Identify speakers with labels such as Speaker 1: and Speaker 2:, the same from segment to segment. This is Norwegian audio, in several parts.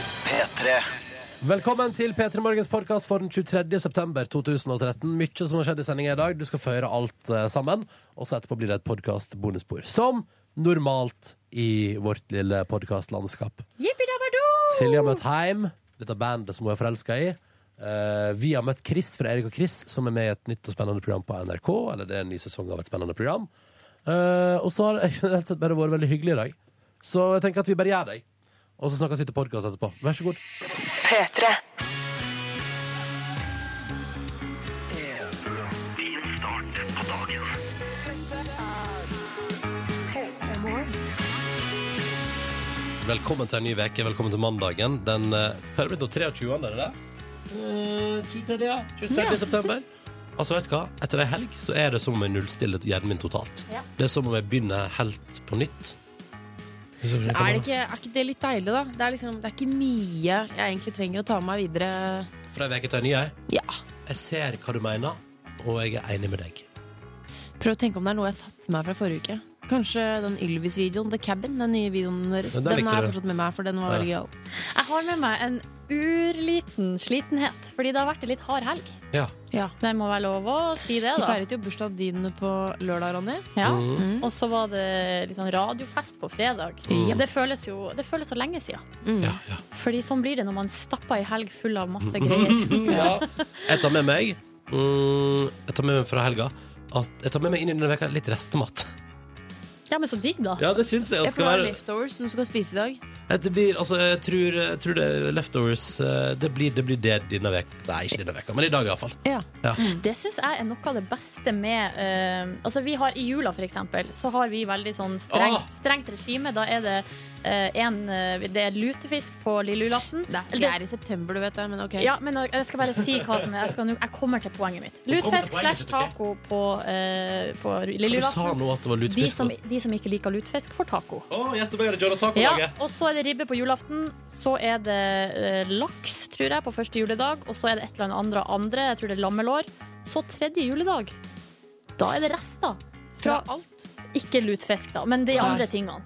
Speaker 1: P3.
Speaker 2: Velkommen til P3 Morgens podkast for den 23. september 2013. Mykje som har skjedd i sendinga i dag. Du skal få høre alt eh, sammen. Og så etterpå blir det et podkast-bonusspor. Som normalt i vårt lille podkastlandskap.
Speaker 3: Jippidabadoo!
Speaker 2: Silje har møtt Heim, dette bandet som hun er forelska i. Eh, vi har møtt Chris fra Erik og Chris, som er med i et nytt og spennende program på NRK. Eller det er en ny sesong av et spennende program. Eh, og så har det rett og slett bare vært veldig hyggelig i dag. Så jeg tenker at vi bare gjør det. Og så snakkes vi til podkast etterpå. Vær så god.
Speaker 4: P3.
Speaker 2: Velkommen til en ny veke, velkommen til mandagen. Den, eh, hva er det blitt nå, 23. er det det? Eh, 23. ja. 23. september. Altså, vet du hva? Etter ei helg så er det som om jeg nullstiller hjernen min totalt.
Speaker 3: Ja.
Speaker 2: Det er som om jeg begynner helt på nytt. Hvis jeg
Speaker 3: Er, det
Speaker 2: skjønner.
Speaker 3: ikke, er ikke det litt deilig, da? Det er, liksom, det er ikke mye jeg egentlig trenger å ta med meg videre.
Speaker 2: Fra ei veke til ei ny, jeg.
Speaker 3: Ja,
Speaker 2: Jeg ser hva du mener, og jeg er enig med deg.
Speaker 3: Prøv å tenke om det er noe jeg har tatt med meg fra forrige uke. Kanskje den Ylvis-videoen, The Cabin, den nye videoen deres.
Speaker 2: Den
Speaker 3: Den,
Speaker 2: der likte
Speaker 3: er
Speaker 2: du.
Speaker 3: fortsatt med meg, for den var
Speaker 2: Ja.
Speaker 3: veldig gøyal.
Speaker 5: Jeg har med meg en urliten slitenhet, fordi det har vært en litt hard helg.
Speaker 2: Ja.
Speaker 3: Ja.
Speaker 5: Det må være lov å si det,
Speaker 3: Vi
Speaker 5: da.
Speaker 3: feiret jo bursdagen din på lørdag, Ronny.
Speaker 5: Ja.
Speaker 2: Mm.
Speaker 5: Og så var det liksom radiofest på fredag.
Speaker 2: Mm.
Speaker 5: Det føles jo det føles så lenge siden.
Speaker 3: Mm.
Speaker 2: ja, ja.
Speaker 5: Fordi sånn blir det når man stapper ei helg full av masse
Speaker 2: Mm.
Speaker 5: greier.
Speaker 2: Jeg tar med meg mm, Jeg tar med meg fra helga at jeg tar med meg inn i denne veka litt restemat.
Speaker 5: Ja, men så digg, da.
Speaker 2: Ja, det syns jeg. Det
Speaker 3: Jeg
Speaker 2: skal
Speaker 3: får
Speaker 2: være
Speaker 3: leftovers som du skal spise i dag.
Speaker 2: Det blir, altså, jeg tror, jeg tror det er leftovers eh, Det blir det, blir det denne veka Nei, ikke denne veka, men i dag i hvert fall
Speaker 3: Ja.
Speaker 2: ja.
Speaker 5: Det syns jeg er noe av det beste med eh, Altså, vi har i jula, for eksempel, så har vi veldig sånn
Speaker 2: Ah!
Speaker 5: strengt, strengt regime. Da er det eh, en eh, Det er lutefisk på lille julaften.
Speaker 3: Det er,
Speaker 5: Eller
Speaker 3: det er i september, du vet det, men ok.
Speaker 5: Ja, men jeg skal bare si hva som er Jeg, skal, nå- jeg kommer til poenget mitt.
Speaker 2: kommer til
Speaker 5: Lutfisk
Speaker 2: poenget
Speaker 5: slash
Speaker 2: sitt, ok?
Speaker 5: taco på, eh, på lille
Speaker 2: Du sa
Speaker 5: julaften.
Speaker 2: nå at det var
Speaker 5: De
Speaker 2: lutefisk
Speaker 5: som, de som ikke liker lutfisk, får taco.
Speaker 2: Å, gjett om jeg hadde Jonah
Speaker 5: Ja,
Speaker 2: Taco-laget
Speaker 5: og så er det ribbe på julaften. Så er det eh, laks, tror jeg, på første juledag. Og så er det et eller annet andre av andre. Jeg tror det er lammelår. Så tredje juledag. Da er det rester. Fra
Speaker 3: Fra alt.
Speaker 5: ikke lutfisk, da, men de andre tingene.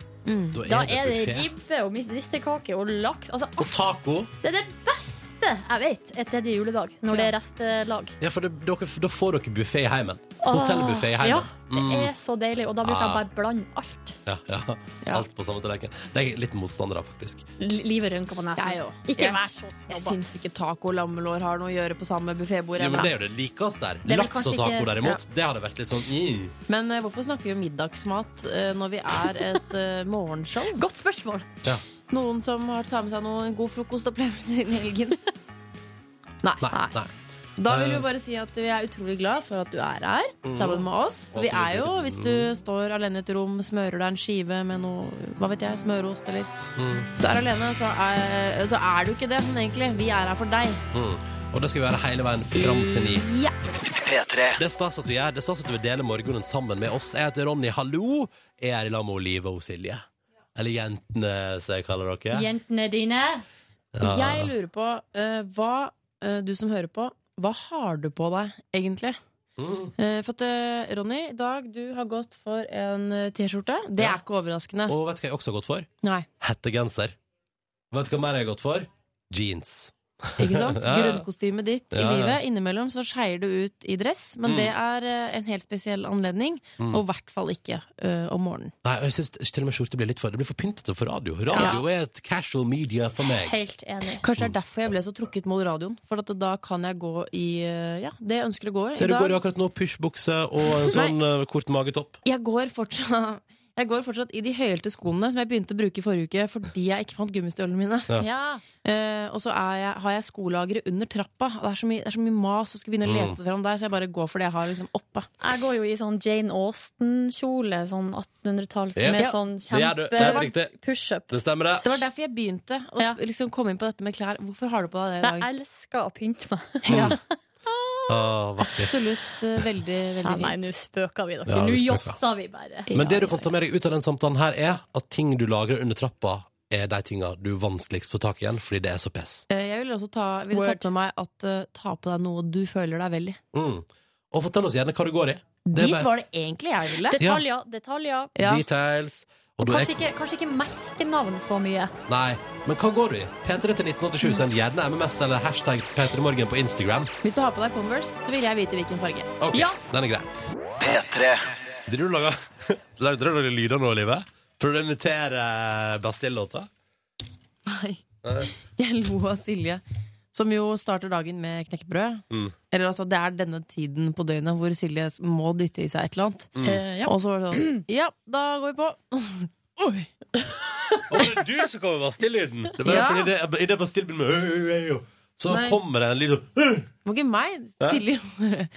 Speaker 5: Da er det
Speaker 2: buffet
Speaker 5: ribbe og mistekake og laks. Altså,
Speaker 2: Og taco
Speaker 5: det er det beste jeg vet, er tredje juledag, når det er restelag.
Speaker 2: Ja, for det, dere, da får dere buffet i heimen Hotellbuffet i Mm.
Speaker 5: Ja,
Speaker 2: heimen
Speaker 5: det er så deilig, og da bruker jeg
Speaker 2: Ah.
Speaker 5: bare blande alt.
Speaker 2: ja, ja.
Speaker 3: Ja.
Speaker 2: Alt på samme tallerken Det er jeg litt motstander av, faktisk
Speaker 5: L- Livet rynker på nesen.
Speaker 3: Jeg òg.
Speaker 5: Ikke
Speaker 3: Jeg-
Speaker 5: vær så
Speaker 3: Jeg
Speaker 5: snobba.
Speaker 3: syns ikke taco og lammelår har noe å gjøre på samme buffébord.
Speaker 2: Jo, men
Speaker 3: ennå.
Speaker 2: det er jo det likast der
Speaker 5: er vel
Speaker 2: Laks og
Speaker 5: kanskje
Speaker 2: taco
Speaker 5: ikke-
Speaker 2: derimot Det hadde vært litt sånn mm.
Speaker 3: Men eh, hvorfor snakker vi om middagsmat eh, når vi er et eh, morgenshow?
Speaker 5: Godt spørsmål.
Speaker 2: ja.
Speaker 3: Noen som har tatt med seg noen god frokostopplevelse inn i helgen? Nei.
Speaker 2: Nei, nei Eh.
Speaker 3: Da vil vi bare si at vi er utrolig glad for at du er her sammen med oss.
Speaker 2: Mhm. Og
Speaker 3: Vi
Speaker 2: at du Mhm.
Speaker 3: er jo,
Speaker 2: liker det.
Speaker 3: hvis du står alene i et rom, smører deg en skive med noe hva vet jeg, smørost eller
Speaker 2: Mm,
Speaker 3: Hvis du er alene, så er, så er du ikke det, men egentlig. Vi er her for deg.
Speaker 2: mm. Og det skal vi være hele veien frem til ni
Speaker 3: Ja.
Speaker 1: P3.
Speaker 2: Det er stas at du gjør. Det er stas at du vil dele morgenen sammen med oss. Jeg heter Ronny, hallo. Jeg er i lag med Olive og Silje. Eller jentene, som jeg kaller dere.
Speaker 5: Jentene dine.
Speaker 2: Ja.
Speaker 3: Jeg lurer på eh, hva eh, du som hører på, hva har du på deg egentlig?
Speaker 2: Mm.
Speaker 3: Eh, for at, eh, Ronny, i dag du har gått for en eh, T-skjorte. Det
Speaker 2: Ja.
Speaker 3: er ikke overraskende.
Speaker 2: Og vet du hva jeg også har gått for?
Speaker 3: Nei,
Speaker 2: Hettegenser. Vet du hva mer jeg har gått for? Jeans.
Speaker 3: ikke sant?
Speaker 2: Ja, ja.
Speaker 3: Grunnkostymet ditt i
Speaker 2: Ja, ja.
Speaker 3: livet. Innimellom så skeier du ut i dress, men
Speaker 2: Mm.
Speaker 3: det er eh, en helt spesiell anledning.
Speaker 2: Mm.
Speaker 3: Og i hvert fall ikke eh, om morgenen.
Speaker 2: Nei, og jeg synes til og med skjorte blir litt for Det blir for pyntete for radio. Radio er et casual media for meg.
Speaker 5: Helt enig.
Speaker 3: Kanskje det
Speaker 2: Mm.
Speaker 3: er derfor jeg ble så trukket mot radioen. For at da kan jeg gå i eh, ja, det jeg ønsker å gå i. I
Speaker 2: Det du
Speaker 3: dag
Speaker 2: går i akkurat nå, pysjbukse og en sånn eh, kort magetopp.
Speaker 3: jeg går fortsatt jeg går fortsatt i de høyhælte skoene som jeg begynte å bruke i forrige uke fordi jeg ikke fant gummistøvlene mine.
Speaker 5: Ja.
Speaker 3: Eh, og så er jeg, har jeg skolageret under trappa. Det er så mye, det er så mye mas å skulle begynne å
Speaker 2: Mm.
Speaker 3: lete fram der, så jeg bare går for det jeg har liksom oppe.
Speaker 5: Jeg går jo i sånn Jane Austen-kjole, sånn 1800-talls,
Speaker 2: Ja.
Speaker 5: med
Speaker 2: Ja.
Speaker 5: sånn
Speaker 2: gjør du. Det er
Speaker 5: kjempe
Speaker 2: riktig.
Speaker 5: pushup.
Speaker 2: Det stemmer,
Speaker 3: Det
Speaker 2: det.
Speaker 3: var derfor jeg begynte å
Speaker 5: Ja.
Speaker 3: sp- liksom komme inn på dette med klær. Hvorfor har du på deg det i
Speaker 5: Jeg
Speaker 3: dag?
Speaker 5: elsker å pynte meg.
Speaker 3: Ja,
Speaker 2: Å, vakkert.
Speaker 3: absolutt eh, veldig,
Speaker 5: Ja,
Speaker 3: veldig
Speaker 5: nei,
Speaker 3: fint.
Speaker 5: nå spøker vi, dere.
Speaker 2: Ja, vi
Speaker 5: Nå
Speaker 2: spøker.
Speaker 5: jazzer vi bare.
Speaker 2: Men det du kan ta med deg ut av den samtalen her, er at ting du lagrer under trappa, er de tinga du vanskeligst får tak i igjen, fordi det er så pes.
Speaker 3: Eh, Jeg ville også ta, ville
Speaker 5: Word.
Speaker 3: tatt med meg at eh, ta på deg noe du føler deg vel i.
Speaker 2: Mm. Og fortell oss gjerne hva det går i. Det er
Speaker 3: Dit
Speaker 2: bare-
Speaker 3: var det egentlig jeg ville.
Speaker 5: Detaljer, detaljer.
Speaker 3: Ja.
Speaker 2: Details. Og
Speaker 5: Og
Speaker 2: da er-
Speaker 5: kanskje ikke, kanskje ikke merkenavn så mye.
Speaker 2: Nei, men hva går du i? P3 til 1987, send gjerne MMS eller hashtag P3morgen på Instagram.
Speaker 3: Hvis du har på deg Converse, så vil jeg vite hvilken farge.
Speaker 2: Ok,
Speaker 5: Ja.
Speaker 2: den er grei.
Speaker 1: P3
Speaker 2: Driver du og lager, Driver du og lager lyder nå, Live? Prøver du å eh, imitere Bastille-låta?
Speaker 3: Nei. Jeg lo av Silje, som jo starter dagen med knekkebrød.
Speaker 2: Mm.
Speaker 3: Eller altså, det er denne tiden på døgnet hvor Silje må dytte i seg et eller annet.
Speaker 2: Mm.
Speaker 5: Eh, ja.
Speaker 3: Og så var det sånn Ja, da går vi på. Og så- Oi.
Speaker 2: Å, det er du som kommer med Bastille-lyden! Det er bare
Speaker 3: Ja.
Speaker 2: fordi det, i det Bastille-lyden med Så
Speaker 3: Nei.
Speaker 2: kommer det en lyd sånn
Speaker 3: Det var ikke meg. Silje.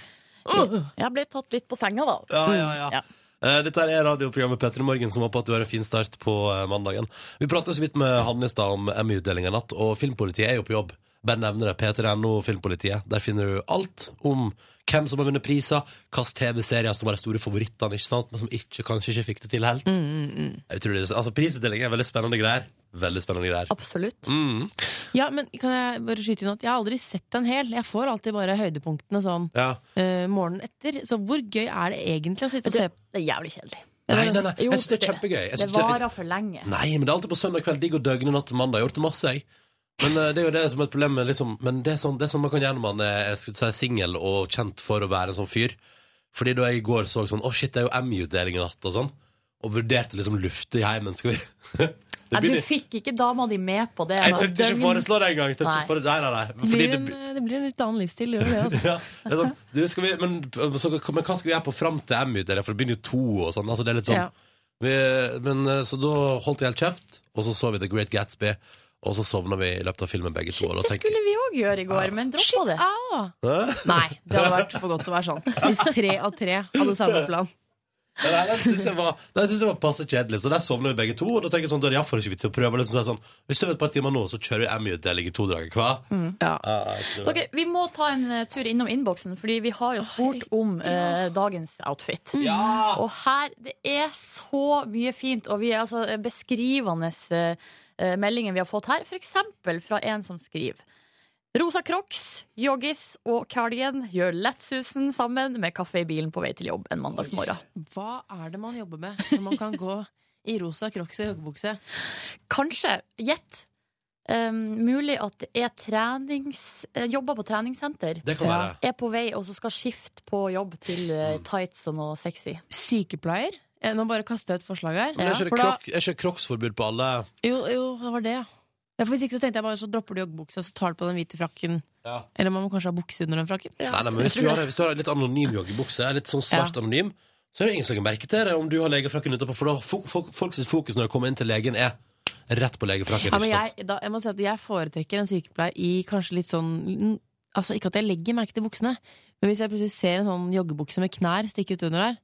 Speaker 5: Jeg ble tatt litt på senga, da.
Speaker 2: Ja, ja, ja.
Speaker 5: Mm. Ja.
Speaker 2: Eh, Dette her er radioprogrammet Petter i morgen, som håper at du har en fin start på eh, mandagen. Vi pratet så vidt med Hanne i stad om Emmy-utdelinga i natt, og filmpolitiet er jo på jobb. Bare nevner det. P3NO Filmpolitiet. Der finner du alt om hvem som har vunnet priser, hvilke TV-serier som var de store favorittene, ikke sant? men som ikke, kanskje ikke fikk det til helt.
Speaker 5: Mm,
Speaker 2: Utrolig. Altså, Prisutdeling er veldig spennende greier. Veldig spennende greier.
Speaker 5: Absolutt.
Speaker 2: Mm.
Speaker 3: Ja, men kan jeg bare skyte inn at jeg har aldri sett en hel. Jeg får alltid bare høydepunktene sånn
Speaker 2: Ja.
Speaker 3: eh, morgenen etter. Så hvor gøy er det egentlig å sitte og
Speaker 5: Det
Speaker 3: se på?
Speaker 5: er jævlig kjedelig.
Speaker 2: Nei, nei, nei. Jeg syns det er
Speaker 5: Jo,
Speaker 2: kjempegøy. Jeg
Speaker 5: Det
Speaker 2: synes det-
Speaker 5: varer for lenge.
Speaker 2: Nei, men det er alltid på søndag kveld. Digg å døgne natt til mandag. Jeg har gjort det masse, jeg. Men eh, det er jo det som er et problem med liksom Men det er sånn, det er sånn man kan gjøre når man er jeg skulle si, singel og kjent for å være en sånn fyr. Fordi da jeg i går så sånn Å, shit, det er jo Emmy-utdeling i natt og sånn. Og vurderte liksom lufte i heimen. Skal vi
Speaker 5: Nei,
Speaker 2: det
Speaker 5: du fikk ikke dama di med på det.
Speaker 2: Jeg turte ikke
Speaker 5: Døgn-
Speaker 2: foreslå det engang. turte
Speaker 5: Nei.
Speaker 2: ikke fore- Nei, nei, nei.
Speaker 3: Det
Speaker 2: Fordi
Speaker 3: blir
Speaker 2: det
Speaker 3: en, eh,
Speaker 2: blir-
Speaker 3: det blir en litt annen livsstil. Det gjør det, altså.
Speaker 2: ja, det er sånn, du, skal vi, men, så, men hva skal vi gjøre på fram til Emmy-utdeling? For det begynner jo to og sånn. Altså, det er litt sånn
Speaker 3: Ja.
Speaker 2: Vi, men, eh, så da holdt jeg helt kjeft, og så så vi The Great Gatsby. Og så sovna vi i løpet av filmen begge to. og da
Speaker 5: Det
Speaker 2: tenker jeg,
Speaker 5: skulle vi òg gjøre i går, men droppa det.
Speaker 3: Ah.
Speaker 2: Hæ?
Speaker 3: Nei, det hadde vært for godt til å være sånn. Hvis tre av tre hadde samme plan.
Speaker 2: Men nei, Den syns jeg var, den synes jeg var passe kjedelig, så der sovna vi begge to. Og da tenker jeg sånn, da er det iallfall ikke vits i å prøve. Liksom, så er det sånn, vi sover et par timer nå, så kjører vi Emmy-utdeling i to dager. Hva?
Speaker 3: Ja.
Speaker 2: Ja, ja, så det var-
Speaker 5: Dere, vi må ta en eh, tur innom innboksen, fordi vi har jo spurt om eh, dagens outfit.
Speaker 2: Mm. Ja!
Speaker 5: Og her Det er så mye fint, og vi er altså eh, beskrivende eh, eh, meldinger vi har fått her. For eksempel fra en som skriver Rosa Crocs, joggis og cardigan gjør lettsusen sammen med kaffe i bilen på vei til jobb en mandagsmorgen.
Speaker 3: Hva er det man jobber med når man kan gå i rosa crocs og joggebukse?
Speaker 5: Kanskje, gjett, eh, mulig at det er trenings, eh, jobber på treningssenter.
Speaker 2: Det kan være.
Speaker 5: Er på vei og så skal skifte på jobb til eh, tights og noe sexy.
Speaker 3: Sykepleier? Eh, Nå bare kaster jeg ut forslag her.
Speaker 2: Men er ikke
Speaker 3: For
Speaker 2: det
Speaker 3: da-
Speaker 2: krok- er ikke det crocs-forbud på alle?
Speaker 3: Jo, jo, det var det, ja. Ja, for Hvis ikke så tenkte jeg bare så dropper du joggebuksa, så tar du på den hvite frakken.
Speaker 2: Ja.
Speaker 3: Eller man må kanskje ha bukse under den frakken.
Speaker 2: Nei, nei, men hvis du, har, hvis du har en litt anonym joggebukse, er litt sånn svart anonym, så er det ingen som legger merke til det om du har legefrakken utapå. For da fo- fo- folk sitt fokus når de kommer inn til legen, er rett på legefrakken.
Speaker 3: Ja, men
Speaker 2: ikke sant?
Speaker 3: jeg, da, jeg må si at jeg foretrekker en sykepleier i kanskje litt sånn Altså Ikke at jeg legger merke til buksene, men hvis jeg plutselig ser en sånn joggebukse med knær stikke ut under der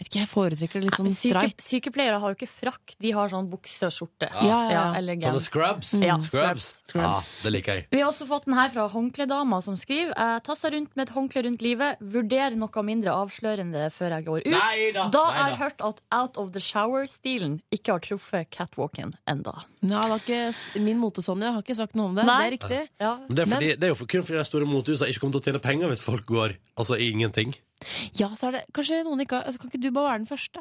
Speaker 3: Vet ikke, Jeg foretrekker det litt sånn
Speaker 5: Syke,
Speaker 3: streit.
Speaker 5: sykepleiere har jo ikke frakk, de har sånn bukse og skjorte.
Speaker 2: Ja.
Speaker 3: Ja, ja, ja.
Speaker 5: eller
Speaker 2: Sånne
Speaker 5: gens.
Speaker 2: scrubs.
Speaker 5: Mm. Ja,
Speaker 2: scrubs.
Speaker 5: scrubs,
Speaker 2: Ja, det liker jeg.
Speaker 5: Vi har også fått den her fra håndkledama, som skriver Jeg tasser rundt med et håndkle rundt livet, vurder noe mindre avslørende før jeg går ut.
Speaker 2: Neida,
Speaker 5: da
Speaker 2: neida.
Speaker 5: har jeg hørt at out of the shower-stilen ikke har truffet catwalken enda.
Speaker 3: Nei, det har ikke, min mote Sonja har ikke sagt noe om det.
Speaker 5: Nei.
Speaker 3: Det er riktig.
Speaker 5: Ja.
Speaker 2: Men det er, fordi, det er jo for, kun fordi de store motehusene ikke kommer til å tjene penger hvis folk går altså i ingenting.
Speaker 3: Ja, så er det Kanskje noen ikke har altså, Kan ikke du bare være den første?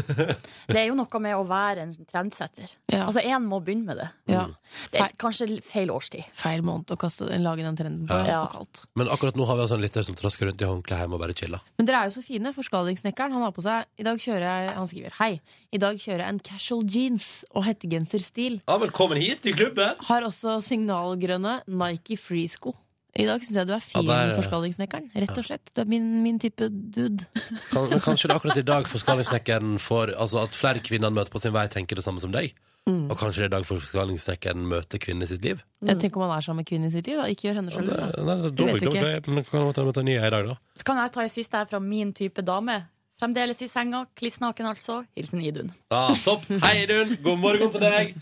Speaker 5: Det er jo noe med å være en trendsetter.
Speaker 3: Ja.
Speaker 5: Altså, én må begynne med det.
Speaker 2: Mm.
Speaker 3: ja.
Speaker 5: Det er kanskje feil årstid.
Speaker 3: Feil måned å kaste, lage den trenden på.
Speaker 5: Ja.
Speaker 3: For kaldt.
Speaker 2: Men akkurat nå har vi altså en lytter som trasker rundt i håndkle hjemme og bare chiller.
Speaker 3: Men dere er jo så fine. Forskalingssnekkeren han har på seg I dag kjører jeg Han skriver hei. I dag kjører jeg en casual jeans og hettegenserstil.
Speaker 2: Ja, velkommen hit til klubben!
Speaker 3: Har også signalgrønne Nike Freesko. I dag syns jeg du er fin,
Speaker 2: Ja, der-
Speaker 3: forskalingssnekkeren. Rett og slett. Du er min, min type dude.
Speaker 2: Kan, men kanskje det er akkurat i dag forskalingssnekkeren får Altså at flere kvinner han møter på sin vei, tenker det samme som deg.
Speaker 3: Mm.
Speaker 2: Og kanskje det er i dag forskalingssnekkeren møter kvinnen i sitt liv.
Speaker 3: Jeg tenker om han er sammen med kvinnen i sitt liv. Da. Ikke gjør henne sjalu. da.
Speaker 2: Nei, Mm. det altså. er
Speaker 3: Du vet
Speaker 2: dobbelt,
Speaker 3: ikke.
Speaker 2: dobbelt, men kan han møte en ny i dag, da?
Speaker 5: Så kan jeg ta en siste her fra min type dame. Fremdeles i senga, kliss naken altså. Hilsen Idun.
Speaker 2: Ja, topp. Hei, Idun. God morgen til deg.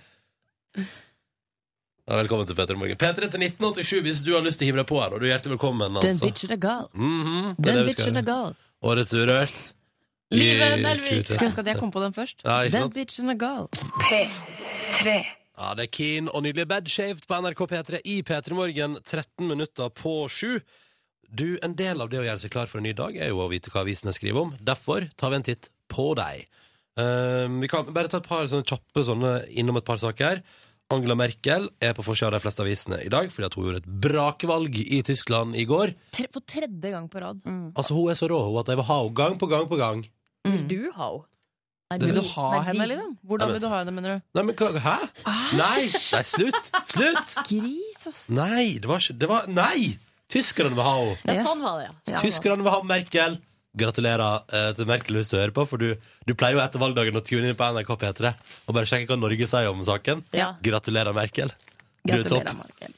Speaker 2: Ja, velkommen til P3 Morgen. P3 til 1987 hvis du har lyst til å hive deg på her. Og du er hjertelig velkommen.
Speaker 3: Den
Speaker 2: Altså.
Speaker 3: bitchen er gal.
Speaker 2: Mhm, det er det
Speaker 3: Den
Speaker 2: vi skal
Speaker 3: bitchen er
Speaker 2: gjøre.
Speaker 3: gal.
Speaker 2: Årets Urørt. i
Speaker 5: Livet Nelvik.
Speaker 2: 2013.
Speaker 3: Skulle ønske at jeg kom på den først.
Speaker 2: Ja, ikke
Speaker 3: Den
Speaker 2: sant?
Speaker 3: bitchen er gal.
Speaker 2: Ja, det er Keen og nydelig Bad Shaved på NRK P3 i P3 Morgen 13 minutter på 7. Du, en del av det å gjøre seg klar for en ny dag er jo å vite hva avisene skriver om. Derfor tar vi en titt på deg. Um, vi kan bare ta et par sånne kjappe sånne innom et par saker. Angela Merkel er på forsida av de fleste avisene i dag fordi at hun gjorde et brakvalg i Tyskland i går.
Speaker 3: Tre, for tredje gang på rad.
Speaker 2: Altså Hun er så rå hun at jeg vil ha henne gang på gang på gang.
Speaker 5: Vil du ha henne? Nei,
Speaker 2: Det-
Speaker 3: Vil
Speaker 5: de-
Speaker 3: du ha
Speaker 5: Mm. nei,
Speaker 3: henne,
Speaker 5: de-
Speaker 3: liksom? Hvordan vil du ha henne, mener du?
Speaker 2: Nei, men hva Hæ? Nei! Nei, slutt! Slutt!
Speaker 3: Gris, ass.
Speaker 2: Nei! Det var ikke det var, Nei! Tyskerne vil ha henne!
Speaker 5: Ja,
Speaker 3: Ja.
Speaker 5: sånn var det, ja. Sånn var det.
Speaker 2: Tyskerne vil ha Merkel. Gratulerer eh, til Merkel hvis du hører på, for du, du pleier jo etter valgdagen å tune inn på NRK P3 og bare sjekke hva Norge sier om saken.
Speaker 5: Ja.
Speaker 2: Gratulerer, Merkel. Du er topp.
Speaker 3: Gratulerer, Markel.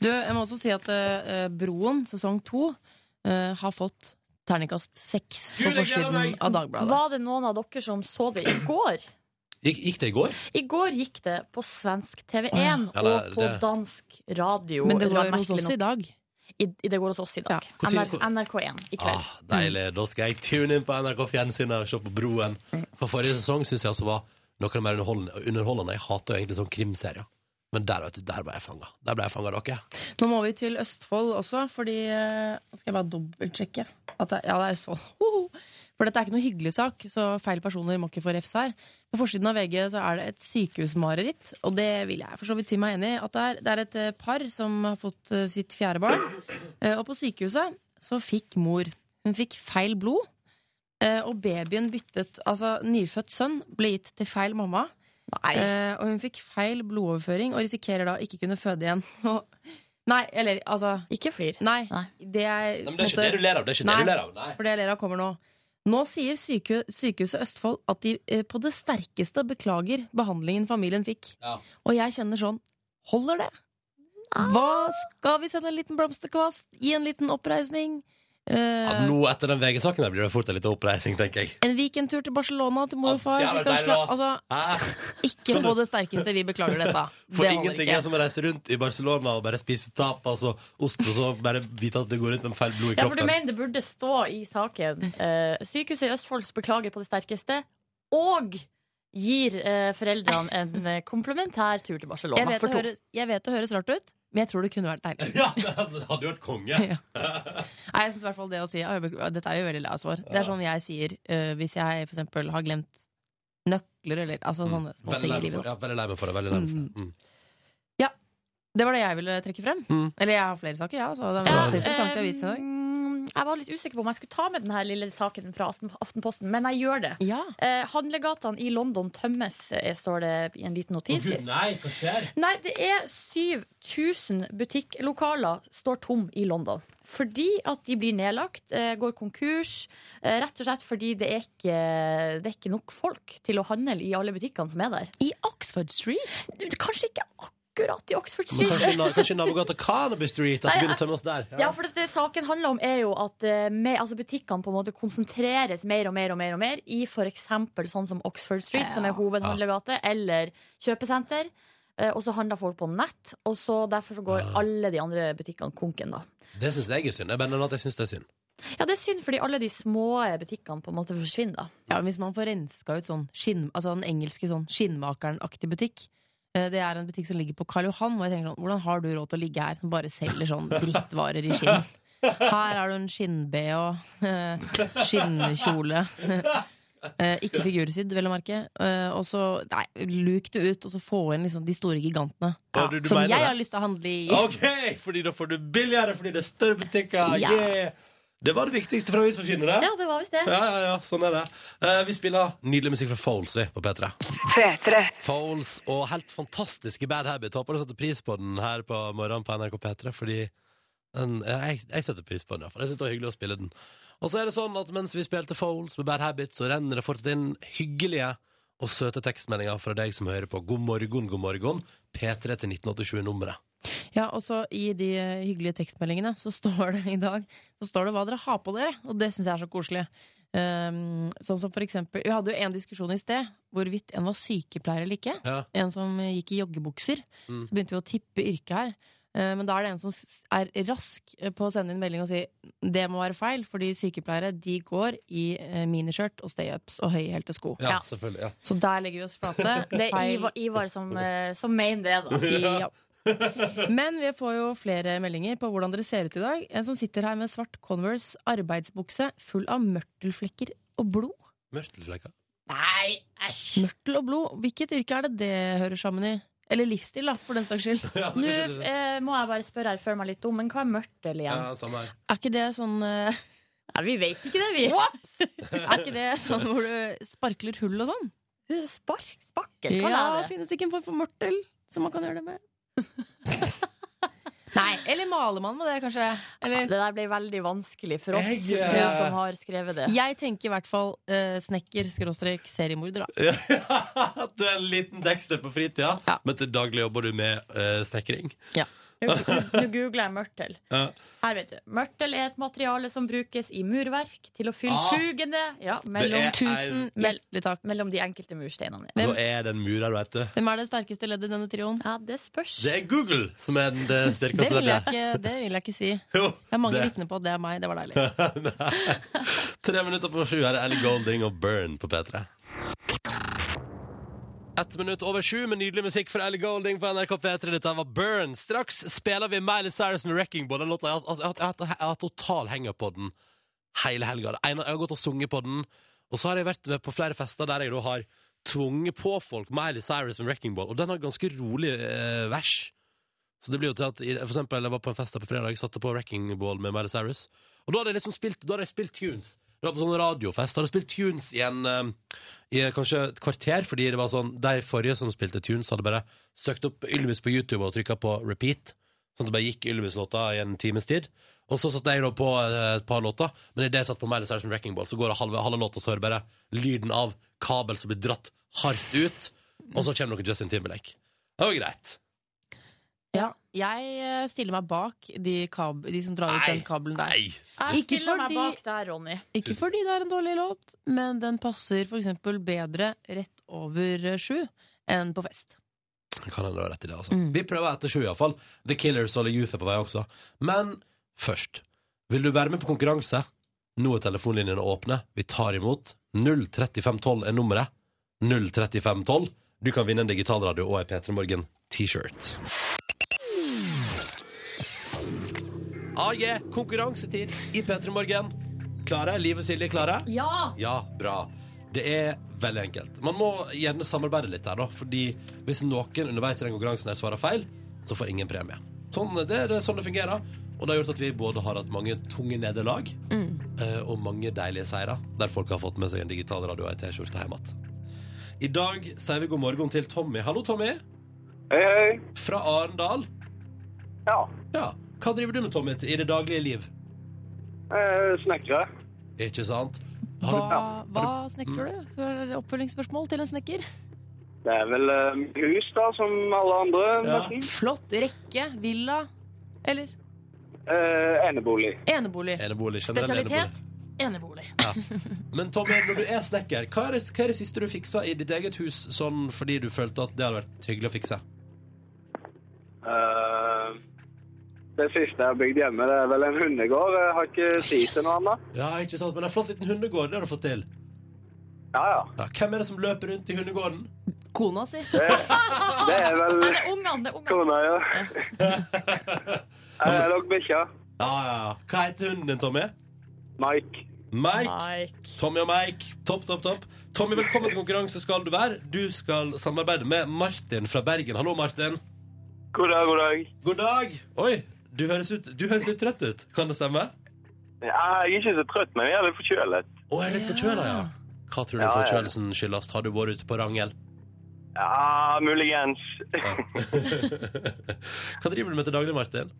Speaker 3: Du, jeg må også si at eh, Broen, sesong to, eh, har fått terningkast seks på
Speaker 2: Gud, jeg gleder
Speaker 3: forsiden
Speaker 2: meg!
Speaker 3: av Dagbladet.
Speaker 5: Var det noen av dere som så det i går?
Speaker 2: Gikk, gikk det i går?
Speaker 5: I går gikk det på svensk TV1
Speaker 3: Åh,
Speaker 2: ja. Ja,
Speaker 5: og
Speaker 2: det-
Speaker 5: på
Speaker 2: det-
Speaker 5: dansk radio.
Speaker 3: Men det var jo
Speaker 5: merkelig
Speaker 3: hos oss
Speaker 5: nok.
Speaker 3: i dag.
Speaker 5: I, i- det går hos oss i dag.
Speaker 2: Ja. Hvor tid-
Speaker 5: NR, NRK1 i kveld.
Speaker 2: Ah, deilig. Da skal jeg tune inn på NRK Fjernsynet og se på Broen. For forrige sesong syns jeg altså var noe av det mer underholdende. underholdende. Jeg hater jo egentlig sånn krimserier. Men der, vet du, der ble jeg fanga. Der ble jeg fanga, dere.
Speaker 3: Nå må vi til Østfold også, fordi eh, Nå skal jeg bare dobbeltsjekke. At det, ja, det er Østfold. Hoho! For dette er ikke noe hyggelig sak, så feil personer må ikke få refs her. På forsiden av VG så er det et sykehusmareritt, og det vil jeg for så vidt si meg enig i. At det er, det er et eh, par som har fått eh, sitt fjerde barn, eh, og på sykehuset så fikk mor Hun fikk feil blod, eh, og babyen byttet Altså, nyfødt sønn ble gitt til feil mamma.
Speaker 5: Nei.
Speaker 3: Eh, og hun fikk feil blodoverføring og risikerer da ikke kunne føde igjen. Og- nei, eller altså
Speaker 5: Mm. Ikke flir.
Speaker 3: Nei.
Speaker 5: Nei.
Speaker 3: Det er,
Speaker 2: Nei, men det er ikke det du ler av. Det er ikke det
Speaker 3: Nei.
Speaker 2: du ler av. Nei.
Speaker 3: For det jeg ler av, kommer nå. Nå sier syke, Sykehuset Østfold at de eh, på det sterkeste beklager behandlingen familien fikk.
Speaker 2: Ja.
Speaker 3: Og jeg kjenner sånn Holder det? Hva Skal vi sende en liten blomsterkvast? Gi en liten oppreisning? Eh,
Speaker 2: Ja, nå etter den VG-saken der blir det fort en liten oppreising, tenker jeg.
Speaker 3: en weekendtur til Barcelona til mor og far?
Speaker 2: Ja, det er
Speaker 3: Vi kan
Speaker 2: deilig
Speaker 3: sla-
Speaker 2: da.
Speaker 3: altså,
Speaker 2: Ah.
Speaker 3: ikke på det sterkeste. Vi beklager dette.
Speaker 2: For
Speaker 3: Det holder
Speaker 2: ingenting altså.
Speaker 3: ikke.
Speaker 2: er som å reise rundt i Barcelona og bare spise tapas og ost, og så bare vite at det går rundt med feil blod i
Speaker 5: Ja, for du
Speaker 2: kroppen.
Speaker 5: mener det burde stå i saken eh, Sykehuset i Østfolds beklager på det sterkeste Og gir eh, foreldrene en eh, komplementær tur til Barcelona
Speaker 3: Jeg vet,
Speaker 5: for
Speaker 3: det
Speaker 5: to.
Speaker 3: høres, jeg vet det høres rart ut, men jeg tror det kunne vært deilig.
Speaker 2: Ja, det hadde jo vært konge.
Speaker 3: Ja. Nei, jeg synes i hvert fall det å si «Å, jeg beklager», Dette er jo veldig lei svar. Det er sånn jeg sier øh, hvis jeg for eksempel har glemt nøkler eller altså sånne små
Speaker 2: Mm. Veldig
Speaker 3: ting
Speaker 2: lei
Speaker 3: i
Speaker 2: meg
Speaker 3: livet.
Speaker 2: for, ja, veldig lei meg for det. Veldig lei meg for det. Mm.
Speaker 3: Da. Det var det jeg ville trekke frem.
Speaker 2: Mm.
Speaker 3: Eller jeg har flere saker, ja. Så det var
Speaker 5: Ja,
Speaker 3: masse interessant i avisen i dag.
Speaker 5: eh, Jeg var litt usikker på om jeg skulle ta med denne lille saken fra Aften- Aftenposten Men jeg gjør det
Speaker 3: Ja.
Speaker 5: eh, Handlegatene i London tømmes eh, Står det i en liten
Speaker 2: Å,
Speaker 5: notis
Speaker 2: Gud, nei, hva skjer?
Speaker 5: Nei, det er 7000 butikklokaler står tom i London. Fordi at de blir nedlagt, eh, går konkurs. eh, Rett og slett fordi det er, ikke, det er ikke nok folk til å handle i alle butikkene som er der.
Speaker 3: I Oxford Street.
Speaker 5: Kanskje ikke akkurat i Oxford
Speaker 2: Men
Speaker 5: Street.
Speaker 2: kanskje, na- kanskje nabogata Canaby Street? At det begynner å tømme oss der?
Speaker 5: Ja, for det, det saken handler om er jo at eh, med, altså butikkene på en måte konsentreres mer og mer og mer og mer i f.eks. sånn som Oxford Street, som er hovedhandlegate, eller kjøpesenter. Eh, og så handler folk på nett, og så derfor så går alle de andre butikkene konken, da.
Speaker 2: Det syns jeg er synd. Jeg bare nevner at jeg synes det er synd.
Speaker 5: Ja, det er synd, fordi alle de små butikkene på en måte forsvinner, da.
Speaker 3: Ja, men hvis man får renska ut sånn skinn, altså den engelske sånn skinnmakeren-aktig butikk eh, det er en butikk som ligger på Karl Johan. Og jeg tenker sånn, Hvordan har du råd til å ligge her som bare selger sånn drittvarer i skinn? Her har du en skinn-BH, eh, skinnkjole eh, Ikke figursydd, vel å merke. eh, Og så nei, luk det ut, og så få inn liksom de store gigantene.
Speaker 2: Ja, du- du
Speaker 3: som
Speaker 2: mener
Speaker 3: jeg
Speaker 2: det?
Speaker 3: har lyst til å handle i.
Speaker 2: OK! Fordi da får du billigere fordi det er større butikker.
Speaker 3: Ja.
Speaker 2: Yeah! Det var det viktigste fra avisforsynet, det.
Speaker 5: Ja, det var visst det.
Speaker 2: Ja, ja, ja, sånn er det. Eh, vi spiller nydelig musikk fra Foles vi, på P3. Foles og helt fantastiske Bad Habit. Håper du setter pris på den her på morgenen på NRK P3, fordi den, eh, jeg, jeg setter pris på den. i hvert fall. Jeg synes det var hyggelig å spille den. Og så er det sånn at mens vi spilte Foles med Bad Habit, så renner det fortsatt inn hyggelige og søte tekstmeldinger fra deg som hører på. God morgen, god morgen. P3 til 1987-nummeret.
Speaker 3: Ja, og så I de eh, hyggelige tekstmeldingene så står det i dag Så står det hva dere har på dere, og det syns jeg er så koselig. Ehm, sånn som for eksempel, Vi hadde jo en diskusjon i sted hvorvidt en var sykepleier eller ikke.
Speaker 2: Ja.
Speaker 3: En som eh, gikk i joggebukser.
Speaker 2: Mm.
Speaker 3: Så begynte vi å tippe yrket her. Eh, Men da er det en som s- er rask eh, på å sende inn melding og si det må være feil, fordi sykepleiere de går i eh, miniskjørt og stay-ups og høyhælte sko.
Speaker 2: Ja,
Speaker 5: Ja.
Speaker 2: selvfølgelig. Ja.
Speaker 3: Så der legger vi oss flate.
Speaker 5: Det er
Speaker 3: Feil.
Speaker 5: Ivar, Ivar som, eh, som mener det, da.
Speaker 3: Ja. Men vi får jo flere meldinger på hvordan dere ser ut i dag. En som sitter her med svart Converse arbeidsbukse full av mørtelflekker og blod.
Speaker 2: Mørtelflekker.
Speaker 5: Nei, æsj!
Speaker 3: Mørtel og blod, hvilket yrke er det det hører sammen i? Eller livsstil, da, for den saks skyld.
Speaker 2: Ja,
Speaker 5: Nå
Speaker 2: kanskje det-
Speaker 5: eh, må jeg bare spørre her før meg litt om, men hva er mørtel igjen?
Speaker 2: ja, samme her.
Speaker 3: Er ikke det sånn, eh,
Speaker 5: Ja, vi vet ikke det, vi.
Speaker 3: er ikke det sånn hvor du sparkler hull og sånn?
Speaker 5: Du, Spark, spakkel, hva
Speaker 3: Ja,
Speaker 5: er det?
Speaker 3: finnes det ikke en form for mørtel som man kan gjøre det med? Nei, eller maler man med det, kanskje? Eller,
Speaker 5: Det der ble veldig vanskelig for oss,
Speaker 2: Jeg, eh,
Speaker 5: du som har skrevet det.
Speaker 3: jeg tenker i hvert fall eh, snekker skråstrek seriemorder, da.
Speaker 2: At du er en liten dexter på fritida,
Speaker 3: Ja.
Speaker 2: men til daglig jobber du med eh, snekring.
Speaker 5: Nå nå googler jeg mørtel.
Speaker 2: Ja.
Speaker 5: Her vet du. Mørtel er et materiale som brukes i murverk til å fylle
Speaker 2: Ah.
Speaker 5: fugene ja, mellom,
Speaker 2: er-
Speaker 3: Tusen hjertelig takk.
Speaker 5: mellom de enkelte mursteinene.
Speaker 3: Hvem-
Speaker 2: Så er det en murer, vet du.
Speaker 3: Hvem er det sterkeste leddet i denne trioen?
Speaker 5: Ja, det spørs.
Speaker 2: Det er Google som er den det
Speaker 3: Det
Speaker 2: sterkeste
Speaker 3: vil, jeg
Speaker 2: leddet.
Speaker 3: ikke, det vil jeg ikke si. Det
Speaker 2: Jo,
Speaker 3: er mange
Speaker 2: det.
Speaker 3: vitner på at det er meg. Det var deilig.
Speaker 2: Tre minutter på sju her er Ellie Golding og Burn på P3. Ett minutt over sju med nydelig musikk fra Ellie Golding på NRK P3. Dette var Burn. Straks spiller vi Miley Cyrus med Wrecking Ball. Den låta jeg har altså, jeg har- jeg har- jeg har total henger på den hele helga. Det ene- Jeg har gått og sunget på den, og så har jeg vært med på flere fester der jeg da har tvunget på folk Miley Cyrus med Wrecking Ball, og den har ganske rolig eh, vers. Så det blir jo til at i- For eksempel, jeg var på en fest her på fredag, satte på Wrecking Ball med Miley Cyrus. Og da hadde jeg liksom spilt, da hadde jeg spilt tunes. Det var på sånn radiofest. Da hadde jeg spilt tunes i en eh, i kanskje et kvarter, fordi det var sånn De forrige som spilte tunes, hadde bare søkt opp Ylvis på YouTube og trykka på repeat. Sånn at det bare gikk Ylvis-låta i en times tid. Og så satte jeg da på eh, et par låter, men idet jeg satt på Miley Cyrus med Wrecking Ball, så går det halve, halve låta, så hører jeg bare lyden av kabel som blir dratt hardt ut, og så kommer noe Justin Timberlake. Det var greit.
Speaker 3: Ja, jeg eh, stiller meg bak de, kab de som drar ut
Speaker 2: Nei,
Speaker 3: den kabelen der.
Speaker 2: Nei!
Speaker 5: Jeg
Speaker 3: Ikke
Speaker 5: stiller meg
Speaker 3: fordi-
Speaker 5: bak der, Ronny.
Speaker 3: Ikke fordi det er en dårlig låt, men den passer for eksempel bedre rett over eh, sju enn på fest.
Speaker 2: Kan hende du har rett i det, altså.
Speaker 3: Mm.
Speaker 2: Vi prøver etter sju, iallfall. The Killers og The Youth er på vei også. Men først, vil du være med på konkurranse? Nå er telefonlinjene åpne. Vi tar imot. 03512 er nummeret. 03512. Du kan vinne en digitalradio og ei P3 Morgen-T-shirt. Ah, yeah. Konkurransetid i P3 Morgen. Klare? Liv og Silje klare?
Speaker 5: Ja!
Speaker 2: Ja, bra. Det er veldig enkelt. Man må gjerne samarbeide litt der, da. Fordi hvis noen underveis i den konkurransen her svarer feil, så får ingen premie. Sånn, det, det er sånn det fungerer. Og det har gjort at vi både har hatt mange tunge nederlag eh, og mange deilige seire der folk har fått med seg en digital radio og ei T-skjorte hjem igjen. I dag sier vi god morgen til Tommy. Hallo, Tommy.
Speaker 1: Hei, hei.
Speaker 2: Fra Arendal.
Speaker 1: Ja,
Speaker 2: Ja. Hva driver du med, Tommy, i det daglige liv?
Speaker 1: eh, snekkere.
Speaker 2: Ikke sant? Har du, Mm.
Speaker 3: Hva, hva snekrer du? Så er det Oppfølgingsspørsmål til en snekker.
Speaker 1: Det er vel eh, hus da, som alle andre,
Speaker 2: Ja.
Speaker 3: Mm.
Speaker 1: nesten.
Speaker 3: Flott rekke, villa eller
Speaker 1: Eh, enebolig.
Speaker 3: enebolig.
Speaker 2: enebolig, generell enebolig?
Speaker 5: Spesialitet? Enebolig.
Speaker 2: Men Tommy, når du er snekker, hva er, det, hva er det siste du fiksa i ditt eget hus sånn fordi du følte at det hadde vært hyggelig å fikse?
Speaker 1: Eh, det siste jeg har bygd hjemme, det er vel en hundegård. Jeg har ikke tid til noe annet.
Speaker 2: Ja, ikke sant, men en flott liten hundegård, det har du fått til.
Speaker 1: Ja, ja.
Speaker 2: Ja, hvem er det som løper rundt i hundegården?
Speaker 3: Kona si.
Speaker 1: Det er vel
Speaker 5: Det er ungene, det er ungene.
Speaker 1: kona, ja. Her er dere bikkja.
Speaker 2: Ja, ja, ja. Hva heter hunden din, Tommy?
Speaker 1: Mike.
Speaker 2: Mike.
Speaker 5: Mike.
Speaker 2: Tommy og Mike. Topp, topp, topp. Tommy, velkommen til konkurranse skal du være. Du skal samarbeide med Martin fra Bergen. Hallo, Martin.
Speaker 1: God dag, god dag.
Speaker 2: God dag. Oi, du høres, ut, du høres litt trøtt ut. Kan det stemme?
Speaker 1: Ja, jeg er ikke så trøtt, men jeg er litt forkjølet.
Speaker 2: Å, jeg er litt forkjøla, ja. Hva tror du
Speaker 1: Ja, ja.
Speaker 2: forkjølelsen skyldes? Har du vært ute på Rangel?
Speaker 1: Ja, muligens.
Speaker 2: Hva driver du med til daglig, Martin?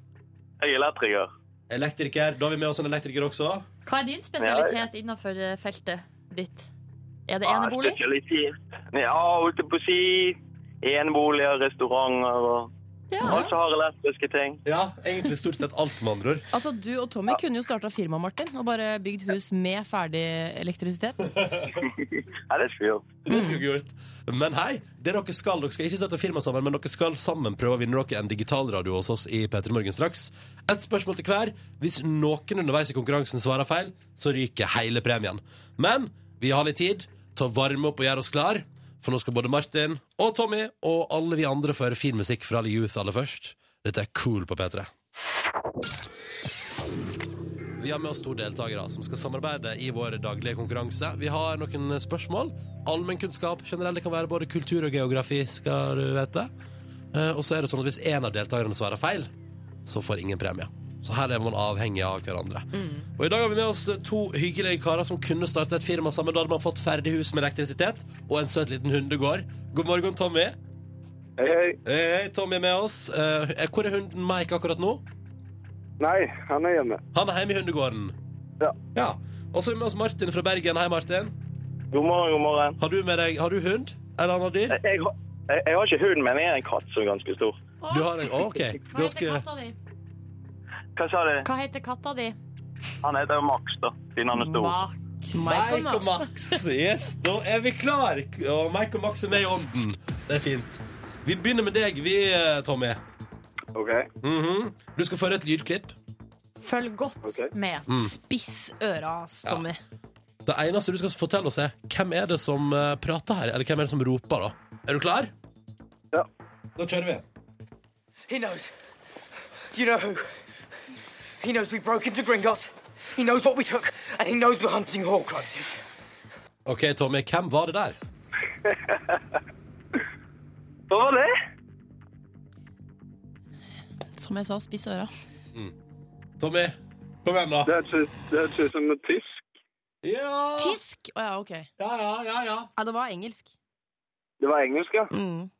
Speaker 1: Jeg er elektriker.
Speaker 2: Elektriker. Da har vi med oss en elektriker også.
Speaker 5: Hva er din spesialitet innenfor eh, feltet ditt? Er det enebolig?
Speaker 1: Spesialitet. Ja, holdt jeg på å si. Eneboliger, restauranter og
Speaker 5: Ja.
Speaker 1: Alt som har elektriske ting.
Speaker 2: Ja, egentlig stort sett alt, med andre ord.
Speaker 3: Altså, Du og Tommy kunne jo starta firma, Martin, og bare bygd hus med ferdig elektrisitet.
Speaker 1: Ja, det skulle jeg gjort.
Speaker 2: Det skulle jeg gjort. Men hei, det dere skal, dere skal ikke støtte firma sammen, men dere skal sammen prøve å vinne dere en digitalradio hos oss i P3 Morgen straks. Et spørsmål til hver. Hvis noen underveis i konkurransen svarer feil, så ryker hele premien. Men vi har litt tid til å varme opp og gjøre oss klar, for nå skal både Martin og Tommy og alle vi andre få høre fin musikk fra The Youth aller først. Dette er cool på P3. Vi har med oss to deltakere som skal samarbeide i vår daglige konkurranse. Vi har noen spørsmål. Allmennkunnskap generelt. Det kan være både kultur og geografi, skal du vite. Eh, Og så er det sånn at hvis én av deltakerne svarer feil, så får ingen premie. Så her er man avhengig av hverandre. Og i dag har vi med oss to hyggelige karer som kunne starte et firma sammen. Da hadde man fått ferdig hus med elektrisitet og en søt liten hundegård. God morgen, Tommy.
Speaker 1: Hei, hei.
Speaker 2: Hei, hei, Tommy er med oss. Eh, hvor er hunden Mike akkurat nå?
Speaker 1: Nei, han er hjemme.
Speaker 2: Han er hjemme i hundegården.
Speaker 1: Ja.
Speaker 2: Ja. Og så er vi med oss Martin fra Bergen. Hei, Martin.
Speaker 4: God morgen, god morgen.
Speaker 2: Har du med deg Har du hund? Eller annet dyr?
Speaker 4: Jeg, har- jeg, jeg har ikke hund, men jeg er en katt som er ganske stor.
Speaker 2: Du har en, Å, OK.
Speaker 5: Hva heter
Speaker 2: Ganske
Speaker 5: katta di?
Speaker 4: Hva sa du?
Speaker 5: Hva heter katta di?
Speaker 4: Han heter jo Max, da, siden han er stor.
Speaker 5: Max.
Speaker 3: Michael
Speaker 2: Mike og Max. Yes, da er vi klar Og Mike og Max er med i ånden. Det er fint. Vi begynner med deg, vi, eh, Tommy.
Speaker 1: OK.
Speaker 2: Mhm. Du skal føre et lydklipp.
Speaker 5: Følg godt
Speaker 1: Ok.
Speaker 5: med.
Speaker 2: Mm.
Speaker 3: Spiss øra, ass, Tommy.
Speaker 2: Det eneste du skal fortelle oss, er hvem er det som eh, prater her? Eller hvem er det som roper, da? Er du klar?
Speaker 1: Ja.
Speaker 2: Da kjører vi.
Speaker 6: He knows. You know who? He knows we broke into Gringotts. He knows what we took, and he knows we're hunting Horcruxes.
Speaker 2: OK, Tommy. Hvem var det der?
Speaker 1: Hva var det?
Speaker 3: Som jeg sa, spiss øra.
Speaker 2: Tommy, kom igjen, da.
Speaker 1: Det hørtes det hørtes ut som noe tysk.
Speaker 2: Ja,
Speaker 3: Tysk! Å ja, ok.
Speaker 2: ja, ja. ja, ja.
Speaker 3: Ja, det var engelsk.
Speaker 1: Det var engelsk, ja?
Speaker 3: Mm.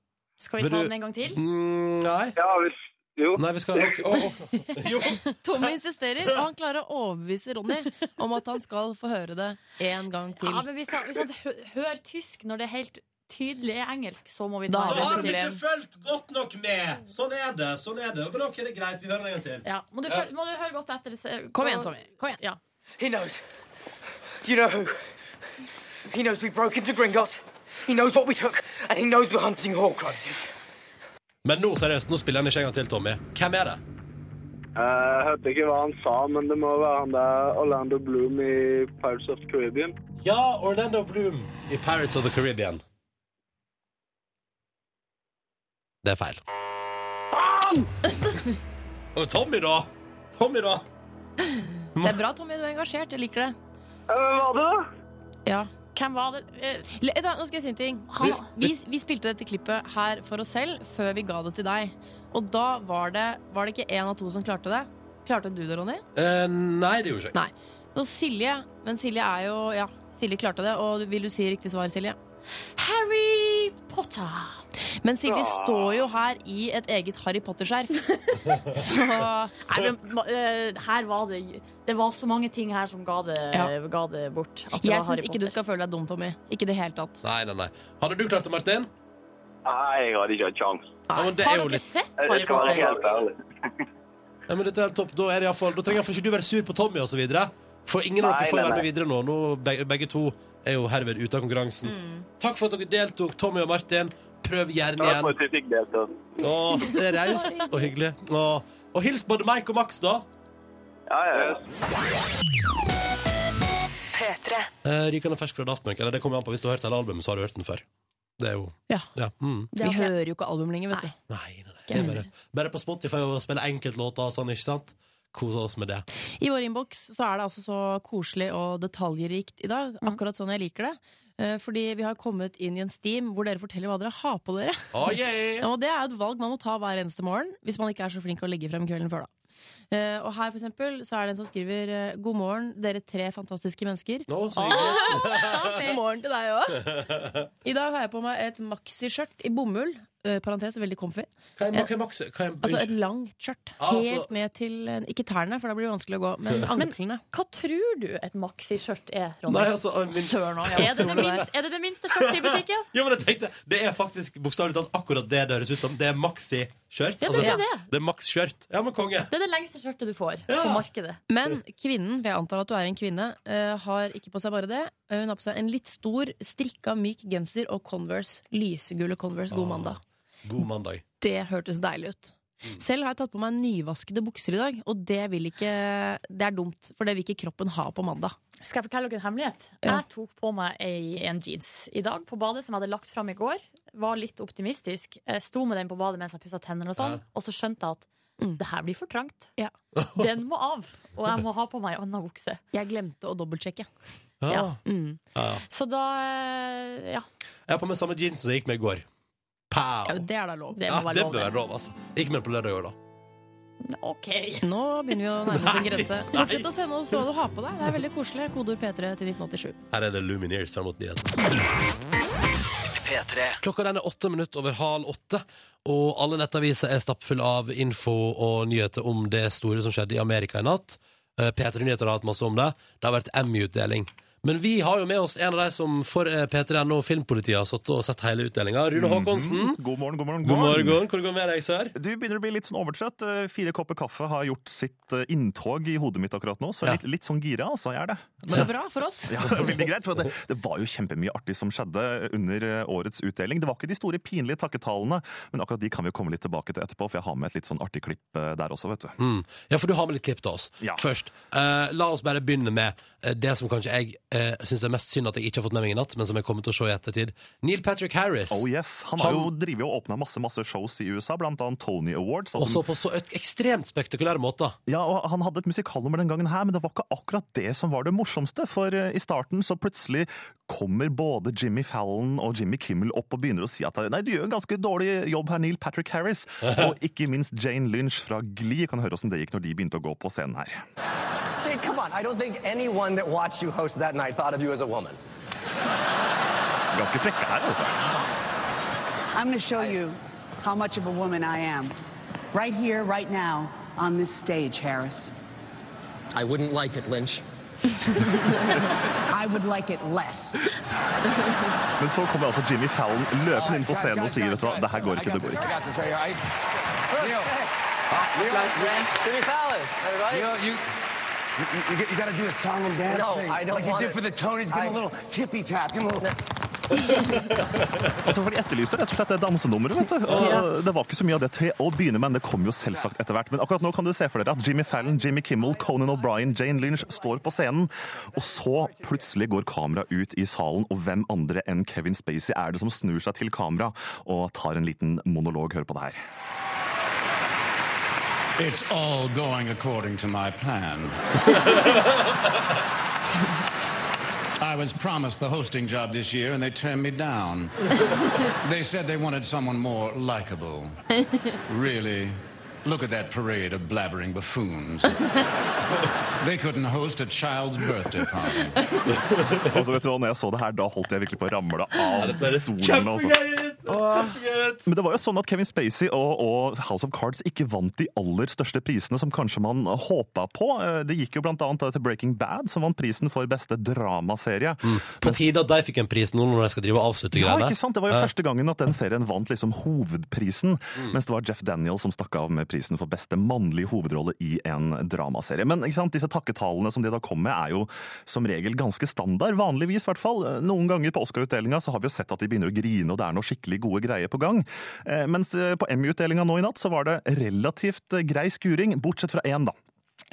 Speaker 5: Skal vi
Speaker 2: Vil
Speaker 5: ta
Speaker 2: du-
Speaker 5: den en gang til?
Speaker 2: Mm, nei.
Speaker 1: Ja hvis Jo.
Speaker 2: Nei, vi skal ok, å, å. Jo.
Speaker 3: Tommy insisterer, og han klarer å overbevise Ronny om at han skal få høre det en gang til.
Speaker 5: Ja, men hvis han, hvis han hø- hører tysk når det helt tydelig er engelsk, så må vi ta
Speaker 3: Da
Speaker 2: Så
Speaker 3: det er
Speaker 2: har
Speaker 3: et
Speaker 2: vi ikke
Speaker 3: problem.
Speaker 2: fulgt godt nok med. Sånn er det. sånn er det Men ok, det er greit. Vi hører den en gang til.
Speaker 5: Ja, må, du føl- må du høre godt etter. se-
Speaker 3: Kom igjen,
Speaker 5: og-
Speaker 3: Tommy.
Speaker 5: Kom igjen. Ja.
Speaker 6: He knows. You know who? He knows we broke into Gringotts. He knows what we took, and he knows we're hunting Horcruxes.
Speaker 2: Men nå seriøst, nå spiller han ikke en gang til, Tommy. Hvem er det?
Speaker 1: Jeg hørte ikke hva han sa, men det må være han der Orlando Bloom i Pirates of the Caribbean.
Speaker 2: Ja, Orlando Bloom i Pirates of the Caribbean. Det er feil. Og Tommy, da? Tommy, da?
Speaker 3: Det er bra, Tommy. Du er engasjert. Jeg liker det.
Speaker 1: Ja, Hvem var det, da?
Speaker 3: Ja.
Speaker 5: Hvem var det? Eh,
Speaker 3: Le- vet du hva, Nå skal jeg si en ting. Vi, vi, vi spilte dette klippet her for oss selv før vi ga det til deg. Og da var det, var det ikke én av to som klarte det. Klarte du det, Ronny?
Speaker 2: Eh, nei, det gjorde jeg ikke.
Speaker 3: Nei. Så Silje Men Silje er jo Ja, Silje klarte det. Og vil du si riktig svar, Silje?
Speaker 5: Harry Potter.
Speaker 3: Men Silje står jo her i et eget Harry Potter-skjerf. Så
Speaker 5: Nei, men ma- eh, her var det Det var så mange ting her som ga det,
Speaker 3: Ja.
Speaker 5: ga det bort. At det
Speaker 3: jeg
Speaker 5: var Harry
Speaker 3: syns ikke du
Speaker 5: Potter.
Speaker 3: skal føle deg dum, Tommy. Ikke i det hele tatt.
Speaker 2: Nei, nei, nei. Hadde du klart det, Martin?
Speaker 4: Nei, jeg hadde ikke hatt sjans.
Speaker 2: Ja, men det er
Speaker 5: Har
Speaker 2: jo
Speaker 5: dere
Speaker 2: litt
Speaker 5: sett
Speaker 4: Jeg jeg
Speaker 5: Harry
Speaker 4: skal være
Speaker 5: Potter?
Speaker 4: helt ærlig.
Speaker 2: Ja, men dette er helt topp. Da, er det i hvert fall- da trenger iallfall ikke du være sur på Tommy osv. For ingen av
Speaker 4: Nei,
Speaker 2: dere får
Speaker 4: nei,
Speaker 2: være med
Speaker 4: nei.
Speaker 2: videre nå. nå begge, begge to er jo herved ute av konkurransen.
Speaker 3: Mm.
Speaker 2: Takk for at dere deltok, Tommy og Martin. Prøv gjerne
Speaker 4: Takk for
Speaker 2: igjen.
Speaker 4: at du fikk delta.
Speaker 2: Å, det er raust og hyggelig. Å, og hils både Mike og Max, da.
Speaker 4: Ja, ja, ja.
Speaker 2: Eh, rykende fersk fra Daft Punk. Eller det kommer an på hvis du har hørt hele albumet, så har du hørt den før. Det er jo
Speaker 3: Ja.
Speaker 2: Ja. Mm.
Speaker 5: Det har
Speaker 3: Vi
Speaker 5: jeg-
Speaker 3: hører jo ikke album lenger, vet du.
Speaker 2: Nei, nei, nei. Det er bare, bare på Spotify og spille enkeltlåter og sånn, ikke sant? Kose oss med det.
Speaker 3: I vår innboks så er det altså så koselig og detaljrikt i dag.
Speaker 5: Mm.
Speaker 3: Akkurat sånn jeg liker det. Eh, Fordi vi har kommet inn i en steam hvor dere forteller hva dere har på dere.
Speaker 2: Oh, yeah.
Speaker 3: Og det er jo et valg man må ta hver eneste morgen hvis man ikke er så flink å legge frem kvelden før, da. Eh, og her for eksempel, så er det en som skriver eh, 'God morgen, dere tre fantastiske mennesker'.
Speaker 2: Nå, så hyggelig.
Speaker 3: God morgen til deg òg. I dag har jeg på meg et maxiskjørt i bomull. eh, Parentes, veldig comfy.
Speaker 2: Hva er, hva er Max? Hva er,
Speaker 3: Altså et langt skjørt.
Speaker 2: Altså-
Speaker 3: Helt ned til eh, Ikke tærne, for da blir det vanskelig å gå, men anklene.
Speaker 5: Hva tror du et maxiskjørt er, Ronny?
Speaker 2: Nei, altså, min,
Speaker 3: Søren òg,
Speaker 5: er, det det minste, er det det minste skjørtet i butikken?
Speaker 2: Ja, men jeg tenkte, Det er faktisk bokstavelig talt akkurat det det høres ut som. Det er maxi-skjørt.
Speaker 5: Ja, det
Speaker 2: Altså,
Speaker 5: er det.
Speaker 2: det er maks-skjørt. Ja, men konge.
Speaker 5: Det er det lengste skjørtet du får
Speaker 2: Ja.
Speaker 5: på markedet.
Speaker 3: Men kvinnen, for jeg antar at du er en kvinne, eh, har ikke på seg bare det. Eh, Hun har på seg en litt stor, strikka, myk genser og Converse. Lysegule Converse. God
Speaker 2: Ah.
Speaker 3: mandag.
Speaker 2: God mandag.
Speaker 3: Det hørtes deilig ut.
Speaker 2: Mm.
Speaker 3: Selv har jeg tatt på meg nyvaskede bukser i dag, og det, vil ikke, det er dumt. For det vil ikke kroppen ha på mandag.
Speaker 5: Skal jeg fortelle dere en hemmelighet?
Speaker 3: Ja.
Speaker 5: Jeg tok på meg ei, en jeans i dag på badet som jeg hadde lagt fram i går. Var litt optimistisk. Jeg Sto med den på badet mens jeg pussa tennene og sånn.
Speaker 2: Ja.
Speaker 5: Og så skjønte jeg at Det her blir for trangt.
Speaker 3: Mm. Ja.
Speaker 5: Den må av, og jeg må ha på meg anna bukse.
Speaker 3: Jeg glemte å dobbeltsjekke.
Speaker 5: Ja.
Speaker 3: Mm.
Speaker 5: Så da eh, Ja,
Speaker 2: Jeg har på meg samme jeans som jeg gikk med i går. Pow!
Speaker 3: Ja, men det er da lov.
Speaker 5: det
Speaker 2: Ja,
Speaker 5: må være
Speaker 2: det
Speaker 5: lov.
Speaker 2: bør være lov, altså. Gikk med på lørdag i år, da.
Speaker 5: OK.
Speaker 3: Nå begynner vi å nærme oss en
Speaker 2: Nei,
Speaker 3: grense.
Speaker 2: nei.
Speaker 3: Fortsett å sende oss hva du har på deg. Det er veldig koselig. Kodeord P3 til 1987.
Speaker 2: Her er det Lumineers fram mot nyheten. Klokka den er åtte minutter over halv åtte, og alle nettaviser er stappfulle av info og nyheter om det store som skjedde i Amerika i natt. Eh, P3 Nyheter har hatt masse om det. Det har vært Emmy-utdeling. Men vi har jo med oss en av de som for eh, P3NO Filmpolitiet har sittet og sett hele utdelinga. Rune Håkonsen.
Speaker 7: Mhm. Mm, God morgen, god morgen.
Speaker 2: God morgen. Hvordan går det med deg, sør?
Speaker 7: Du begynner å bli litt sånn overtrøtt. Eh, Fire kopper kaffe har gjort sitt eh, inntog i hodet mitt akkurat nå, så jeg er
Speaker 2: Ja.
Speaker 7: litt, litt sånn gira, altså. Jeg er det.
Speaker 3: Så bra for oss.
Speaker 7: Ja, det er veldig greit, for det, det var jo kjempemye artig som skjedde under eh, årets utdeling. Det var ikke de store pinlige takketalene, men akkurat de kan vi jo komme litt tilbake til etterpå, for jeg har med et litt sånn artig klipp eh, der også, vet du.
Speaker 2: Mm. Ja, for du har med litt klipp til oss.
Speaker 7: Ja.
Speaker 2: Først, eh, la oss bare begynne med eh, det som kanskje jeg uh, syns er mest synd at jeg ikke har fått med meg i natt, men som jeg kommer til å se i ettertid. Neil Patrick Harris.
Speaker 7: Oh yes, Han har
Speaker 2: Han-
Speaker 7: jo drevet og åpna masse masse shows i USA, blant annet Tony Awards. altså-
Speaker 2: Også på så et ekstremt spektakulære måter.
Speaker 7: Ja, og Han hadde et musikalnummer den gangen, her, men det var ikke akkurat det som var det morsomste. For eh, i starten så plutselig kommer både Jimmy Fallon og Jimmy Kimmel opp og begynner å si at nei, du gjør en ganske dårlig jobb her, Neil Patrick Harris. Og ikke minst Jane Lynch fra Glee kan høre åssen det gikk når de begynte å gå på scenen her.
Speaker 8: Jane, come on. I don't think anyone that watched you host that night thought of you as a woman.
Speaker 7: Ganske frekke her, altså.
Speaker 9: I'm going to show you how much of a woman I am. Right here, right now, on this stage, Harris.
Speaker 8: I wouldn't like it, Lynch.
Speaker 9: I would like it less.
Speaker 7: Men så kommer altså Jimmy Fallon løpende inn på scenen og sier vet du hva, det her går ikke, det går
Speaker 8: I
Speaker 7: ikke.
Speaker 8: got this right here. I... Neil. Neil. Jimmy Fallon, everybody.
Speaker 10: You know, you, you, you, you gotta do a song and dance
Speaker 8: No,
Speaker 10: thing.
Speaker 8: I don't
Speaker 10: like you
Speaker 8: want
Speaker 10: did
Speaker 8: it.
Speaker 10: for the Tonys. Give
Speaker 8: I-
Speaker 10: him a little tippy tap. Give him a little.
Speaker 7: Altså, for De etterlyste rett og slett det dansenummeret. vet du. Og Det var ikke så mye av det til å begynne med, men det kom jo selvsagt etter hvert. Men akkurat nå kan du se for dere at Jimmy Fallon, Jimmy Kimmel, Conan O'Brien, Jane Lynch står på scenen, og så plutselig går kamera ut i salen, og hvem andre enn Kevin Spacey er det som snur seg til kamera og tar en liten monolog? Hør på det her.
Speaker 11: It's all going according to my plan. I was promised the hosting job this year and they turned me down. they said they wanted someone more likable. really? Look at that parade of blabbering buffoons. they couldn't host a child's birthday party.
Speaker 7: Og så vet du hva, når jeg så det her, da holdt jeg virkelig på å ramle av stolen. altså.
Speaker 2: Kjempegøy!
Speaker 7: Men det var jo sånn at Kevin Spacey og, og House of Cards ikke vant de aller største prisene som kanskje man håpa på. Eh, Det gikk jo blant annet til Breaking Bad, som vant prisen for beste dramaserie.
Speaker 2: På tide at de fikk en pris nå når de skal drive og avslutte
Speaker 7: Ja,
Speaker 2: greiene.
Speaker 7: ikke sant? Det var jo første gangen at den serien vant liksom hovedprisen,
Speaker 2: Mm.
Speaker 7: mens det var Jeff Daniel som stakk av med prisen for beste mannlige hovedrolle i en dramaserie. Men ikke sant? disse takketalene som de da kom med, er jo som regel ganske standard, vanligvis i hvert fall. Eh, Noen ganger på Oscar-utdelinga så har vi jo sett at de begynner å grine, og det er noe skikkelig gode greier på gang. Eh, Mens eh, på Emmy-utdelinga nå i natt så var det relativt eh, grei skuring, bortsett fra én, da.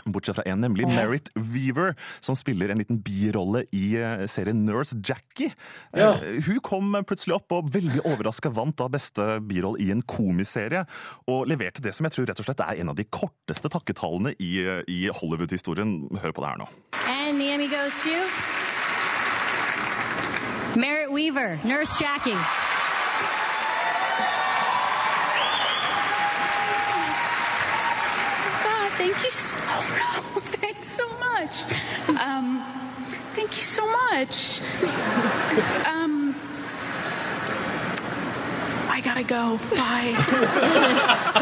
Speaker 7: Bortsett fra en, nemlig Merritt Weaver, som spiller en liten birolle i eh, serien Nurse Jackie. Eh,
Speaker 2: Ja.
Speaker 7: Hun kom plutselig opp og veldig overraska vant da beste birolle i en komiserie, og leverte det som jeg tror rett og slett er en av de korteste takketalene i, eh, i Hollywood-historien. Hør på det her nå.
Speaker 9: And the Emmy goes to Merritt Weaver, Nurse Jackie. God, Ah, thank you so much. Thanks so much. Um, thank you so much. Um, I gotta go. Bye.
Speaker 5: Hun,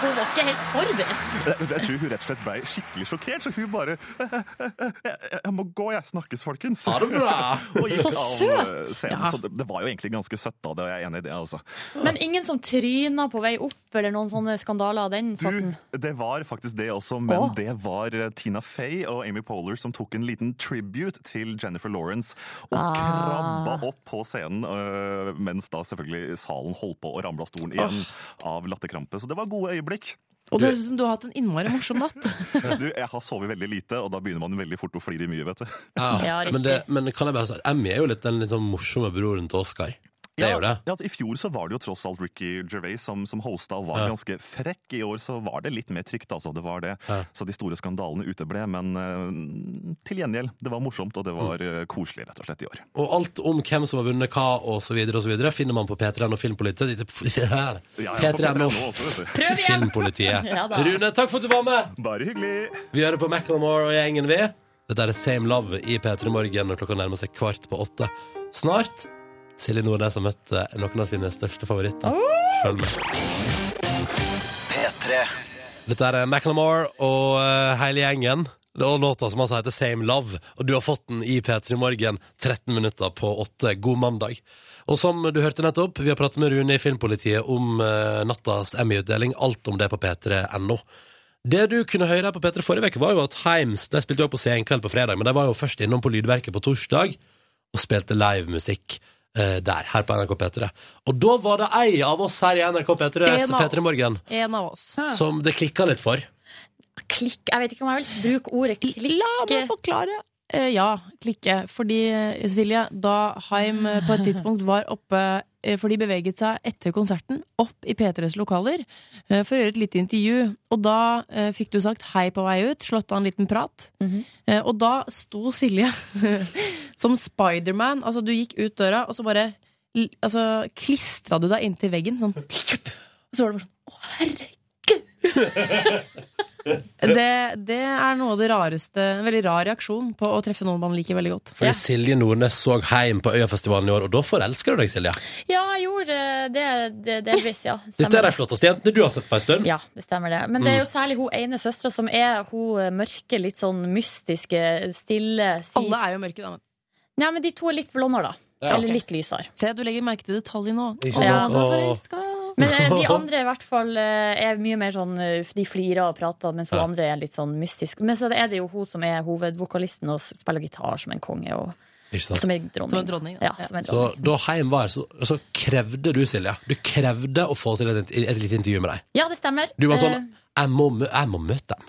Speaker 5: hun var ikke helt forberedt.
Speaker 7: Jeg, jeg tror hun rett og slett ble skikkelig sjokkert, så hun bare «Eh, Jeg, jeg må gå, jeg. Snakkes, folkens.
Speaker 2: Ha det bra!
Speaker 7: Og gikk
Speaker 5: Så
Speaker 7: av,
Speaker 5: søt!
Speaker 7: eh, scenen.
Speaker 5: Ja.
Speaker 7: Så det, det var jo egentlig ganske søtt, da. Det er jeg enig i det, altså.
Speaker 5: Men ingen som tryna på vei opp, eller noen sånne skandaler av den sorten?
Speaker 7: Du, det var faktisk det også, men
Speaker 5: Sånn. Åh.
Speaker 7: det var eh, Tina Fey og Amy Poehler som tok en liten tribute til Jennifer Lawrence og krabba opp på scenen, øh, mens da selvfølgelig salen holdt på å ramle av stolen igjen av latterkrampe. Så det var gode øyeblikk.
Speaker 3: Og det høres ut som du har hatt en innmari morsom natt.
Speaker 7: Du, jeg har sovet veldig lite, og da begynner man veldig fort å flire mye, vet du.
Speaker 2: Ja,
Speaker 5: Ja, riktig.
Speaker 2: men, det, men kan jeg bare si at Emmy er jo litt den litt sånn morsomme broren til Oscar. Det gjør det.
Speaker 7: Ja, altså, I fjor så var det jo tross alt Ricky Gervais som, som hosta og var
Speaker 2: Ja.
Speaker 7: ganske frekk. I år så var det litt mer trygt, altså. Det var det. Så de store skandalene uteble. Men eh, til gjengjeld, det var morsomt,
Speaker 2: Mm.
Speaker 7: og det var eh, koselig, rett og slett, i år.
Speaker 2: Og alt om hvem som har vunnet hva, og så videre, og så videre, finner man på P3N og Filmpolitiet.
Speaker 7: ja, på
Speaker 2: P3N
Speaker 7: P3N også, vet du.
Speaker 2: og
Speaker 7: Prøv igjen!
Speaker 2: Filmpolitiet.
Speaker 7: Ja da.
Speaker 2: Rune, takk for at du var med!
Speaker 7: Bare hyggelig.
Speaker 2: Vi hører på Macklemore og gjengen, vi. Dette er Same Love i P3 Morgen når klokka nærmer seg kvart på åtte. Snart Silje Nordnes har møtt eh, noen av sine største favoritter. Følg med.
Speaker 8: P3.
Speaker 2: Dette er eh, Macklemore og eh, hele gjengen. Det er låta som altså heter Same Love, og du har fått den i P3 Morgen 13 minutter på 8. God mandag. Og som du hørte nettopp, vi har pratet med Rune i Filmpolitiet om eh, nattas Emmy-utdeling. Alt om det på p3.no. Det du kunne høre her på P3 forrige uke, var jo at Heims De spilte jo på Senkveld på fredag, men de var jo først innom på Lydverket på torsdag og spilte livemusikk eh, der, her på NRK P3. Og da var det ei av oss her i NRK P3
Speaker 5: En av oss.
Speaker 2: P3 Morgen
Speaker 5: En av oss.
Speaker 2: som det klikka litt for.
Speaker 5: Klikk, jeg vet ikke om jeg vil bruke ordet klikke. La meg forklare.
Speaker 3: Eh, ja, klikke. Fordi, eh, Silje, da Haim eh, på et tidspunkt var oppe eh, For de beveget seg etter konserten opp i P3s lokaler eh, for å gjøre et lite intervju. Og da eh, fikk du sagt hei på vei ut, slått av en liten prat. Eh, og da sto Silje som Spiderman. Altså, du gikk ut døra, og så bare l- altså, klistra du deg inntil veggen. Sånn. Og så var det bare sånn det, det er noe av det rareste En veldig rar reaksjon på å treffe noen man liker veldig godt.
Speaker 2: Fordi Silje Nordnes så heim på Øyafestivalen i år, og da forelsker du deg, Silje.
Speaker 5: Ja, jeg gjorde det, det delvis, ja.
Speaker 2: Dette er Mm. de flotteste jentene du har sett på en stund.
Speaker 5: Ja, det stemmer det. Men det er jo særlig hun ene søstera som er hun mørke, litt sånn mystiske, stille Alle
Speaker 3: er jo mørke, da.
Speaker 5: Ja, men de to er litt blondere, da.
Speaker 2: Ja.
Speaker 5: Eller litt lysere.
Speaker 3: Se, du legger merke til detaljer nå.
Speaker 2: Ikke
Speaker 5: Ja,
Speaker 2: sant?
Speaker 5: da
Speaker 2: Åh.
Speaker 5: Men eh, de andre i hvert fall eh, er mye mer sånn eh, De flirer og prater, mens hun andre er litt sånn mystisk. Men så er det jo hun som er hovedvokalisten og spiller gitar som en konge. Og,
Speaker 2: Ikke sant?
Speaker 5: som er dronning.
Speaker 3: Som en dronning,
Speaker 5: ja. som en
Speaker 2: Så
Speaker 5: dronning.
Speaker 2: da heim var, så, så krevde du, Silje, du krevde å få til et, et lite intervju med deg.
Speaker 5: ja, det stemmer.
Speaker 2: Du var
Speaker 5: Eh,
Speaker 2: sånn jeg må, mø- jeg må møte dem.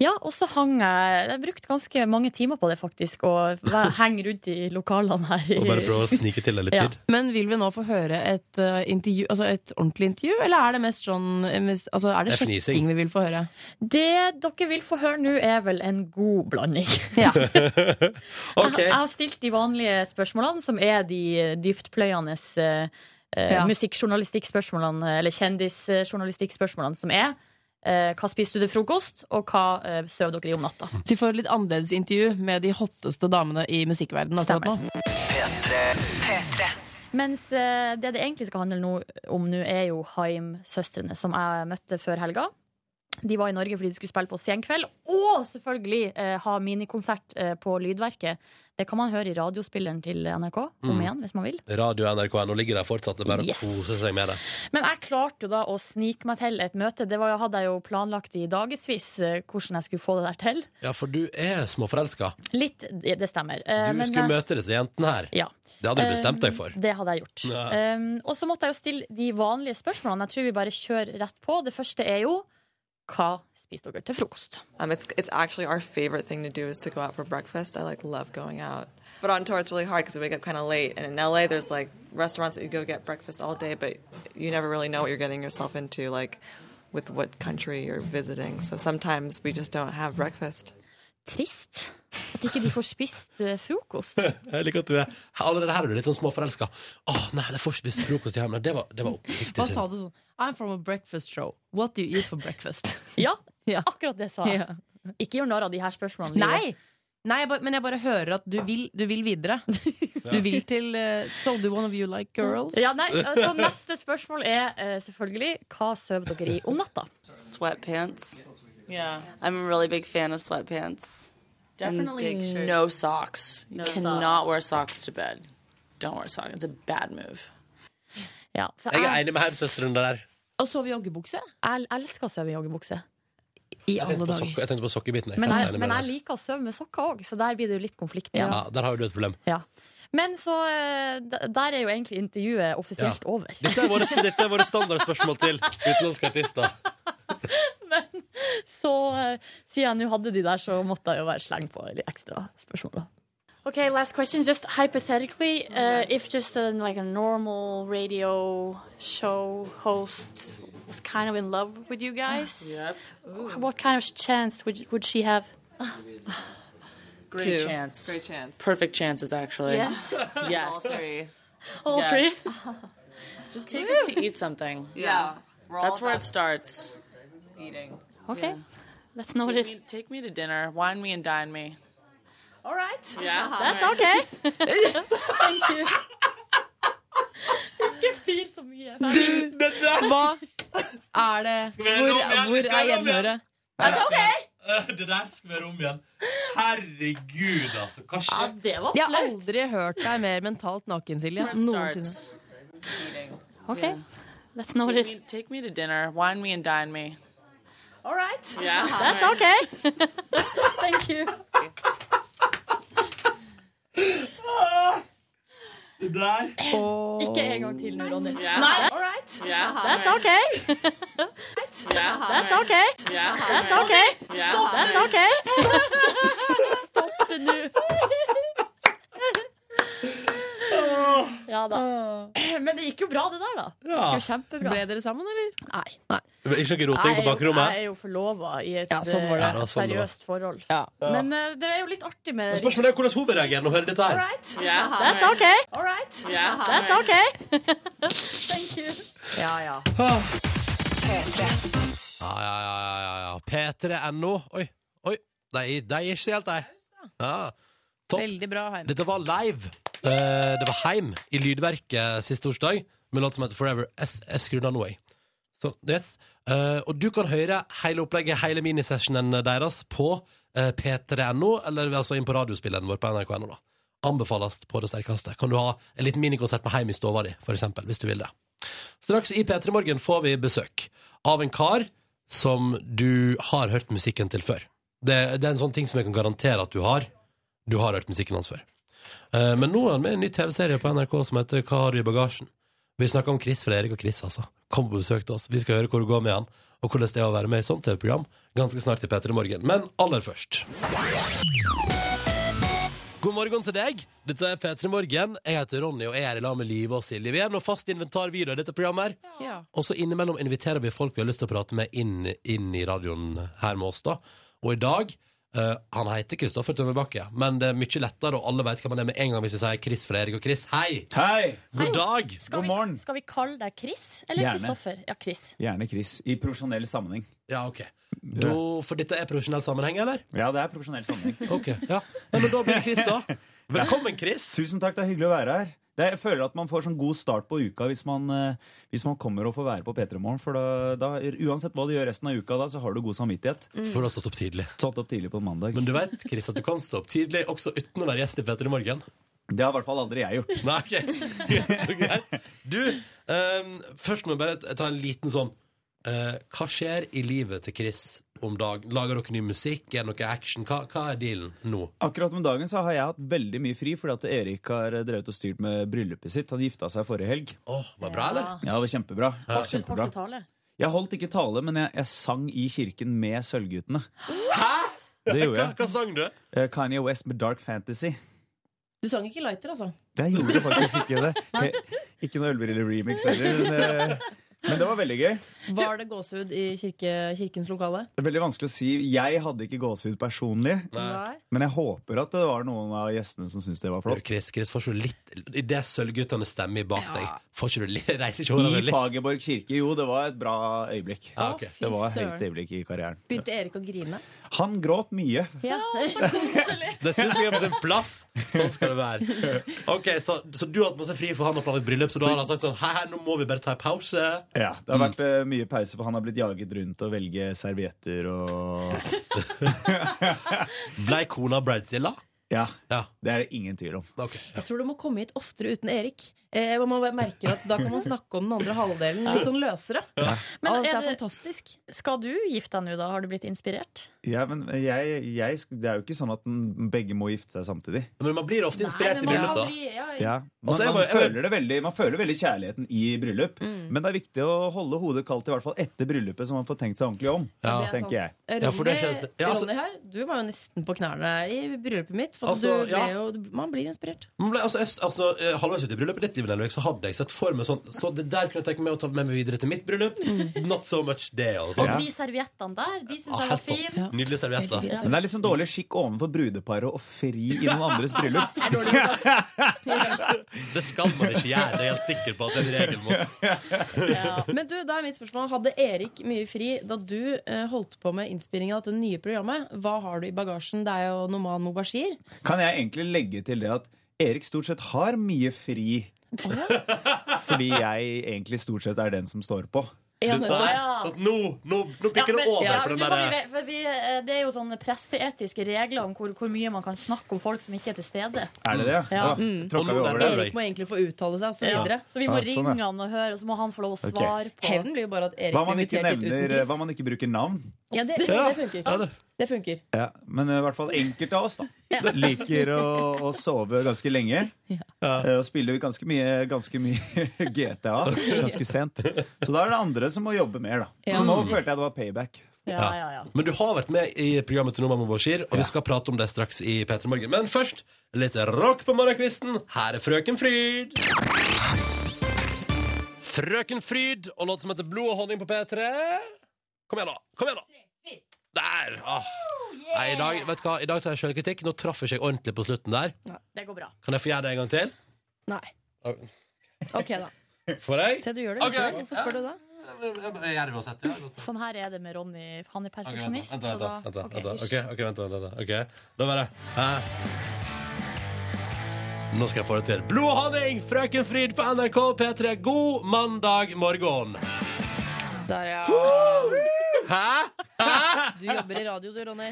Speaker 5: Ja, og så hang jeg Jeg brukte ganske mange timer på det, faktisk, og væ- henge rundt i lokalene her. i-
Speaker 2: Og bare prøve å snike til deg litt
Speaker 5: Ja.
Speaker 2: tid.
Speaker 3: Men vil vi nå få høre et, eh, intervju, altså et ordentlig intervju, eller er det mest sånn eh, mest, altså er det,
Speaker 2: Det er fnising.
Speaker 3: sjekking vi vil få høre?
Speaker 5: Det dere vil få høre nå, er vel en god blanding. Jeg, jeg har stilt de vanlige spørsmålene, som er de dyptpløyende eh, eh,
Speaker 3: Ja.
Speaker 5: musikkjournalistikkspørsmålene, eller kjendisjournalistikkspørsmålene, som er eh, hva spiser du til frokost, og hva eh, sover dere i om natta?
Speaker 3: Så vi får et litt annerledes intervju med de hotteste damene i musikkverdenen akkurat nå.
Speaker 5: Mens eh, det det egentlig skal handle nå- om nå, er jo Haim-søstrene, som jeg møtte før helga. De var i Norge fordi de skulle spille på Senkveld, og selvfølgelig eh, ha minikonsert eh, på Lydverket. Det kan man høre i radiospilleren til NRK om
Speaker 2: Mm.
Speaker 5: igjen, hvis man vil.
Speaker 2: Radio NRK nå ligger der fortsatt. Det er bare å
Speaker 5: Yes.
Speaker 2: kose seg med det.
Speaker 5: Men jeg klarte jo da å snike meg til et møte. Det var, jo- hadde jeg jo planlagt i dagevis eh, hvordan jeg skulle få det der til.
Speaker 2: Ja, for du er småforelska.
Speaker 5: Litt, det det stemmer. Eh,
Speaker 2: Du
Speaker 5: men
Speaker 2: skulle
Speaker 5: jeg-
Speaker 2: møte disse jentene her.
Speaker 5: Ja.
Speaker 2: Det hadde du bestemt deg for.
Speaker 5: Um, Det hadde jeg gjort.
Speaker 2: Ja.
Speaker 5: Um, og så måtte jeg jo stille de vanlige spørsmålene. Jeg tror vi bare kjører rett på. Det første er jo hva spiser dere til frokost?
Speaker 12: Um, it's it's actually our favorite thing to do is to go out for breakfast. I like love going out, but on tour it's really hard because we wake up kind of late. And in LA, there's like restaurants that you go get breakfast all day, but you never really know what you're getting yourself into, like with what country you're visiting. So sometimes we just don't have breakfast.
Speaker 5: Trist at ikke de får spist eh, frokost.
Speaker 2: Jeg liker at du er Allerede her er du litt sånn småforelska. Å nei, det får ikke spist frokost hjemme. Det var, det var oppriktig
Speaker 3: Hva
Speaker 2: synd.
Speaker 3: sa du sånn? I'm from a breakfast show. What do you eat for breakfast?
Speaker 5: Ja, akkurat det sa jeg.
Speaker 3: Ja.
Speaker 5: Ikke gjør narr av de her spørsmålene.
Speaker 3: Nei! Nei, jeg bare- men jeg bare hører at du vil, du vil videre. Du vil til eh, So do one of you like girls?
Speaker 5: Ja, nei, så neste spørsmål er eh, selvfølgelig hva sover dere i om natta?
Speaker 13: Sweatpants.
Speaker 5: Yeah.
Speaker 13: I'm a really big fan of sweatpants. And
Speaker 5: Definitely
Speaker 13: big
Speaker 5: shirts.
Speaker 13: no socks. You
Speaker 5: No
Speaker 13: cannot
Speaker 5: socks.
Speaker 13: wear socks to bed. Don't wear socks. It's a bad move.
Speaker 5: Ja, for
Speaker 2: Jeg er enig med helsøstrene der.
Speaker 3: Og sove i joggebukse?
Speaker 5: Jeg elsker å sove i joggebukse.
Speaker 3: I
Speaker 2: Jeg tenkte på, sokke, jeg tenkte på sokkebiten. jeg.
Speaker 5: Men
Speaker 2: Jeg er
Speaker 5: jeg,
Speaker 2: enig med
Speaker 5: men
Speaker 2: deg
Speaker 5: jeg liker å sove med sokker òg, så der blir det jo litt konflikt
Speaker 2: der.
Speaker 5: igjen.
Speaker 2: ja, der har jo du et problem.
Speaker 5: Men så eh, d- Der er jo egentlig intervjuet offisielt
Speaker 2: Ja.
Speaker 5: over.
Speaker 2: Dette er våre, dette er våre standardspørsmål til utenlandske artister.
Speaker 5: Så eh, siden jeg nå hadde de der, så måtte jeg jo være sleng på litt ekstra spørsmål. da. Okay, last question. Just hypothetically, uh, if just a, like a normal radio show host was kind of in love with you guys,
Speaker 13: Yep.
Speaker 5: wh- what kind of chance would would she have?
Speaker 13: Great
Speaker 5: Two.
Speaker 13: chance.
Speaker 12: Great chance.
Speaker 13: Perfect chances, actually.
Speaker 5: Yes.
Speaker 13: yes.
Speaker 12: All three.
Speaker 5: All
Speaker 13: Yes.
Speaker 5: three. Ah,
Speaker 13: Just take us to eat something.
Speaker 12: Yeah. We're all
Speaker 13: That's where it
Speaker 12: about
Speaker 13: starts.
Speaker 12: Eating.
Speaker 5: Okay. That's not
Speaker 13: take
Speaker 5: what
Speaker 13: me, take me to dinner. Wine me and dine me.
Speaker 5: All right.
Speaker 13: Yeah.
Speaker 12: Uh-huh.
Speaker 5: That's
Speaker 13: All
Speaker 5: okay.
Speaker 13: right.
Speaker 5: Thank you. Ikke flir så mye.
Speaker 3: Hva er det Hvor, hvor er gjenhøret?
Speaker 5: That's okay.
Speaker 14: Det der skal være om igjen. Herregud, altså. Hva skjer?
Speaker 3: Jeg har aldri hørt deg mer mentalt naken, Silje.
Speaker 13: Where it
Speaker 3: Noensinne.
Speaker 13: starts.
Speaker 5: Okay. That's
Speaker 13: Take
Speaker 5: not what
Speaker 13: me, take me to dinner. Wine me and dine me.
Speaker 5: All right.
Speaker 13: Yeah.
Speaker 12: Uh-huh.
Speaker 5: That's
Speaker 13: All
Speaker 5: okay. Thank you.
Speaker 14: Det der
Speaker 5: Ikke en gang til nå, Ronny.
Speaker 13: Yeah.
Speaker 5: Nei. All right.
Speaker 13: Yeah.
Speaker 5: That's
Speaker 13: All
Speaker 5: okay.
Speaker 13: Yeah.
Speaker 12: Uh-huh.
Speaker 5: That's
Speaker 13: All right.
Speaker 5: okay.
Speaker 13: Yeah.
Speaker 5: That's
Speaker 13: All right.
Speaker 5: okay.
Speaker 13: Yeah.
Speaker 5: That's okay. Stopp det nå. Ja da. Men det gikk jo bra, det der, da. Det
Speaker 14: Ja.
Speaker 5: gikk jo kjempebra.
Speaker 3: Ble dere sammen, eller?
Speaker 5: Nei.
Speaker 14: Det ble ikke noe roting
Speaker 5: Jeg er
Speaker 14: på
Speaker 5: jo-
Speaker 14: bakrommet?
Speaker 5: Jeg er jo forlova i et
Speaker 3: Ja, sånn var det.
Speaker 5: eh,
Speaker 14: Ja, det var sånn det var.
Speaker 5: seriøst forhold.
Speaker 14: Ja.
Speaker 5: Men eh, det er jo litt artig med
Speaker 14: Men Spørsmålet er hvordan hun reagerer når hun hører dette
Speaker 5: All
Speaker 14: her.
Speaker 5: right.
Speaker 13: Yeah.
Speaker 5: That's
Speaker 13: All right.
Speaker 5: okay.
Speaker 3: All right.
Speaker 13: Yeah.
Speaker 5: That's
Speaker 13: All right.
Speaker 5: okay. Thank you.
Speaker 3: Ja, ja.
Speaker 2: Ja, ja, ja, ja, ja. P3.no. Oi, oi. De, de er ikke helt, de. Ja. Topp.
Speaker 3: Veldig bra, Heim.
Speaker 2: Dette var live. Eh, det var heim i Lydverket sist torsdag med låt som heter Forever S- Escrewed On Away. Så, yes. Eh, og du kan høre hele opplegget, hele minisessionen deres på eh, p3.no, eller altså inn på radiospilleren vår på nrk.no. da. Anbefales på det sterkeste. Kan du ha en liten minikonsert med heim i stova di, for eksempel, hvis du vil det. Straks i P3 Morgen får vi besøk av en kar som du har hørt musikken til før. Det, det er en sånn ting som jeg kan garantere at du har. Du har hørt musikken hans før. Eh, Men nå er han med i en ny TV-serie på NRK som heter Hva har du i bagasjen? Vi snakker om Chris fra Erik og Chris, altså. Kom på besøk til oss. Vi skal høre hvor det går med han, og hvordan det er å være med i et sånt TV-program ganske snart i P3 Morgen. Men aller først God morgen til deg. Dette er P3 Morgen. Jeg heter Ronny og jeg er i lag med Live og Silje. Vi er nå fast inventar vi da i dette programmet. her.
Speaker 3: Ja.
Speaker 2: Og så innimellom inviterer vi folk vi har lyst til å prate med inn, inn i radioen her med oss da. Og i dag, eh, han heter Kristoffer Tømmerbakke, men det er mye lettere, og alle vet hva man er med en gang hvis vi sier Chris fra Erik og Chris. Hei! God dag!
Speaker 5: Skal vi, skal vi kalle deg Chris eller
Speaker 15: Gjerne.
Speaker 5: Kristoffer? Ja, Chris.
Speaker 15: Gjerne Chris. I profesjonell sammenheng.
Speaker 2: Ja, ok. Da, for dette er profesjonell sammenheng, eller?
Speaker 15: Ja, det er profesjonell sammenheng.
Speaker 2: ok, ja. Nei, Men da blir det Chris, da. Velkommen, Chris.
Speaker 15: Tusen takk, det er hyggelig å være her. Det, jeg føler at man får sånn god start på uka hvis man, eh, hvis man kommer og får være på P3 Morgen. For da, da, uansett hva du gjør resten av uka, da, så har du god samvittighet.
Speaker 2: Mm. For å ha stått opp tidlig.
Speaker 15: Stått opp tidlig på en mandag.
Speaker 2: Men du vet, Chris, at du kan stå opp tidlig også uten å være gjest i Peter i morgen.
Speaker 15: Det har i hvert fall aldri jeg gjort.
Speaker 2: Nei, ok. Så greit. Du, ehm, først må jeg bare ta en liten sånn eh, Hva skjer i livet til Chris om dagen? Lager dere ny musikk? Er det noe action? Hva, hva er dealen nå?
Speaker 15: Akkurat med dagen så har jeg hatt veldig mye fri, fordi at Erik har drevet og styrt med bryllupet sitt. Han gifta seg forrige helg.
Speaker 2: Åh, var det bra, eller?
Speaker 15: Ja, det var kjempebra. kjempebra.
Speaker 5: Kort tale.
Speaker 15: Jeg holdt ikke tale, men jeg, jeg sang i kirken med Sølvguttene. Det gjorde jeg.
Speaker 2: Hva, hva sang du?
Speaker 15: Eh, Kanye West med Dark Fantasy.
Speaker 3: Du sang ikke lighter, altså.
Speaker 15: Jeg gjorde faktisk ikke det. Eh, Ikke noe Ølbrille-remix heller. Men, eh, men det var veldig gøy.
Speaker 3: Var det gåsehud i kirke, kirkens lokale?
Speaker 15: Det er veldig vanskelig å si. Jeg hadde ikke gåsehud personlig.
Speaker 3: Nei.
Speaker 15: Men jeg håper at det var noen av gjestene som syntes det var flott.
Speaker 2: Chris, Chris får ikke du litt Idet sølvguttene stemmer bak deg, får ikke du litt Reiser ikke håret
Speaker 15: I
Speaker 2: litt?
Speaker 15: Fagerborg kirke. Jo, det var et bra øyeblikk.
Speaker 2: Ja, ok. Å, fy
Speaker 15: Det var et
Speaker 3: søren.
Speaker 15: høyt øyeblikk i karrieren.
Speaker 3: Begynte Erik å grine?
Speaker 15: Han gråt mye.
Speaker 3: Ja.
Speaker 2: Det syns jeg er på sin plass. Sånn skal det være. Ok, Så, så du har hatt masse fri for han har planlagt bryllup, så da har han sagt sånn Hei, hei, nå må vi bare ta en pause.
Speaker 15: Ja, Det har vært eh, mye pause, for han har blitt jaget rundt og velge servietter og
Speaker 2: Blei kona Bradzilla?
Speaker 15: Ja.
Speaker 2: ja.
Speaker 15: Det er det ingen tvil om.
Speaker 2: Okay,
Speaker 3: Jeg tror du må komme hit oftere uten Erik. eh, man merker at da kan man snakke om den andre halvdelen litt sånn løsere.
Speaker 5: Men
Speaker 3: Men det
Speaker 5: er
Speaker 3: er
Speaker 5: det-
Speaker 3: fantastisk.
Speaker 5: Skal du gifte deg nå, da? Har du blitt inspirert?
Speaker 15: Ja, men jeg, jeg, sk- det er jo ikke sånn at den- begge må gifte seg samtidig.
Speaker 2: Men man blir ofte
Speaker 5: inspirert Nei, men i man bryllup, da. blir- ja, ja.
Speaker 15: Ja. Man,
Speaker 5: Altså, jeg
Speaker 15: man,
Speaker 5: bare- jeg-
Speaker 15: føler det veldig, man føler veldig kjærligheten i bryllup, men det er viktig å holde hodet kaldt i hvert fall etter bryllupet, så man får tenkt seg ordentlig om.
Speaker 2: Ja. Det er
Speaker 15: tenker jeg.
Speaker 3: Ronny, Ronny her, du var jo nesten på knærne i bryllupet mitt. For
Speaker 2: Altså,
Speaker 3: du ble
Speaker 2: ja.
Speaker 3: jo, man blir inspirert.
Speaker 2: Man ble, altså, jeg, altså, eh, halvveis ut i bryllupet ditt, Liv Nelvik, så hadde jeg sett for meg sånn Så det der kunne jeg tenke meg å ta med meg videre til mitt bryllup. Not so much det, altså. Ah,
Speaker 5: Og de serviettene der, de syns
Speaker 15: Ah,
Speaker 5: jeg Mm. var fine.
Speaker 2: Nydelige servietter.
Speaker 15: Men det er liksom dårlig skikk overfor brudeparet å fri i noen andres bryllup.
Speaker 2: Det skal man ikke gjøre. Jeg er helt sikker på at det er en regel mot.
Speaker 3: Men du, da er mitt spørsmål Hadde Erik mye fri da du eh, holdt på med innspillingen av dette nye programmet? Hva har du i bagasjen? Det er jo Noman Mubashir.
Speaker 15: Kan jeg egentlig legge til det at Erik stort sett har mye fri? Fordi jeg egentlig stort sett er den som står på.
Speaker 5: Ja, men- Nei, ja. at
Speaker 2: Nå,
Speaker 5: Ja, men- ja, men nå må vi ve- for vi, eh, det er jo sånne presseetiske regler om hvor, hvor mye man kan snakke om folk som ikke er til stede.
Speaker 15: Er det det?
Speaker 5: Ja.
Speaker 15: Ah, tråkka vi over det?
Speaker 3: Erik må egentlig få uttale seg, og så
Speaker 5: Ja.
Speaker 3: videre.
Speaker 5: Så vi må
Speaker 15: Ah, sånn,
Speaker 5: ringe
Speaker 15: ja.
Speaker 5: han og høre, og så må han få lov å
Speaker 15: Ok.
Speaker 5: svare på
Speaker 3: Hevnen blir jo bare at Erik
Speaker 15: Hva om
Speaker 3: blir
Speaker 15: man ikke
Speaker 3: invitert dit uten
Speaker 15: nevner eh,
Speaker 3: pris.
Speaker 15: Hva om man ikke bruker navn?
Speaker 3: Ja, det, det
Speaker 15: Ja.
Speaker 3: funker.
Speaker 15: Ja, det-
Speaker 3: Det funker.
Speaker 15: Ja, men eh, i hvert fall enkelte av oss da liker å, å sove ganske lenge. eh, Og spiller ganske mye, ganske mye GTA ganske sent. Så da er det andre som må jobbe mer, da.
Speaker 2: Ja.
Speaker 15: Så nå følte jeg det var payback.
Speaker 2: Ja, ja, Men du har vært med i programmet til Noman Mubashir, og vi skal prate om det straks i P3 Morgen. Men først litt rock på morgenkvisten. Her er Frøken Fryd. Frøken Fryd og låt som heter Blod og honning på P3. Kom igjen, da. Kom igjen, da. Der! Ah. Nei, i, dag, vet du hva? I dag tar jeg sjølkritikk. Nå traff jeg ikke ordentlig på slutten der.
Speaker 5: Det går bra.
Speaker 2: Kan jeg få gjøre det en gang til?
Speaker 3: Nei.
Speaker 2: Ok.
Speaker 3: Ok, da.
Speaker 2: Får jeg?
Speaker 3: Se, du gjør det
Speaker 2: Ok,
Speaker 3: likevel. Hvorfor spør du da?
Speaker 2: Jeg gjør det uansett, ja.
Speaker 5: Sånn her er det med Ronny. Han er
Speaker 2: Ok, vent
Speaker 5: perfeksjonist.
Speaker 2: da, vent da,
Speaker 5: så
Speaker 2: vent da,
Speaker 5: da-
Speaker 2: vent da.
Speaker 5: Ok,
Speaker 2: Ok, ok, vent da, vent da. Ok, da var det. Hæ? Nå skal jeg få det til. Blod og honning, Frøken Fryd på NRK P3. God mandag morgen.
Speaker 3: Der, ja.
Speaker 2: Hæ?
Speaker 3: Du jobber i radio, du, Ronny.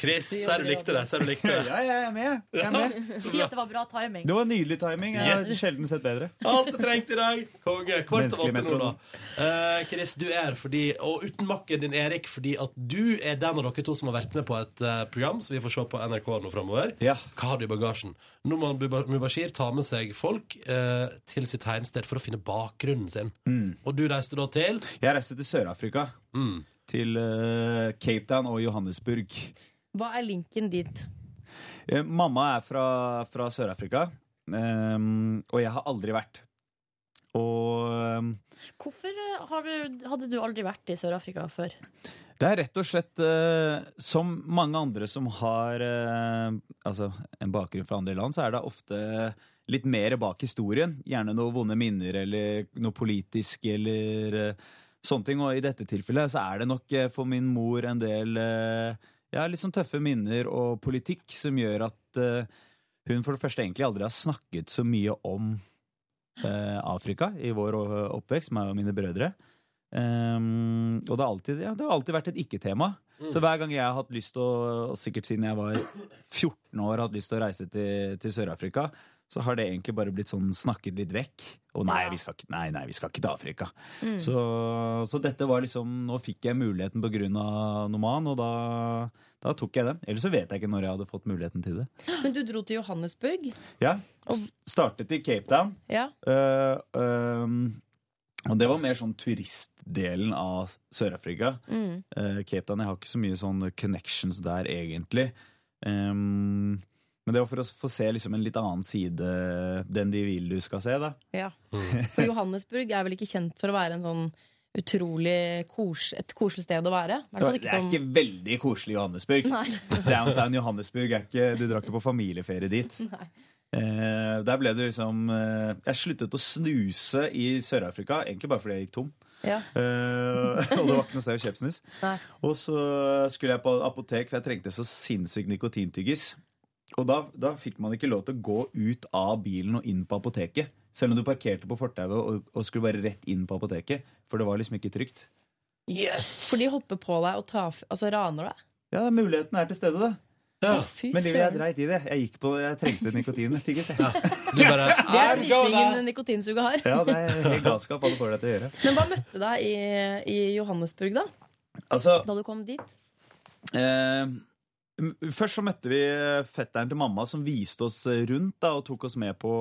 Speaker 2: Chris, ser du likte det? Ser du likte det?
Speaker 15: Ja, jeg er med. Jeg er med.
Speaker 5: Si at det var bra timing.
Speaker 15: Det var nydelig timing. Jeg har sjelden sett bedre.
Speaker 2: Alt du trengte i dag. Konge. Kvart over åtte
Speaker 15: Menneskelig
Speaker 2: nå, da.
Speaker 15: metode.
Speaker 2: Eh, Chris, du er fordi, og uten makken din, Erik, fordi at du er den av dere to som har vært med på et eh, program som vi får se på NRK nå framover. Hva har du i bagasjen? Nå må Muba- Mubashir ta med seg folk eh, til sitt heimsted for å finne bakgrunnen sin. Og du reiste da til?
Speaker 15: Mm.
Speaker 2: Mm.
Speaker 15: Jeg reiste til Sør-Afrika. Til eh, Cape Town og Johannesburg.
Speaker 3: Hva er linken dit?
Speaker 15: Eh, Mamma er fra, fra Sør-Afrika, ehm, og jeg har aldri vært. Og ehm,
Speaker 5: Hvorfor eh, har du, hadde du aldri vært i Sør-Afrika før?
Speaker 15: Det er rett og slett eh, som mange andre som har eh, altså, en bakgrunn fra andre land, så er det ofte litt mer bak historien. Gjerne noen vonde minner eller noe politisk eller eh, sånne ting. Og i dette tilfellet så er det nok eh, for min mor en del eh, ja, litt sånn tøffe minner og politikk som gjør at eh, hun for det første egentlig aldri har snakket så mye om eh, Afrika i vår eh, oppvekst, meg og mine brødre. Ehm, og det har alltid, ja, det har alltid vært et ikke-tema.
Speaker 16: Mm.
Speaker 15: Så hver gang jeg har hatt lyst til å, og sikkert siden jeg var 14 år, hatt lyst til å reise til, til Sør-Afrika, så har det egentlig bare blitt sånn snakket litt vekk. Og nei, vi skal ikke, nei, nei, vi skal ikke til Afrika.
Speaker 16: Mm.
Speaker 15: Så, så dette var liksom Nå fikk jeg muligheten på grunn av Noman, og da, da tok jeg den. Ellers så vet jeg ikke når jeg hadde fått muligheten til det.
Speaker 3: Men du dro til Johannesburg.
Speaker 15: Ja, s- Startet i Cape Town.
Speaker 3: Ja.
Speaker 15: Eh, ehm, og det var mer sånn turistdelen av Sør-Afrika.
Speaker 16: Mm.
Speaker 15: Eh, Cape Town, jeg har ikke så mye sånn connections der egentlig. Ehm, men det var for å s- få se liksom en litt annen side, den de vil du skal se, da.
Speaker 3: ja. For Johannesburg er vel ikke kjent for å være en sånn utrolig kos, et koselig sted å være? I hvert
Speaker 15: Det var-
Speaker 3: fall
Speaker 15: det
Speaker 3: ikke sånn-
Speaker 15: er
Speaker 3: som
Speaker 15: ikke veldig koselig i Johannesburg.
Speaker 3: Nei.
Speaker 15: Downtown Johannesburg er ikke Du drar ikke på familieferie dit. Eh, der ble det liksom eh, Jeg sluttet å snuse i Sør-Afrika, egentlig bare fordi jeg gikk tom.
Speaker 3: Ja.
Speaker 15: Eh, og det var ikke noe sted å kjøpe snus.
Speaker 3: Nei.
Speaker 15: Og så skulle jeg på apotek, for jeg trengte så sinnssykt nikotintyggis. Og da, da fikk man ikke lov til å gå ut av bilen og inn på apoteket. Selv om du parkerte på fortauet og, og skulle bare rett inn på apoteket. For det var liksom ikke trygt.
Speaker 3: For de hopper på deg og tar, f- altså raner deg?
Speaker 15: Ja, muligheten er til stede, da.
Speaker 2: Ja.
Speaker 3: fy
Speaker 15: Men det, jeg
Speaker 3: søren.
Speaker 15: dreit i det. Jeg gikk på, jeg trengte nikotin. Tyggis, jeg.
Speaker 2: Du bare
Speaker 3: Det er virkningen nikotinsuget har.
Speaker 15: Ja, det er helt galskap hva det får deg til å gjøre.
Speaker 3: Men hva møtte deg i, i Johannesburg, da?
Speaker 15: Altså,
Speaker 3: Da du kom dit?
Speaker 15: Eh, m- først så møtte vi eh, fetteren til mamma, som viste oss eh, rundt da, og tok oss med på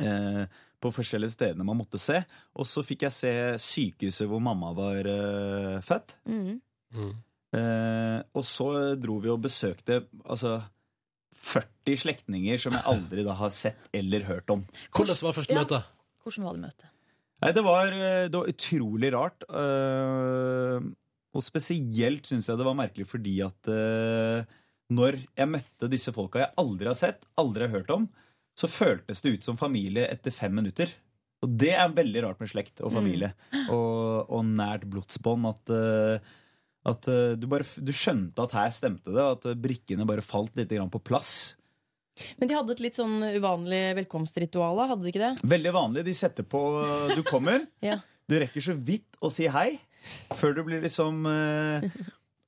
Speaker 15: eh, på forskjellige stedene man måtte se. Og så fikk jeg se sykehuset hvor mamma var eh, født.
Speaker 3: Mm.
Speaker 15: Eh, og så dro vi og besøkte altså, 40 slektninger som jeg aldri da har sett eller hørt om.
Speaker 2: Hvordan var første møte?
Speaker 5: Hvordan var det møtet?
Speaker 15: Nei, det var, eh, det var utrolig rart. eh, Og spesielt syns jeg det var merkelig fordi at eh, når jeg møtte disse folka jeg aldri har sett, aldri har hørt om, så føltes det ut som familie etter fem minutter. Og det er veldig rart med slekt og familie og, og nært blodsbånd. At, eh, at eh, du, bare, f- du skjønte at her stemte det, at eh, brikkene bare falt litt grann på plass.
Speaker 3: Men de hadde et litt sånn uvanlig velkomstritual, da, hadde de ikke det?
Speaker 15: Veldig vanlig. De setter på Du kommer.
Speaker 3: Ja.
Speaker 15: Du rekker så vidt å si hei før du blir liksom eh,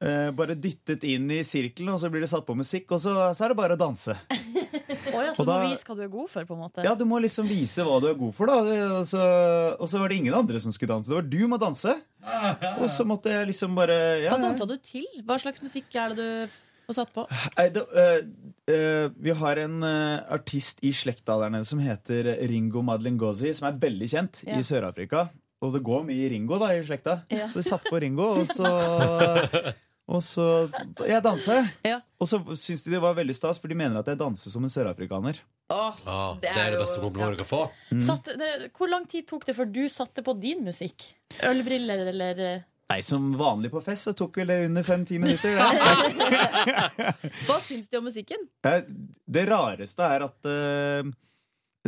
Speaker 15: eh, bare dyttet inn i sirkelen, og så blir det satt på musikk, og så, så er det bare å danse.
Speaker 5: Å ja, så du
Speaker 15: Og
Speaker 5: må
Speaker 15: da-
Speaker 5: vise hva du er god for, på en måte.
Speaker 15: Ja, Du må liksom vise hva du er god for, da. Det- Og så, og så var det ingen andre som skulle danse. Det var du må danse. Og så måtte jeg liksom bare ja,
Speaker 3: Hva dansa du til? Hva slags musikk er det du får satt på?
Speaker 15: Nei, det, øh, øh, vi har en øh, artist i slekta der nede som heter Ringo Madlingozi, som er veldig kjent
Speaker 3: Ja.
Speaker 15: i Sør-Afrika. Og det går mye Ringo da i slekta.
Speaker 3: Ja.
Speaker 15: Så vi satt på Ringo, og så Og så Jeg dansa. Og så syns de det var veldig stas, for de mener at jeg danser som en sørafrikaner.
Speaker 3: Åh,
Speaker 15: Ah,
Speaker 2: det er det beste komplimentet du kan få.
Speaker 15: Mm.
Speaker 5: Satt, det, hvor lang tid tok det før du satte på din musikk? Ølbriller eller eh,
Speaker 15: Nei, som vanlig på fest så tok vel det under fem-ti minutter. Det.
Speaker 3: Hva syns de om musikken?
Speaker 15: Eh, Det rareste er at eh,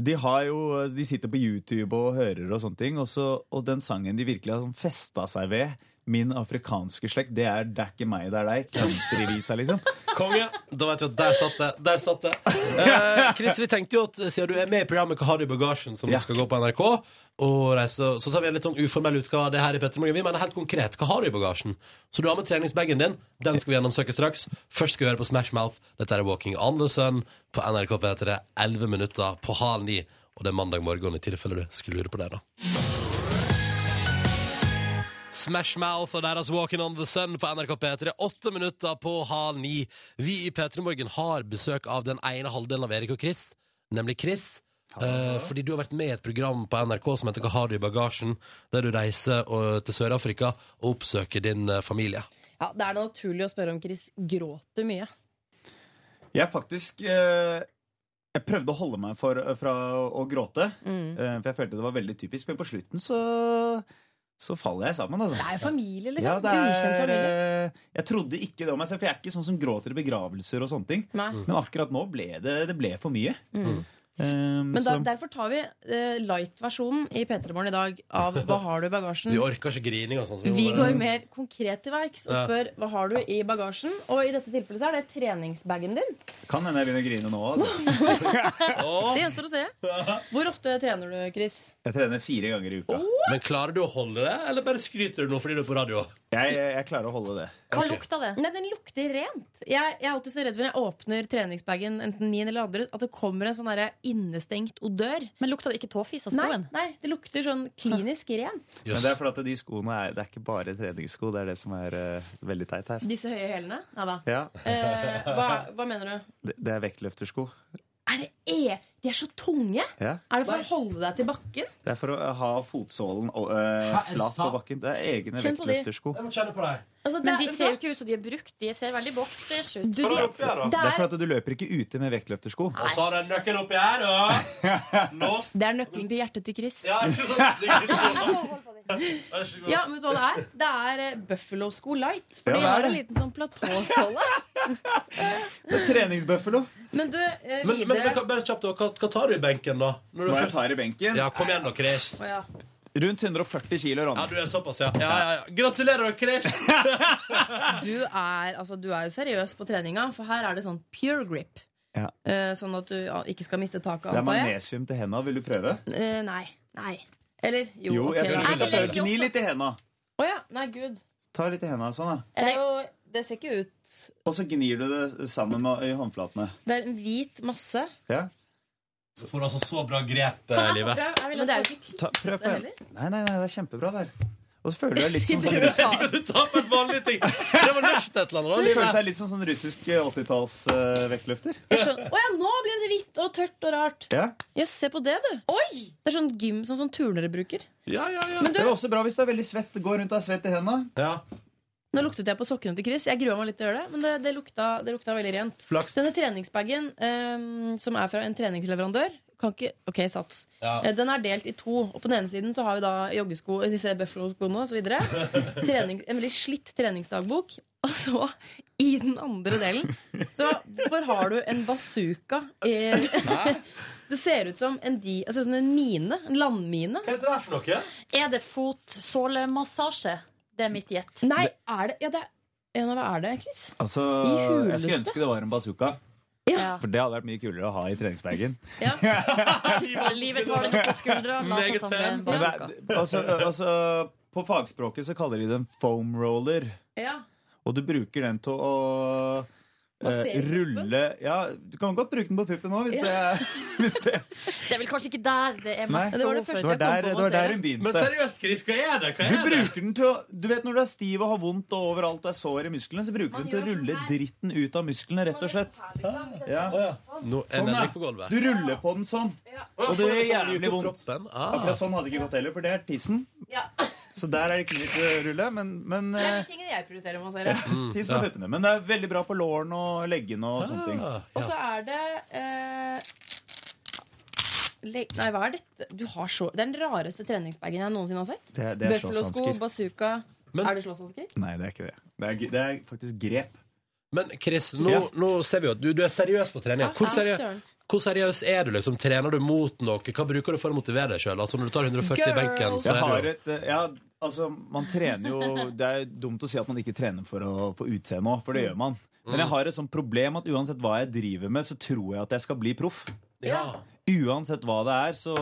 Speaker 15: de, har jo, de sitter på YouTube og hører og sånne ting, og, så, og den sangen de virkelig har sånn festa seg ved, min afrikanske slekt, det er 'Det er ikke meg, det er deg'. Countryvisa, liksom.
Speaker 2: Konge. Da vet du at der satt det. Der satt det. Eh, Chris, vi tenkte jo at siden du er med i programmet Hva har du i bagasjen, som skal gå på NRK, og reise, så tar vi en litt sånn uformell utgave av det her i Petter Morgen. Vi mener helt konkret hva har du i bagasjen. Så du har med treningsbagen din. Den skal vi gjennomsøke straks. Først skal vi høre på Smash Mouth. Dette er Walking on the Sun på NRK P3. 11 minutter på halv ni. Og det er mandag morgen, i tilfelle du skulle lure på det, da. Smash Mouth og deres Walking on the Sun på NRK P3. Åtte minutter på halv ni. Vi i P3 Morgen har besøk av den ene halvdelen av Erik og Chris, nemlig Chris. Eh, fordi du har vært med i et program på NRK som heter Hva har du i bagasjen? Der du reiser og, til Sør-Afrika og oppsøker din eh, familie.
Speaker 3: Ja, Det er naturlig å spørre om Chris gråter mye.
Speaker 15: Jeg faktisk eh, Jeg prøvde å holde meg for, fra å gråte,
Speaker 3: Mm.
Speaker 15: eh, for jeg følte det var veldig typisk, men på slutten så, så faller jeg sammen, altså.
Speaker 3: Det er familie, liksom.
Speaker 15: Ja, det
Speaker 3: Ukjent
Speaker 15: er,
Speaker 3: familie.
Speaker 15: eh, jeg trodde ikke det om meg selv, for jeg er ikke sånn som gråter i begravelser og sånne ting.
Speaker 3: Nei.
Speaker 15: Men akkurat nå ble det, det ble for mye. Um,
Speaker 3: Men da,
Speaker 15: så-
Speaker 3: derfor tar vi eh, light-versjonen i P3 Morgen i dag av Hva har du i
Speaker 15: Mm.
Speaker 3: bagasjen?
Speaker 2: Vi orker ikke grining og sånn. så må
Speaker 3: Vi
Speaker 2: bare-
Speaker 3: går mer konkret til verks og
Speaker 2: Ja.
Speaker 3: spør hva har du i bagasjen. Og i dette tilfellet så er det treningsbagen din.
Speaker 15: kan hende jeg begynner å grine nå. Altså.
Speaker 3: Det gjenstår å se. Hvor ofte trener du, Chris?
Speaker 15: Jeg trener fire ganger i uka.
Speaker 3: Oh.
Speaker 2: Men klarer du å holde det, eller bare skryter du nå fordi du er på radio?
Speaker 15: Jeg, jeg klarer å holde det.
Speaker 3: Hva lukta det? Nei, Den lukter rent. Jeg, jeg er alltid så redd for når jeg åpner treningsbagen, enten min eller andre, at det kommer en sånn derre innestengt odør.
Speaker 5: Men lukta det ikke tåfis av
Speaker 3: skoen? Nei, nei, det lukter sånn klinisk rent.
Speaker 15: Men det er fordi at de skoene er, det er ikke bare treningssko. Det er det som er eh, veldig teit her.
Speaker 3: Disse høye hælene? Nei da.
Speaker 15: Ja.
Speaker 3: Eh, hva, hva mener du?
Speaker 15: Det, det er vektløftersko.
Speaker 3: Er det e? De er så tunge!
Speaker 15: Ja.
Speaker 3: Er det for å holde deg til bakken?
Speaker 15: Det er for å ha fotsålen og, eh,
Speaker 3: Hæ, er det
Speaker 15: flat på
Speaker 3: sant?
Speaker 15: bakken. Det er egne
Speaker 3: Kjenn på de.
Speaker 15: vektløftersko.
Speaker 3: Altså,
Speaker 5: Men
Speaker 3: det-
Speaker 5: de ser jo ikke ut som de er brukt. De ser veldig boksers ut.
Speaker 3: Du, de-
Speaker 15: Det er for at du løper ikke ute med vektløftersko.
Speaker 2: Og så har du en nøkkel oppi her, og låst.
Speaker 3: Det er nøkkelen til hjertet til Chris.
Speaker 2: Ja, ikke sant? Det er ikke Vær så god.
Speaker 3: Ja, men vet du hva det er? Det er eh, Buffalo-sko light. For
Speaker 15: Ja,
Speaker 3: de
Speaker 15: det er
Speaker 3: har en
Speaker 15: det.
Speaker 3: liten sånn platåsåle.
Speaker 15: Det er Treningsbøffelo.
Speaker 3: Men du, eh,
Speaker 2: Men, men, men
Speaker 3: videre
Speaker 2: kan- bare kjapt, da, hva, hva tar du i benken, da? Når du
Speaker 15: Hva jeg
Speaker 2: først-
Speaker 15: tar i benken?
Speaker 2: Ja, Kom igjen, da, Chris.
Speaker 3: Å, ja.
Speaker 15: Rundt 140 kilo, Ronny.
Speaker 2: Ja, du er såpass, ja. ja, ja, ja. Gratulerer, da, Chris!
Speaker 3: du, er, altså, du er jo seriøs på treninga, for her er det sånn pure grip.
Speaker 15: Ja.
Speaker 3: Eh, sånn at du ja, ikke skal miste taket,
Speaker 15: Det er
Speaker 3: antar jeg.
Speaker 15: magnesium til henda. Vil du prøve?
Speaker 3: Eh, nei. Nei. Eller jo,
Speaker 15: Jo,
Speaker 3: ok.
Speaker 15: jeg
Speaker 3: da.
Speaker 15: synes det er prøve. Gni litt i henda.
Speaker 3: Å ja. Nei, gud.
Speaker 15: Ta litt i henda sånn, da.
Speaker 3: Det er jo Det ser ikke ut
Speaker 15: Og så gnir du det sammen med, i håndflatene.
Speaker 3: Det er en hvit masse.
Speaker 15: Ja.
Speaker 14: Så får du altså så bra grep,
Speaker 3: Kan
Speaker 14: eh,
Speaker 3: jeg få
Speaker 14: livet.
Speaker 3: prøve? Jeg vil Men det er jo ikke
Speaker 15: Ta, prøv på en.
Speaker 3: heller.
Speaker 15: Nei, nei, nei, det er kjempebra der. Og så føler du deg litt som sånn
Speaker 14: Jeg liker at du tar på et vanlig ting. Det var norsk et eller
Speaker 15: Du
Speaker 14: annet.
Speaker 15: føler
Speaker 14: da,
Speaker 15: seg litt som sånn russisk 80-talls-vektløfter.
Speaker 3: Jeg skjønner- sånn, Å ja, nå blir det hvitt og tørt og rart.
Speaker 15: Ja.
Speaker 3: Jøss, se på det, du. Oi! Det er sånn gym sånn som turnere bruker. Men
Speaker 15: Det
Speaker 3: du,
Speaker 15: er også bra hvis du er veldig svett. Gå rundt og er svett i hendene.
Speaker 3: Nå luktet jeg på sokkene til Chris. Jeg grua meg litt til å gjøre det, men det, det, lukta, det lukta veldig rent.
Speaker 14: Flaks.
Speaker 3: Denne treningsbagen, eh, som er fra en treningsleverandør kan ikke, Ok, sats.
Speaker 14: Ja.
Speaker 3: Eh, Den er delt i to. Og på den ene siden så har vi da joggesko, eh, disse Buffalo-skoene osv. Trening, en veldig slitt treningsdagbok. Og så, i den andre delen, så hvorfor har du en bazooka i Det ser ut som en, di, altså som en mine. En landmine.
Speaker 14: Hva er det der for noe?
Speaker 5: Er det fotsålemassasje? Det er mitt gjett.
Speaker 3: Nei, er det Ja, det er ja, nei, Hva er det, Chris?
Speaker 15: Altså,
Speaker 3: I
Speaker 15: jeg skulle
Speaker 3: huleste.
Speaker 15: ønske det var en bazooka.
Speaker 3: Ja.
Speaker 15: For det hadde vært mye kulere å ha i treningsbagen.
Speaker 5: Livet tar det på skuldra. Lat
Speaker 14: Meget
Speaker 5: oss som det er en
Speaker 15: Men det
Speaker 5: bazooka.
Speaker 15: er, altså, altså, på fagspråket så kaller de det en foam roller.
Speaker 3: Ja.
Speaker 15: Og du bruker den til å eh,
Speaker 5: Massere
Speaker 15: rulle ja, Du kan godt bruke den på puppen òg, hvis
Speaker 5: Ja.
Speaker 15: det er
Speaker 5: Det er vel kanskje ikke der det er
Speaker 15: Nei,
Speaker 5: mest
Speaker 15: det var det
Speaker 5: behov for.
Speaker 15: første jeg Det var kom der- på å det var der massere. hun begynte.
Speaker 14: Men seriøst, Chris, hva er det? Hva er
Speaker 15: Du
Speaker 14: det?
Speaker 15: bruker den til å Du vet når du er stiv og har vondt og overalt og er sår i musklene, så bruker du den til å rulle dritten ut av musklene, rett og slett. Ja.
Speaker 2: Nå er
Speaker 15: Sånn,
Speaker 2: Henrik på
Speaker 15: ja.
Speaker 2: gulvet.
Speaker 15: Du ruller på den sånn. Og det gjør jævlig vondt.
Speaker 2: Ah.
Speaker 15: Akkurat sånn hadde det ikke gått heller, for det er tissen.
Speaker 3: Ja.
Speaker 15: Så der er det ikke mye å rulle, men, men
Speaker 3: Det er de
Speaker 15: eh,
Speaker 3: tingene jeg prioriterer å massere.
Speaker 15: ja, tissen og
Speaker 2: ja.
Speaker 15: puppene. Men det er veldig bra på lårene og leggene og sånn. sånne ting.
Speaker 3: Og så er det eh, le Nei, hva er dette? Du har så Det er den rareste treningsbagen jeg noensinne har sett.
Speaker 15: Det er- det er
Speaker 3: Buffalo-sko,
Speaker 15: slåsshansker.
Speaker 3: bazooka Er det slåsshansker?
Speaker 15: Nei, det er ikke det. Det er, det er faktisk grep.
Speaker 2: Men Chris, nå,
Speaker 15: Ja.
Speaker 2: nå ser vi jo at du, du er seriøs på trening.
Speaker 3: Ja,
Speaker 2: Hvor
Speaker 3: ja,
Speaker 2: seriøs,
Speaker 3: søren.
Speaker 2: hvor seriøs er du? liksom? Trener du mot noe? Hva bruker du for å motivere deg sjøl? Altså, når du tar 140 i benken, så
Speaker 15: Jeg
Speaker 2: er
Speaker 15: har
Speaker 2: du
Speaker 15: et, eh, ja, altså, man trener jo Det er dumt å si at man ikke trener for å få utseende òg, for det gjør man. Men jeg har et sånt problem at uansett hva jeg driver med, så tror jeg at jeg skal bli proff.
Speaker 2: Ja.
Speaker 15: Uansett hva det er, så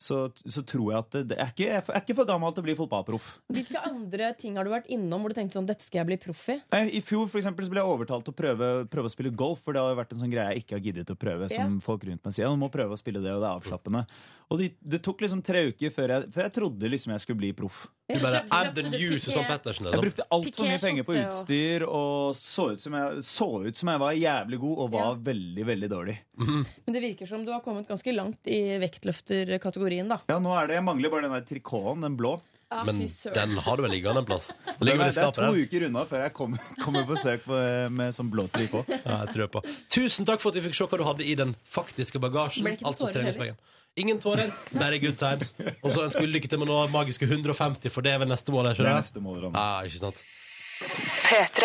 Speaker 15: så, så tror jeg at det, det er ikke, jeg er for- jeg er ikke for gammel til å bli fotballproff.
Speaker 3: Hvilke andre ting har du vært innom hvor du tenkte sånn Dette skal jeg bli proff i?
Speaker 15: Nei, I fjor for eksempel, så ble jeg overtalt til å prøve, prøve å spille golf, for det har jo vært en sånn greie jeg ikke har giddet å prøve. Som
Speaker 3: Ja.
Speaker 15: folk rundt meg sier, «Ja, du må prøve å spille det, og det er avslappende. Og det, det tok liksom tre uker før jeg, før jeg trodde liksom jeg skulle bli proff.
Speaker 2: Du bare add the new Susann Pettersen.
Speaker 15: Jeg
Speaker 2: Liksom.
Speaker 15: brukte altfor mye
Speaker 5: Piqué-skjorte
Speaker 15: penger på
Speaker 5: og-
Speaker 15: utstyr og så ut, som jeg, så ut som jeg var jævlig god og var veldig, veldig dårlig.
Speaker 2: Mhm.
Speaker 3: Men det virker som du har kommet ganske langt i vektløfterkategorien, da.
Speaker 15: Ja, nå er det, Jeg mangler bare den der trikoten, den blå.
Speaker 3: Ja,
Speaker 2: Men
Speaker 3: fy søren.
Speaker 2: den har du vel liggende en plass? Den
Speaker 15: Det
Speaker 2: ligger
Speaker 15: er,
Speaker 2: vel i
Speaker 15: det er
Speaker 2: skapet,
Speaker 15: to
Speaker 2: den.
Speaker 15: uker unna før jeg kommer, kommer på søk på, med sånn blå trikot.
Speaker 2: Ja, jeg tror på. Tusen takk for at vi fikk se hva du hadde i den faktiske bagasjen.
Speaker 3: Ble det ikke noen
Speaker 2: Altså
Speaker 3: tårer
Speaker 2: treningsbagen. Ingen tårer, bare good times. Og så ønsker vi lykke til med å nå magiske 150, for det er vel neste mål?
Speaker 15: Det
Speaker 2: Ikke
Speaker 15: er
Speaker 2: det?
Speaker 15: neste mål, Ronny.
Speaker 2: Ja, ikke sant?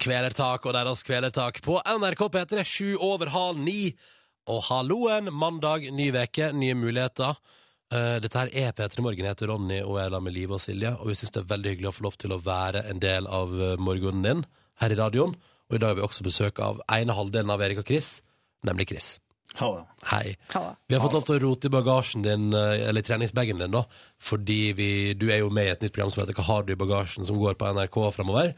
Speaker 2: Kvelertak og deres kvelertak på NRK P3, sju over halv ni. Og halloen, mandag, ny veke, nye muligheter. Eh, dette her er P3 Morgen. Jeg heter Ronny og jeg er sammen med Live og Silje. Og vi syns det er veldig hyggelig å få lov til å være en del av eh, morgenen din her i radioen. Og i dag har vi også besøk av ene halvdelen av Erik og Chris, nemlig Chris.
Speaker 15: Hallo.
Speaker 2: Hei.
Speaker 3: Halla.
Speaker 2: Vi har fått lov til å rote i bagasjen din, eh, eller i treningsbagen din, da, fordi vi, du er jo med i et nytt program som heter Hva har du i bagasjen?, som går på NRK framover.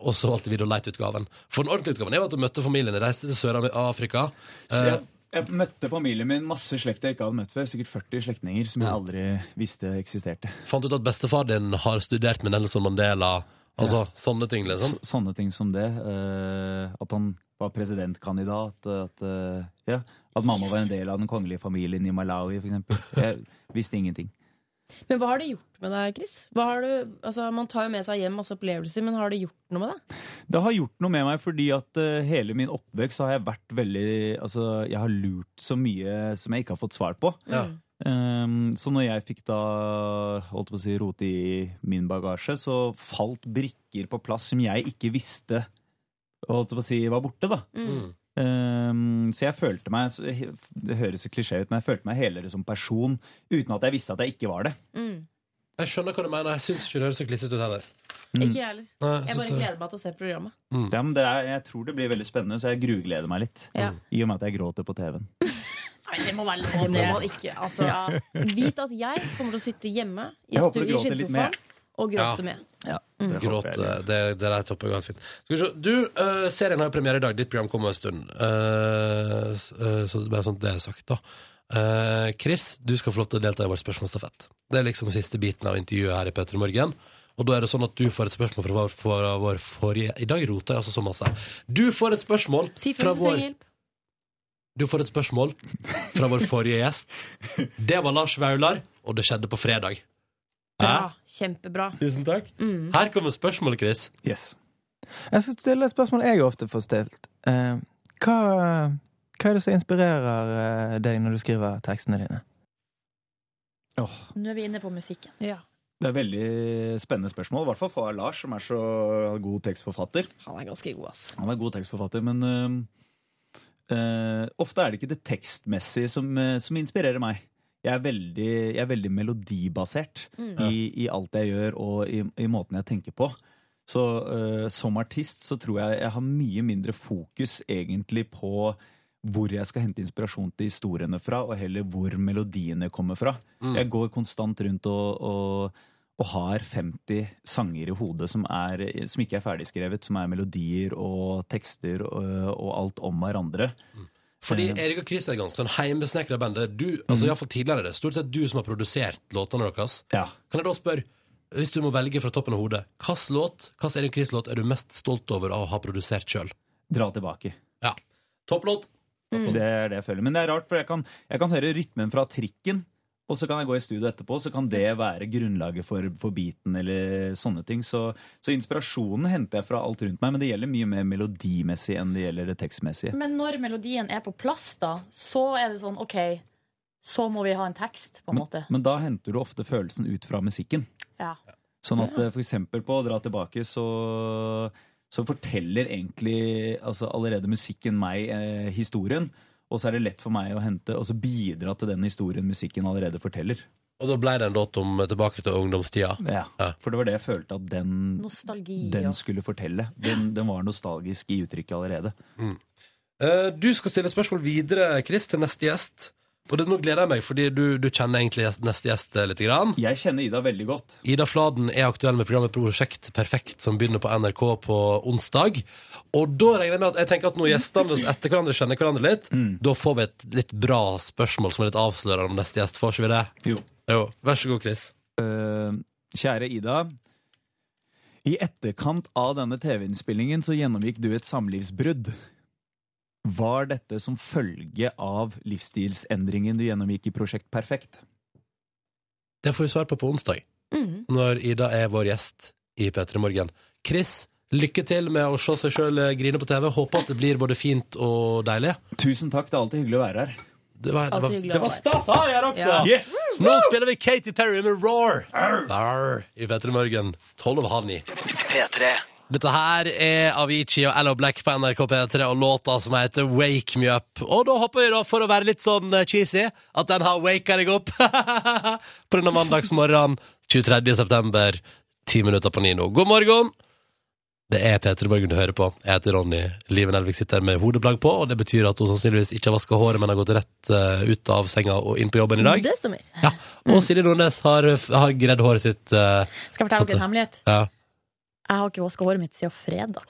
Speaker 2: og så valgte vi da leitutgaven. For den ordentlige utgaven er jo at du møtte familien, reiste til Sør-Afrika.
Speaker 15: Så
Speaker 2: Eh,
Speaker 15: jeg, jeg møtte familien min, masse slekt jeg ikke hadde møtt før. Sikkert 40 slektninger som jeg aldri visste eksisterte.
Speaker 2: Mm. fant ut at bestefar din har studert med Nelson Mandela. Altså sånne ting, liksom.
Speaker 15: Så, sånne ting som det. eh, at han var presidentkandidat. At, eh, ja, at mamma var en del av den kongelige familien i Malawi, f.eks. Jeg visste ingenting.
Speaker 3: Men hva har det gjort med deg, Chris? Hva har du, altså, man tar jo med seg hjem masse opplevelser, men har det gjort noe med deg?
Speaker 15: Det har gjort noe med meg, fordi at eh, hele min oppvekst har jeg vært veldig Altså, jeg har lurt så mye som jeg ikke har fått svar på.
Speaker 2: Ja.
Speaker 15: Ehm, så når jeg fikk da holdt på å si, rote i min bagasje, så falt brikker på plass som jeg ikke visste holdt på å si, var borte. da.
Speaker 2: Mm.
Speaker 15: Ehm, så jeg følte meg så- Det høres jo klisjé ut, men jeg følte meg helere som person uten at jeg visste at jeg ikke var det.
Speaker 2: Jeg skjønner hva du mener. Jeg syns ikke det høres så klissete ut heller.
Speaker 3: Ikke jeg heller.
Speaker 2: Nei,
Speaker 3: Jeg
Speaker 2: synes
Speaker 3: bare
Speaker 2: det- Mm.
Speaker 3: gleder meg til å se programmet.
Speaker 15: Mm. Ja, men det er, jeg tror det blir veldig spennende, så jeg grugleder meg litt.
Speaker 3: Ja.
Speaker 15: I og med at jeg gråter på TV-en.
Speaker 5: Nei, det må være
Speaker 3: Det
Speaker 5: lov, det.
Speaker 3: må ikke, altså, Vit at jeg kommer til å sitte hjemme i,
Speaker 15: Jeg håper
Speaker 3: stu,
Speaker 15: du
Speaker 3: i
Speaker 15: gråter litt mer.
Speaker 3: skinnsofaen og gråte med.
Speaker 2: Ja, det Gråt, eh, det, det, det der topper godt fint. Skal vi se. Du, eh, serien har jo premiere i dag. Ditt program kommer om en stund. Eh, s- eh, så det er bare sånn at det er sagt, da. Eh, Chris, du skal få lov til å delta i vår spørsmålsstafett. Det er liksom siste biten av intervjuet her i Petter i morgen. Og da er det sånn at du får et spørsmål fra vår, fra vår forrige I dag roter jeg altså så masse. Du får et spørsmål
Speaker 3: Si
Speaker 2: fra
Speaker 3: fra hvis du trenger
Speaker 2: vår
Speaker 3: hjelp.
Speaker 2: du får et spørsmål fra vår forrige gjest. Det var Lars Vaular, og det skjedde på fredag. Hæ?
Speaker 3: Kjempebra.
Speaker 2: Tusen takk.
Speaker 3: Mm.
Speaker 2: Her kommer spørsmålet, Chris.
Speaker 16: Jeg skal stille et spørsmål jeg ofte får stilt. Eh, hva, hva er det som inspirerer eh, deg når du skriver tekstene dine?
Speaker 5: Nå er vi inne på musikken.
Speaker 15: Det er veldig spennende spørsmål, i hvert fall fra Lars, som er så god tekstforfatter.
Speaker 3: Han er ganske god, ass.
Speaker 15: Han er god tekstforfatter, men eh, øhm, øh, ofte er det ikke det tekstmessige som, øh, som inspirerer meg. Jeg er veldig, jeg er veldig melodibasert
Speaker 16: Mm.
Speaker 15: i, i alt jeg gjør, og i, i måten jeg tenker på. Så øh, som artist så tror jeg jeg har mye mindre fokus egentlig på hvor jeg skal hente inspirasjon til historiene fra, og heller hvor melodiene kommer fra.
Speaker 16: Mm.
Speaker 15: Jeg går konstant rundt og, og, og har 50 sanger i hodet som, er, som ikke er ferdigskrevet, som er melodier og tekster og, og alt om hverandre.
Speaker 2: Fordi
Speaker 15: Eh, Mhm.
Speaker 2: Erik og Chris er ganske sånn heimesnekra band. Det er Du, altså i hvert fall tidligere er det stort sett du som har produsert låtene deres. Kan jeg da spørre, hvis du må velge fra toppen av hodet, hvilken låt, hvilken Erik og Chris-låt er du mest stolt over av å ha produsert sjøl?
Speaker 15: Dra tilbake.
Speaker 2: Ja. Topplåt!
Speaker 15: Det er det jeg føler. Men det er rart, for jeg kan, jeg kan høre rytmen fra trikken, og så kan jeg gå i studio etterpå, så kan det være grunnlaget for, for beaten eller sånne ting. Så, så inspirasjonen henter jeg fra alt rundt meg, men det gjelder mye mer melodimessig enn det gjelder det tekstmessige.
Speaker 5: Men når melodien er på plass, da, så er det sånn OK, så må vi ha en tekst, på en
Speaker 15: Men,
Speaker 5: måte.
Speaker 15: men da henter du ofte følelsen ut fra musikken.
Speaker 5: Ja.
Speaker 15: Sånn at eh, for eksempel på å dra tilbake så, så forteller egentlig altså allerede musikken meg eh, historien. Og så er det lett for meg å hente og så bidra til den historien musikken allerede forteller.
Speaker 2: Og da ble det en låt om eh, tilbake til ungdomstida.
Speaker 15: Ja, For det var det jeg følte at den,
Speaker 5: Nostalgi.
Speaker 15: den
Speaker 5: og-
Speaker 15: skulle fortelle. Den, den var nostalgisk i uttrykket allerede.
Speaker 2: Eh, Du skal stille spørsmål videre, Chris, til neste gjest. Og det, nå gleder jeg meg, fordi du, du kjenner egentlig gjest- neste gjest eh, litt. Grann.
Speaker 15: Jeg kjenner Ida veldig godt.
Speaker 2: Ida Fladen er aktuell med programmet Prosjekt Perfekt, som begynner på NRK på onsdag. Og da regner jeg med at jeg tenker at når gjestene etter hverandre kjenner hverandre litt, da får vi et litt bra spørsmål som er litt avslørende om neste gjest. Får ikke vi det?
Speaker 15: Jo.
Speaker 2: Vær så god, Chris.
Speaker 15: Eh, kjære Ida. I etterkant av denne TV-innspillingen så gjennomgikk du et samlivsbrudd. Var dette som følge av livsstilsendringen du gjennomgikk i Prosjekt Perfekt?
Speaker 2: Det får vi svar på på onsdag, når Ida er vår gjest i P3 Morgen. Chris, lykke til med å se seg sjøl grine på TV. Håper at det blir både fint og deilig.
Speaker 15: Tusen takk. Det er alltid hyggelig å være her.
Speaker 2: Det var, det var,
Speaker 15: Alltid hyggelig å
Speaker 2: det var
Speaker 15: være
Speaker 2: stas å ha deg her også!
Speaker 15: Ja. Yes!
Speaker 2: Nå spiller vi Katy Perry med Roar Arr, i P3 Morgen. Tolv over halv ni.
Speaker 8: P3.
Speaker 2: Dette her er Avicii og Ella Black på NRK P3 og låta som heter Wake Me Up. Og da håper vi da, for å være litt sånn eh, cheesy, at den har waka deg opp på denne mandagsmorgenen 23. september, ti minutter på ni nå. God morgen! Det er P3 Morgen du hører på. Jeg heter Ronny. Liven Elvik sitter her med hodeplagg på, og det betyr at hun sannsynligvis ikke har vaska håret, men har gått rett eh, ut av senga og inn på jobben i dag.
Speaker 3: Det stemmer.
Speaker 2: Ja. Og Silje Nordnes har, har gredd håret sitt. eh,
Speaker 5: Skal jeg fortelle dere en hemmelighet?
Speaker 2: Ja.
Speaker 5: Jeg har ikke vaska håret mitt siden fredag.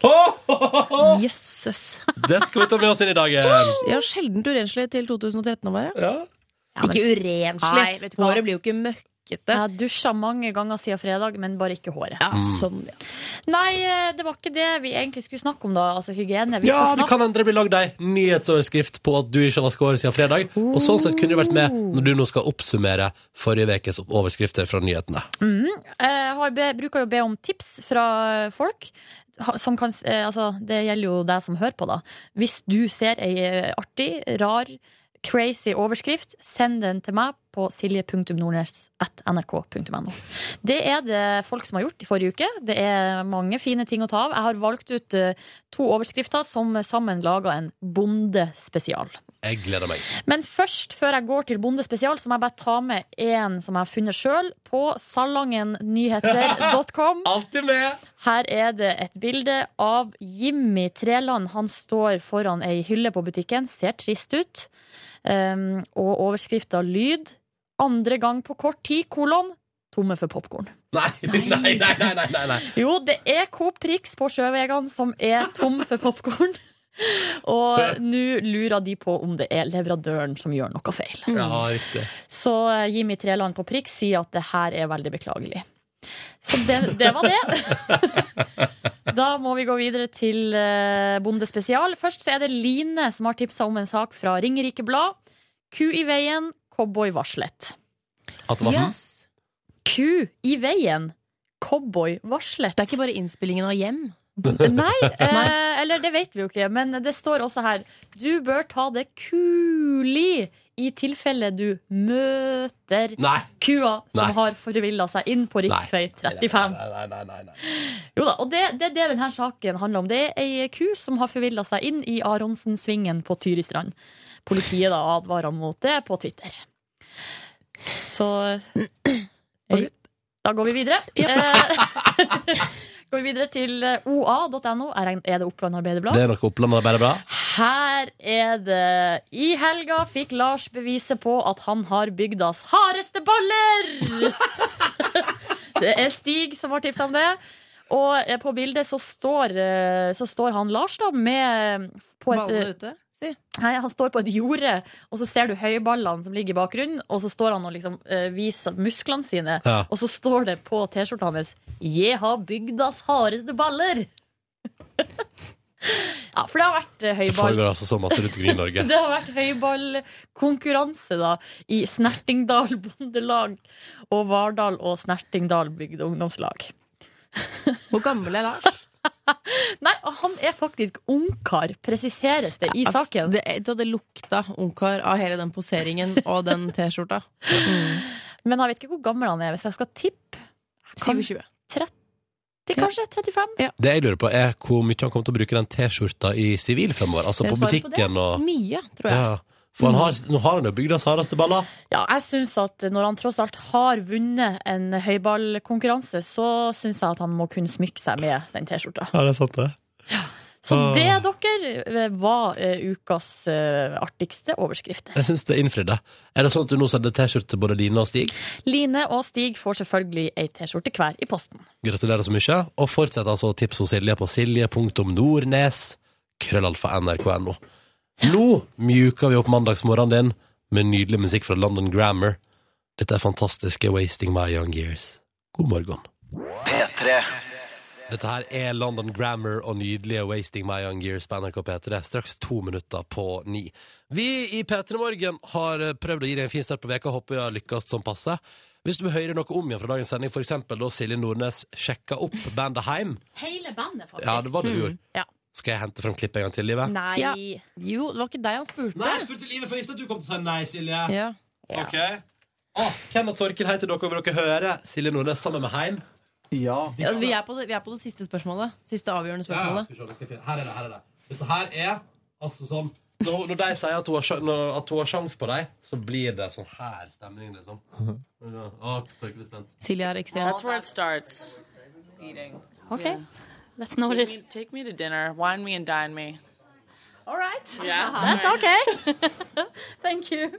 Speaker 3: Jøsses.
Speaker 2: Det skal vi ta med oss inn i dagen.
Speaker 3: Jeg har sjelden urenslig til 2013 å være. Ikke
Speaker 5: Nei,
Speaker 3: urenslig.
Speaker 5: vet du hva?
Speaker 3: Håret blir jo ikke møkkete.
Speaker 5: Jeg har dusja mange ganger siden fredag, men bare ikke håret.
Speaker 3: Ja, sånn, ja.
Speaker 5: Nei, eh, det var ikke det vi egentlig skulle snakke om, da. Altså hygiene. Vi
Speaker 2: Ja,
Speaker 5: skal
Speaker 2: det
Speaker 5: snakke
Speaker 2: kan hende det blir lagd ei nyhetsoverskrift på at du ikke har vasket håret siden fredag. Og sånn sett kunne du vært med når du nå skal oppsummere forrige ukes overskrifter fra nyhetene.
Speaker 5: Mm. Jeg har be, bruker jo å be om tips fra folk. ha- Som kan, s- eh, altså, det gjelder jo deg som hører på, da. Hvis du ser ei eh, artig, rar, crazy overskrift, send den til meg på silje.nordnes.nrk.no. Det er det folk som har gjort i forrige uke. Det er mange fine ting å ta av. Jeg har valgt ut eh, to overskrifter som sammen lager en bondespesial.
Speaker 2: Jeg gleder meg.
Speaker 5: Men først, før jeg går til Bonde spesial, så må jeg bare ta med én som jeg har funnet sjøl, på salangennyheter.com.
Speaker 2: Alltid med!
Speaker 5: Her er det et bilde av Jimmy Treland. Han står foran ei hylle på butikken, ser trist ut. ehm, Um, og overskrifta lyd. Andre gang på kort tid, kolon. tomme for popkorn.
Speaker 2: Nei, nei, nei, nei, nei, nei, nei.
Speaker 5: Jo, det er Coop Prix på sjøvegene som er tom for popkorn. Og nå lurer de på om det er leverandøren som gjør noe feil.
Speaker 2: Ja, riktig.
Speaker 5: Så eh, Jimmy Treland på Prix sier at det her er veldig beklagelig. Så det, det var det. da må vi gå videre til eh, Bonde spesial. Først så er det Line som har tipsa om en sak fra Ringerike Blad. Ku i veien, cowboy varslet.
Speaker 2: At det var
Speaker 5: Yes. Ku i veien, cowboy varslet. Det er ikke
Speaker 3: bare innspillingen av Hjem?
Speaker 5: Nei, eh, eller det vet vi jo ikke, men det står også her Du bør ta det kulig i tilfelle du møter
Speaker 2: Nei.
Speaker 5: kua som
Speaker 2: Nei.
Speaker 5: har forvilla seg inn på rv. 35.
Speaker 2: Nei, nei, nei, nei, nei.
Speaker 5: Jo da, og det, det er det denne saken handler om. Det er ei ku som har forvilla seg inn i Aronsensvingen på Tyristrand. Politiet da advarer mot det på Twitter. Så Da går vi videre. Eh, går vi videre til oa.no. Er er det Oppland Arbeiderblad?
Speaker 2: Det er noe Oppland er bare bra.
Speaker 5: Her er det I helga fikk Lars beviset på at han har bygdas hardeste baller! det er Stig som har tipsa om det. Og eh, på bildet så står, eh, så står han Lars da med eh, på et,
Speaker 3: Ballene ute? Si.
Speaker 5: Nei, Han står på et jorde, og så ser du høyballene som ligger i bakgrunnen. Og så står han og liksom eh, viser musklene sine,
Speaker 2: Ja.
Speaker 5: og så står det på T-skjorta hans 'Jeg har bygdas hardeste baller'. ja, for det har vært eh,
Speaker 2: Det
Speaker 5: høyball.
Speaker 2: foregår altså så masse rundt omkring i Norge.
Speaker 5: Det har vært høyballkonkurranse da, i Snertingdal Bondelag og Vardal og Snertingdal Bygde Ungdomslag. Hvor gammel er Lars? Nei, og han er faktisk ungkar, presiseres det i saken.
Speaker 3: Det, det hadde lukta ungkar av hele den poseringen og den T-skjorta.
Speaker 5: Men jeg vet ikke hvor gammel han er, hvis jeg skal tippe.
Speaker 3: 27.
Speaker 5: 30, kanskje? 35? Ja.
Speaker 2: Det jeg lurer på, er hvor mye han kommer til å bruke den T-skjorta i sivil fremover. Altså på butikken og
Speaker 5: Mye,
Speaker 2: Ja. For han har, nå har han jo bygdas hardeste baller.
Speaker 5: Ja, jeg synes at når han tross alt har vunnet en høyballkonkurranse, så syns jeg at han må kunne smykke seg med den T-skjorta.
Speaker 2: Ja, det er sant, det.
Speaker 5: Så det, dere, var eh, ukas eh, artigste overskrifter.
Speaker 2: Jeg syns det innfridde. Er det sånn at du nå sender T-skjorte til både Line og Stig?
Speaker 5: Line og Stig får selvfølgelig ei T-skjorte hver i posten.
Speaker 2: Gratulerer så mye. Og fortsett altså å tipse hos Silje på silje.nordnes. Krøllalfa nrk.no. Nå mjuker vi opp mandagsmorgenen din med nydelig musikk fra London Grammar. Dette er fantastiske Wasting My Young Years. God morgen.
Speaker 8: P3.
Speaker 2: Dette her er London Grammar og nydelige Wasting My Young Years på NRK P3. Straks to minutter på ni. Vi i P3 Morgen har eh, prøvd å gi deg en fin start på veka, håper vi har lykkes som passe. Hvis du vil høre noe om igjen fra dagens sending, f.eks. da Silje Nordnes sjekka opp bandet Heim,
Speaker 5: Hele bandet, faktisk.
Speaker 2: Ja, det var det du gjorde.
Speaker 5: Mm-hmm. Ja.
Speaker 2: skal jeg hente fram klippet en gang til, Livet?
Speaker 5: Nei.
Speaker 3: Ja. Jo, det var ikke deg han spurte.
Speaker 2: Nei, jeg spurte livet, for jeg visste at du kom til å si nei, Silje.
Speaker 3: Ja.
Speaker 2: Ok. Å, Ken og Torkil, hei til dere. Vil dere høre Silje Nordnes sammen med Heim? Ja.
Speaker 3: Ja, vi, er på det, vi er på det siste spørsmålet. Siste
Speaker 2: Ja,
Speaker 3: avgjørende spørsmålet.
Speaker 2: skal vi se, nå skal jeg finne- her er det, her er det. Dette her er altså sånn Når, når de sier at hun har, sja- når, at hun har sjans på deg, så blir det sånn her stemning, liksom. Ja, å, Torkel er spent.
Speaker 3: Silje er ekstremt
Speaker 13: That's where it starts. Eating.
Speaker 5: Okay. That's
Speaker 13: Take
Speaker 5: noted.
Speaker 13: me, take me to dinner. Wine me and dine me.
Speaker 5: All right.
Speaker 13: Yeah.
Speaker 5: That's okay. Thank you.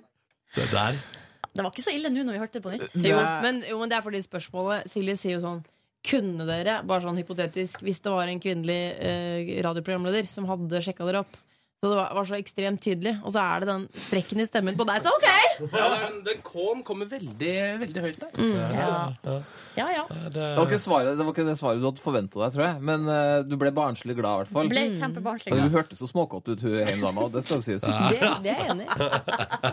Speaker 2: Det der.
Speaker 5: Det var ikke så ille nå når vi hørte det på nytt.
Speaker 3: Jo, men, jo, men det er fordi spørsmålet Silje sier jo sånn Kunne dere, bare sånn hypotetisk, hvis det var en kvinnelig eh, radioprogramleder som hadde sjekka dere opp Så det var, var så ekstremt tydelig, og så er det den sprekken i stemmen på deg. Så OK!
Speaker 17: Ja, den, den K-en kommer veldig, veldig høyt der.
Speaker 5: Ja, ja.
Speaker 17: Det
Speaker 18: Det var ikke, svaret, det var ikke det svaret du hadde forventa deg, tror jeg. Men eh, du ble barnslig glad, i hvert fall.
Speaker 5: Ble kjempebarnslig
Speaker 18: Og
Speaker 5: glad.
Speaker 18: Du hørtes så småkåt ut, hun ene dama, og det skal jo sies.
Speaker 5: Det, det er jeg enig i.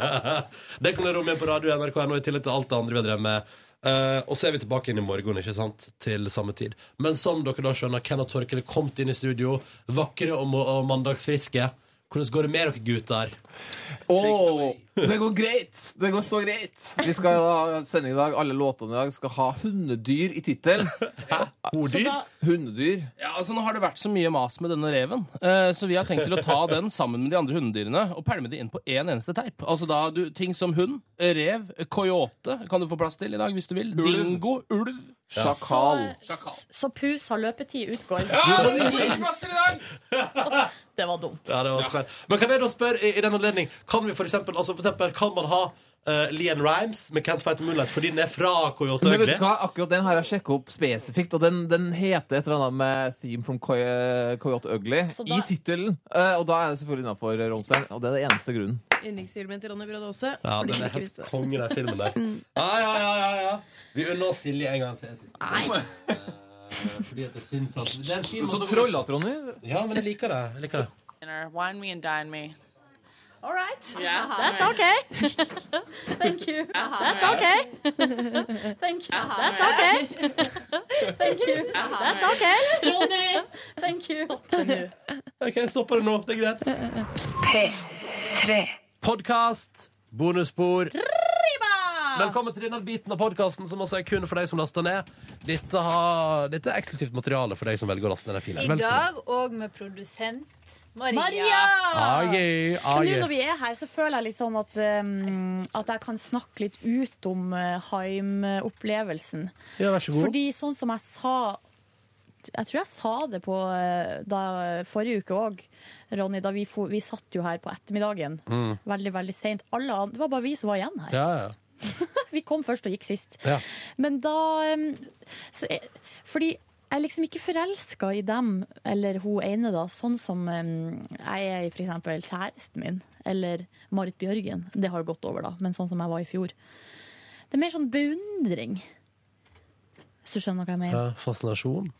Speaker 2: det kan dere romme på radio NRK nå, i tillegg til alt det andre vi har drevet med. Eh, og så er vi tilbake inn i morgen, ikke sant? Til samme tid. Men som dere da skjønner, Ken og Torkel er kommet inn i studio, vakre og, må- og mandagsfriske. Hvordan går det med dere gutter?
Speaker 18: Åh, det går greit! Det går så greit! Vi skal ha sending i dag. Alle låtene i dag skal ha hundedyr i tittelen.
Speaker 17: Så da-
Speaker 18: Hundedyr?
Speaker 17: Ja, altså Nå har det vært så mye mas med denne reven, eh, så vi har tenkt til å ta den sammen med de andre hundedyrene og pælme det inn på én eneste teip. Altså da du, Ting som hund, rev, coyote kan du få plass til i dag hvis du vil. Dingo, ulv.
Speaker 18: Sjakal.
Speaker 17: Sjakal.
Speaker 5: Så pus har løpetid utgår.
Speaker 17: Ja, det er ikke plass til i dag!
Speaker 5: Det var dumt.
Speaker 2: Ja, det var spenn. Men kan jeg da spørre i, i den anledning Kan vi for eksempel, altså for eksempel Kan man ha eh, Leanne Rhymes med Can't Fight the Moonlight fordi den er fra Coyote
Speaker 18: Men vet
Speaker 2: Ugly.
Speaker 18: du hva, akkurat den har jeg sjekka opp spesifikt, og den, den heter et eller annet med Theme from Coy Coyote Ugly
Speaker 19: Så da-
Speaker 18: i tittelen. Eh, og da er det selvfølgelig innafor Ronstein, og det er den eneste grunnen.
Speaker 19: Yndlingsfilmen til Ronny Brødde Aase.
Speaker 2: Ja,
Speaker 19: Blir
Speaker 2: den er
Speaker 19: ikke
Speaker 2: helt
Speaker 19: visst det. Mm.
Speaker 2: konge, den filmen der. Ja, ja, ja, ja, ja. Vi unner oss Silje en gang til. siste. Eh, Fordi at jeg syns at det er en fin
Speaker 18: Så
Speaker 2: måte å-
Speaker 18: trollete, Ronny.
Speaker 2: Ja, men jeg liker det. Jeg liker det.
Speaker 15: Dinner, wine me and dine me.
Speaker 5: All right.
Speaker 15: Yeah.
Speaker 5: That's okay. Thank you. That's okay. Thank you. That's okay. Thank you. That's okay. Ronny. Thank you.
Speaker 2: OK, jeg stopper det nå. Det er greit. P3. Podkast. Bonusspor. Velkommen til denne biten av podkasten som også er kun for deg som laster ned. Dette, har, dette er eksklusivt materiale for deg som velger å laste ned den filen.
Speaker 7: I dag og med produsent Maria.
Speaker 5: Ah,
Speaker 2: Ai,
Speaker 5: Men
Speaker 2: ai.
Speaker 5: nå når vi er her, så føler jeg litt sånn at, um, at jeg kan snakke litt ut om uh, Haim-opplevelsen.
Speaker 2: Ja, vær så god.
Speaker 5: Fordi sånn som jeg sa Jeg tror jeg sa det på uh, da, forrige uke òg, Ronny. Da vi, for, vi satt jo her på ettermiddagen
Speaker 2: Mm.
Speaker 5: veldig, veldig seint. Alle an- Det var bare vi som var igjen her.
Speaker 2: Ja, ja.
Speaker 5: Vi kom først og gikk sist.
Speaker 2: Ja.
Speaker 5: Men da um, så jeg, Fordi jeg er liksom ikke forelska i dem eller hun ene, da, sånn som um, jeg er i f.eks. kjæresten min eller Marit Bjørgen. Det har jo gått over, da, men sånn som jeg var i fjor. Det er mer sånn beundring, hvis du skjønner hva jeg
Speaker 2: ja,
Speaker 5: mener.
Speaker 2: fascinasjon.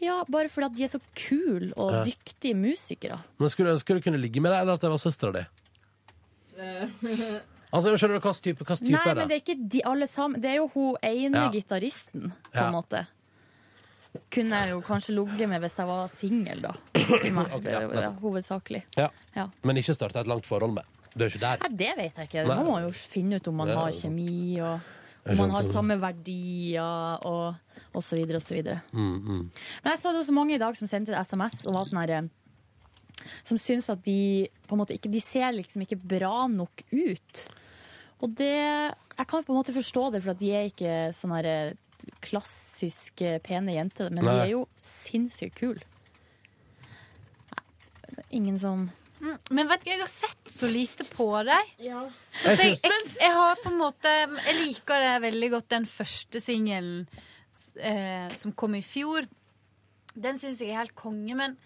Speaker 5: Ja, Bare fordi at de er så kule og
Speaker 2: Ja.
Speaker 5: dyktige musikere.
Speaker 2: Men Skulle du ønske du kunne ligge med deg, eller at jeg var søstera di? Altså, jeg skjønner du hva slags type, hva slags type
Speaker 5: Eh. Nei,
Speaker 2: er
Speaker 5: men det
Speaker 2: det?
Speaker 5: er ikke de alle sammen. Det er jo hun ene
Speaker 2: Ja.
Speaker 5: gitaristen, på
Speaker 2: Ja.
Speaker 5: en måte. Kunne jeg jo kanskje ligget med hvis jeg var singel, da. Primært,
Speaker 2: Ok, ja,
Speaker 5: ja,
Speaker 2: nettopp.
Speaker 5: hovedsakelig.
Speaker 2: Ja.
Speaker 5: Ja.
Speaker 2: Men ikke starte et langt forhold med. Du er ikke der.
Speaker 5: Nei, det vet jeg ikke.
Speaker 2: Nei.
Speaker 5: Man må jo finne ut om man
Speaker 2: Ja,
Speaker 5: har
Speaker 2: det er
Speaker 5: kjemi, og
Speaker 2: Jeg
Speaker 5: om man
Speaker 2: skjønte
Speaker 5: har
Speaker 2: det.
Speaker 5: samme verdier, og, og så videre og så videre.
Speaker 2: Mm, mm.
Speaker 5: Men jeg så det var så mange i dag som sendte SMS og var sånn her eh, Som syns at de på en måte ikke De ser liksom ikke bra nok ut. Og det Jeg kan på en måte forstå det, for at de er ikke sånne her eh, klassisk eh, pene jenter. Men de
Speaker 7: Nei.
Speaker 5: er jo sinnssykt kule. Nei, Ingen som
Speaker 7: Mm, Men vet du, jeg har sett så lite på deg. Så
Speaker 5: Jeg
Speaker 7: at jeg,
Speaker 5: syns-
Speaker 7: jeg, jeg har på en måte Jeg liker det veldig godt, den første singelen eh, som kom i fjor. Den syns jeg er helt konge, men,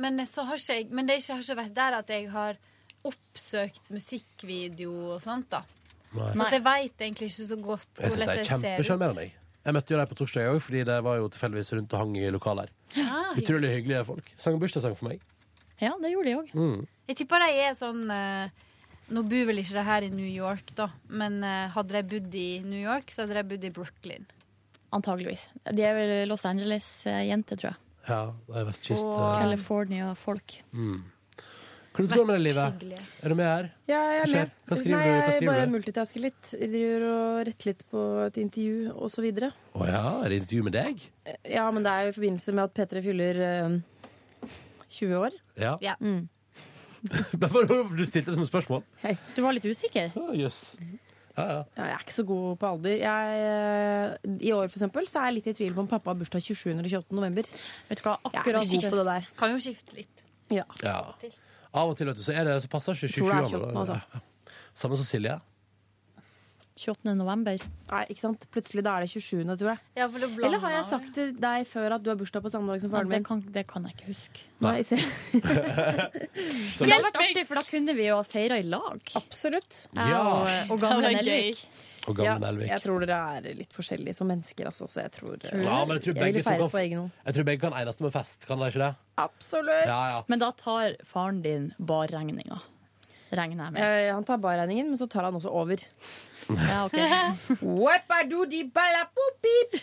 Speaker 7: men, så har ikke jeg, men det ikke, har ikke vært der at jeg har oppsøkt musikkvideo og sånt, da.
Speaker 2: Nei.
Speaker 7: Så at jeg veit egentlig ikke så godt
Speaker 2: Jeg syns de
Speaker 7: hvordan
Speaker 2: er
Speaker 7: jeg ser ut.
Speaker 2: kjempesjarmerende. jeg. Jeg møtte jo dem på torsdag òg, fordi det var jo tilfeldigvis rundt og hang i lokalet her.
Speaker 5: Ah,
Speaker 7: Ja,
Speaker 2: Utrolig hyggelige folk. Sang bursdagssang for meg.
Speaker 5: Ja, det gjorde de òg.
Speaker 2: Mm.
Speaker 7: Jeg tipper de er sånn eh, Nå bor vel ikke de her i New York, da, men eh, hadde de bodd i New York, så hadde de bodd i Brooklyn.
Speaker 5: Antageligvis. De er vel Los Angeles-jenter, tror jeg.
Speaker 2: Ja, det er vestkyst.
Speaker 5: Og
Speaker 2: eh,
Speaker 5: California-folk.
Speaker 2: mm. Hvordan går det med det livet? Er du med her?
Speaker 3: Ja, jeg
Speaker 2: Hva
Speaker 3: er
Speaker 2: skjer?
Speaker 3: med.
Speaker 2: Hva skriver
Speaker 3: Nei,
Speaker 2: du? Hva
Speaker 3: jeg
Speaker 2: skriver
Speaker 3: bare
Speaker 2: du?
Speaker 3: multitasker litt. Jeg driver og retter litt på et intervju og så videre.
Speaker 2: Å ja, er det intervju med deg?
Speaker 3: Ja, men det er jo i forbindelse med at P3 fyller eh, 20 år.
Speaker 2: Ja.
Speaker 3: Mm.
Speaker 2: Det var jo- du stilte det som et spørsmål.
Speaker 5: Du var litt usikker?
Speaker 2: Å, Jøss. Ja, ja.
Speaker 3: Ja, jeg er ikke så god på alder. Jeg, eh, I år for eksempel, så er jeg litt i tvil på om pappa har bursdag 27. eller 28. november.
Speaker 5: Vet du hva,
Speaker 3: jeg er ikke god på det der.
Speaker 7: Kan jo skifte litt.
Speaker 3: Ja.
Speaker 2: ja. Av og til, vet du, så, er det, så passer ikke 27
Speaker 3: Tror det er
Speaker 2: andre.
Speaker 3: 28, altså.
Speaker 2: Ja, ja. Samme som Silje.
Speaker 5: 28. november.
Speaker 3: Nei, ikke sant? Plutselig da er det 27., tror jeg.
Speaker 7: Ja, for det blander
Speaker 3: Eller har jeg
Speaker 7: meg.
Speaker 3: sagt til deg før at du har bursdag på samme dag som faren
Speaker 5: Ja, det
Speaker 3: min?
Speaker 5: kan, jeg ikke huske.
Speaker 3: Nei, se.
Speaker 5: Det hadde vært artig, for da kunne vi jo ha feira i lag. eh,
Speaker 3: Absolutt.
Speaker 2: Ja.
Speaker 3: Og, og gamle
Speaker 5: Det var gøy.
Speaker 3: Nelvik.
Speaker 2: Og gamle Nelvik.
Speaker 3: Jeg tror dere er litt forskjellige som mennesker, altså, så jeg tror,
Speaker 2: Ja, men jeg tror
Speaker 3: jeg
Speaker 2: begge to
Speaker 3: ville feiret på
Speaker 2: kan,
Speaker 3: egen hånd.
Speaker 2: jeg tror begge kan enes om en fest, kan de ikke det?
Speaker 3: Absolutt.
Speaker 2: Ja, ja.
Speaker 5: Men da tar faren din barregninga. Regner jeg med.
Speaker 3: Eh, han tar bare regningen, men så tar han også over.
Speaker 5: Ja, ok.
Speaker 3: Wappadudi-ballapopip.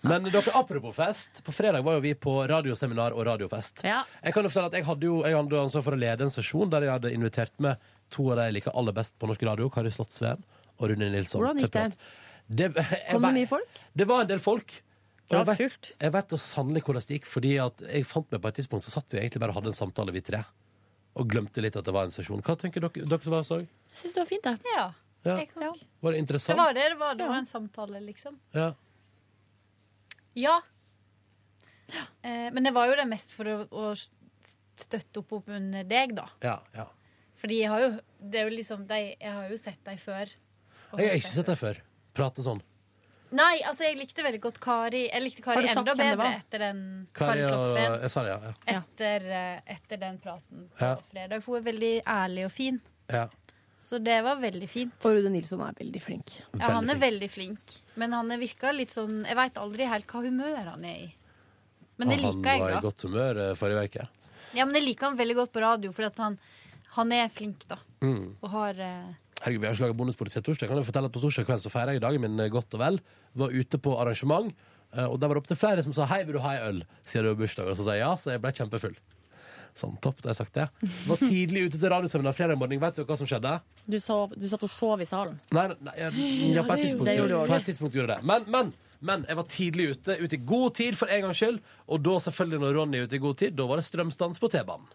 Speaker 2: Men dere, apropos fest. På fredag var jo vi på radioseminar og radiofest. Jeg kan jo fortelle at jeg hadde jo jeg hadde ansvar for å lede en sesjon der jeg hadde invitert med to av de jeg liker aller best på norsk radio, Kari Slottsveen og Rune Nilsson.
Speaker 3: Hvordan gikk det?
Speaker 2: Det, jeg,
Speaker 3: Kom det
Speaker 2: vet-
Speaker 3: mye folk?
Speaker 2: det var en del folk. Og
Speaker 3: Ja,
Speaker 2: jeg vet-
Speaker 3: fullt.
Speaker 2: Jeg vet da sannelig hvordan det gikk, fordi at jeg fant meg på et tidspunkt så satt vi egentlig bare og hadde en samtale, vi tre. Og glemte litt at det var en sesjon. Hva tenker dere, dere som var og så?
Speaker 5: Jeg syns det var fint, jeg.
Speaker 7: Ja.
Speaker 2: Ja.
Speaker 7: Jeg kan-
Speaker 2: Var det
Speaker 7: Det
Speaker 2: interessant?
Speaker 7: var det. Det var, det var en samtale, liksom.
Speaker 2: Ja.
Speaker 7: Ja. Eh, men det var jo det mest for å, å støtte opp, opp under deg, da.
Speaker 2: Ja, ja.
Speaker 7: Fordi jeg har jo, det er jo liksom de, jeg har jo sett dem før. og
Speaker 2: Jeg har
Speaker 7: hørt
Speaker 2: ikke
Speaker 7: dem
Speaker 2: sett deg før prate sånn.
Speaker 7: Nei, altså jeg likte veldig godt Kari. Jeg likte
Speaker 3: Har
Speaker 7: Kari
Speaker 3: du sagt
Speaker 7: enda
Speaker 3: hvem det
Speaker 7: bedre
Speaker 3: var?
Speaker 7: etter den
Speaker 2: Kari
Speaker 7: Kari
Speaker 2: og
Speaker 7: Slottsveen.
Speaker 2: Jeg sa det, ja. ja.
Speaker 7: Etter, eh, etter den praten på
Speaker 2: Ja.
Speaker 7: fredag. For hun er veldig ærlig og fin.
Speaker 2: ja.
Speaker 7: Så det var veldig fint.
Speaker 3: Og Rune Nilsson er veldig flink.
Speaker 7: Ja, han er veldig flink, men han er virka litt sånn Jeg veit aldri helt hva humør han er i. Men det
Speaker 2: Og
Speaker 7: liker
Speaker 2: Han var
Speaker 7: jeg,
Speaker 2: i
Speaker 7: da.
Speaker 2: godt humør eh, forrige uke.
Speaker 7: Ja, men jeg liker han veldig godt på radio, for han, han er flink, da.
Speaker 2: Mm.
Speaker 7: Og har eh,
Speaker 2: Herregud, vi har ikke laget bonusbordet siden torsdag. Kan jeg fortelle at På torsdag kveld så feirer jeg dagen min eh, godt og vel. Var ute på arrangement, eh, og der var det opptil flere som sa 'hei, vil du ha ei øl', siden det var bursdag. Og så sa jeg ja, så jeg ble kjempefull. Sånn, topp, da har jeg sagt det. Var tidlig ute til radioseminar fredag morgen. Vet dere hva som skjedde?
Speaker 5: Du, sov, du satt og sov i salen.
Speaker 2: Nei, nei, nei jeg- ja, på et
Speaker 5: det
Speaker 2: tidspunkt,
Speaker 5: gjorde du
Speaker 2: gjorde-
Speaker 5: også.
Speaker 2: på et tidspunkt gjorde jeg det. Men, men, men jeg var tidlig ute, ute i god tid for en gangs skyld. Og da selvfølgelig når Ronny er ute i god tid, da var det strømstans på T-banen.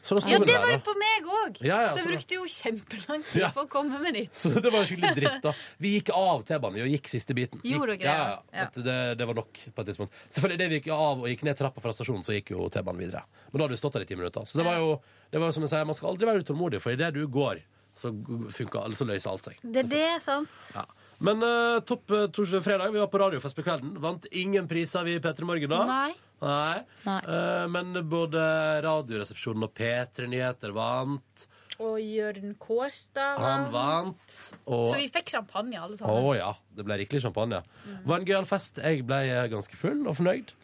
Speaker 2: Så da sto
Speaker 7: Ja,
Speaker 2: vi
Speaker 7: det
Speaker 2: der,
Speaker 7: var
Speaker 2: da.
Speaker 7: det på meg òg!
Speaker 2: Ja, ja,
Speaker 7: så jeg
Speaker 2: så-
Speaker 7: brukte jo kjempelang tid
Speaker 2: Ja.
Speaker 7: på å komme med ditt.
Speaker 2: Så det var jo skikkelig dritt, da. Vi gikk av T-banen og gikk siste biten. Gikk,
Speaker 7: Gjorde dere det?
Speaker 2: ja, ja,
Speaker 7: Ja.
Speaker 2: at det, det var nok på et tidspunkt. Selvfølgelig, det vi gikk av og gikk ned trappa fra stasjonen, så gikk jo T-banen videre. Men da hadde vi stått der i ti minutter. Så det var jo, det var jo som jeg sier, man skal aldri være utålmodig, for idet du går, så funker, eller så løser alt seg.
Speaker 7: Det er det, sant?
Speaker 2: Ja. Men eh, topp eh, torsdag og fredag. Vi var på Radiofest på kvelden. Vant ingen priser, vi i P3 Morgen da.
Speaker 7: Nei.
Speaker 2: Nei.
Speaker 5: Nei.
Speaker 2: Eh, men både Radioresepsjonen og P3 Nyheter vant.
Speaker 7: Og Jørn Kårstad
Speaker 2: Han vant. Og
Speaker 7: Så vi fikk champagne, alle
Speaker 2: Å
Speaker 7: sammen.
Speaker 2: ja, det ble rikelig champagne. Det var en gøyal fest. Jeg ble eh, ganske full og fornøyd.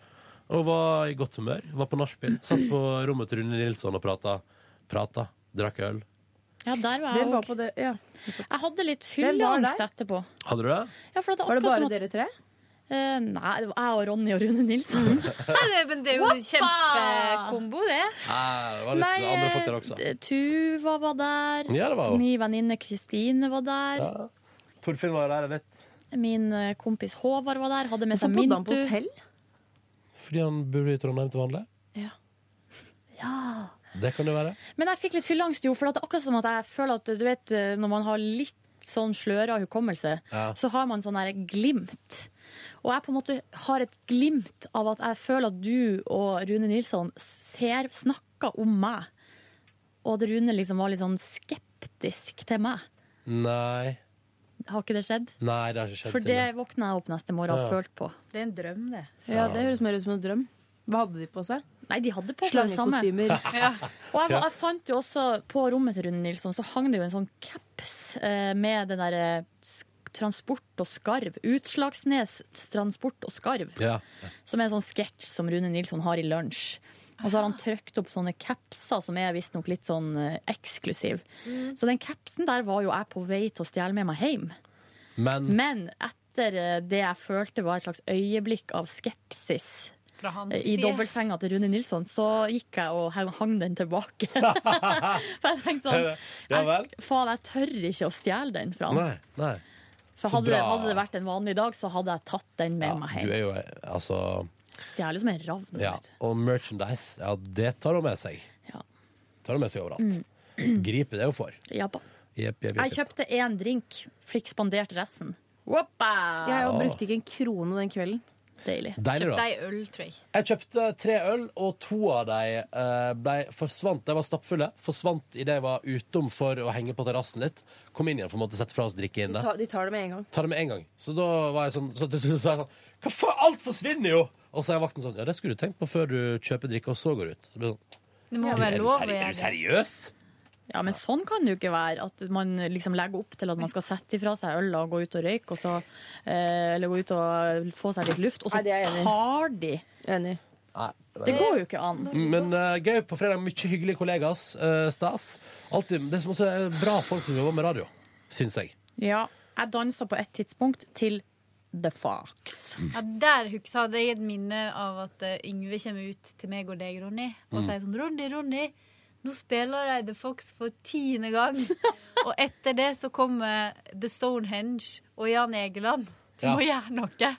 Speaker 2: Og var i godt humør. Var på nachspiel. Satt på rommet til Rune Nilsson og prata. Prata. Drakk øl.
Speaker 5: Ja, der
Speaker 7: Ah,
Speaker 5: var jeg
Speaker 3: Hvem var
Speaker 5: òg.
Speaker 3: på det? Ja.
Speaker 5: Jeg hadde litt
Speaker 3: Hvem var
Speaker 5: fylleangst etterpå.
Speaker 2: Hadde du det?
Speaker 5: Ja, for at
Speaker 3: Var det
Speaker 5: akkurat som
Speaker 3: bare
Speaker 5: at-
Speaker 3: dere tre?
Speaker 5: Eh, nei, det var jeg og Ronny og Rune
Speaker 7: Mm.
Speaker 5: Nilsen.
Speaker 7: Nei, det- Eh, Men det er jo en kjempekombo, det.
Speaker 2: Nei, det var litt
Speaker 5: Nei,
Speaker 2: andre folk der også.
Speaker 5: eh, Tuva var der.
Speaker 2: Ja, det var hun.
Speaker 5: Min venninne Kristine var der.
Speaker 2: Ja. Torfinn var der litt.
Speaker 5: Min eh, kompis Håvard var der. Hadde med seg
Speaker 3: Hvorfor bodde
Speaker 5: Mintu.
Speaker 3: han på hotell?
Speaker 2: Fordi han bor i Trondheim til vanlig.
Speaker 5: Ja.
Speaker 2: Det kan det være.
Speaker 5: Men jeg fikk litt fylleangst, jo, for at det er akkurat som at jeg føler at du vet, eh, når man har litt sånn sløra hukommelse,
Speaker 2: Ja.
Speaker 5: så har man sånn der glimt. Og jeg på en måte har et glimt av at jeg føler at du og Rune Nilsson ser, snakker om meg, og at Rune liksom var litt sånn skeptisk til meg.
Speaker 2: Nei.
Speaker 5: Har ikke det skjedd?
Speaker 2: Nei, det har ikke skjedd.
Speaker 5: For det
Speaker 2: Silje.
Speaker 5: våkna jeg opp neste morgen og
Speaker 2: Ja.
Speaker 5: følte på.
Speaker 7: Det er en drøm, det.
Speaker 3: Ja, Det høres mer ut som en drøm. Hva hadde de på seg?
Speaker 5: Nei, de hadde på seg det samme.
Speaker 3: Slangekostymer.
Speaker 5: Og jeg,
Speaker 3: Ja.
Speaker 5: jeg fant jo også på rommet til Rune Nilsson, så hang det jo en sånn caps eh, med den derre sk- Transport og skarv. Utslagsnes transport og skarv.
Speaker 2: Ja.
Speaker 5: Som er en sånn sketsj som Rune Nilsson har i lunsj. Og så har han trykt opp sånne capser som er visstnok litt sånn eh, eksklusiv.
Speaker 7: Mm.
Speaker 5: Så den capsen der var jo jeg på vei til å stjele med meg hjem.
Speaker 2: Men
Speaker 5: Men etter eh, det jeg følte var et slags øyeblikk av skepsis
Speaker 7: Fra hans
Speaker 5: eh, i
Speaker 7: side.
Speaker 5: dobbeltsenga til Rune Nilsson, så gikk jeg og hang- hang den tilbake. For jeg tenkte sånn
Speaker 2: Ja vel?
Speaker 5: Faen, jeg tør ikke å stjele den fra han.
Speaker 2: Nei. nei.
Speaker 5: For
Speaker 2: Så
Speaker 5: hadde, det-
Speaker 2: bra.
Speaker 5: hadde det vært en vanlig dag, så hadde jeg tatt den med meg
Speaker 2: Du
Speaker 5: hjem.
Speaker 2: er jo eh, altså
Speaker 5: Stjeler som en ravn.
Speaker 2: Ja. Og merchandise, ja, det tar hun med seg. Tar hun med seg overalt.
Speaker 7: Mm.
Speaker 2: Gripe det hun får.
Speaker 5: Ja, ba.
Speaker 2: Jepp, jepp,
Speaker 5: jeg
Speaker 2: jepp.
Speaker 5: kjøpte én drink, fikk spandert resten. Woppa!
Speaker 2: Jeg jo brukte
Speaker 5: ikke en krone den kvelden. Deilig.
Speaker 2: Deilig, da.
Speaker 7: ei øl, tror jeg.
Speaker 2: Jeg kjøpte tre øl, og to av de eh, ble, forsvant. De var stappfulle. Forsvant idet jeg var utom for å henge på terrassen litt. Kom inn igjen for å måtte sette fra oss drikke
Speaker 3: De
Speaker 2: inne.
Speaker 3: tar, de tar det med en gang.
Speaker 2: Ta det med en gang. Så da var jeg sånn Så til slutt sa jeg sånn Hva faen, alt forsvinner jo! Og så er vakten sånn Ja, det skulle du tenkt på før du kjøper drikke, og så går du ut. Så ble det sånn,
Speaker 7: Det må
Speaker 2: du,
Speaker 7: være
Speaker 2: er, du
Speaker 7: lov å
Speaker 2: seri
Speaker 7: gjøre
Speaker 2: er du
Speaker 7: det.
Speaker 2: seriøs?
Speaker 5: Ja, men sånn kan det jo ikke være. At man liksom legger opp til at man skal sette ifra seg øl og gå ut og røyke, og så, eh, eller gå ut og få seg litt luft, og så
Speaker 3: Nei, det er jeg enig i.
Speaker 5: tar de.
Speaker 2: Nei. var-
Speaker 5: Det går jo ikke an.
Speaker 2: Men eh, gøy på fredag. Mye hyggelige kollegas. eh, stas. Alltid, det som også er bra folk som jobber med radio, syns jeg.
Speaker 5: Ja, jeg dansa på et tidspunkt til The Fox.
Speaker 7: Ja, der husker hadde jeg et minne av at eh, Yngve kommer ut til meg og deg, Ronny, og
Speaker 5: Mm.
Speaker 7: sier sånn Ronny, Ronny, nå spiller de The Fox for tiende gang. og etter det så kommer The Stonehenge og Jan Egeland. Du må
Speaker 2: Ja.
Speaker 7: gjøre noe.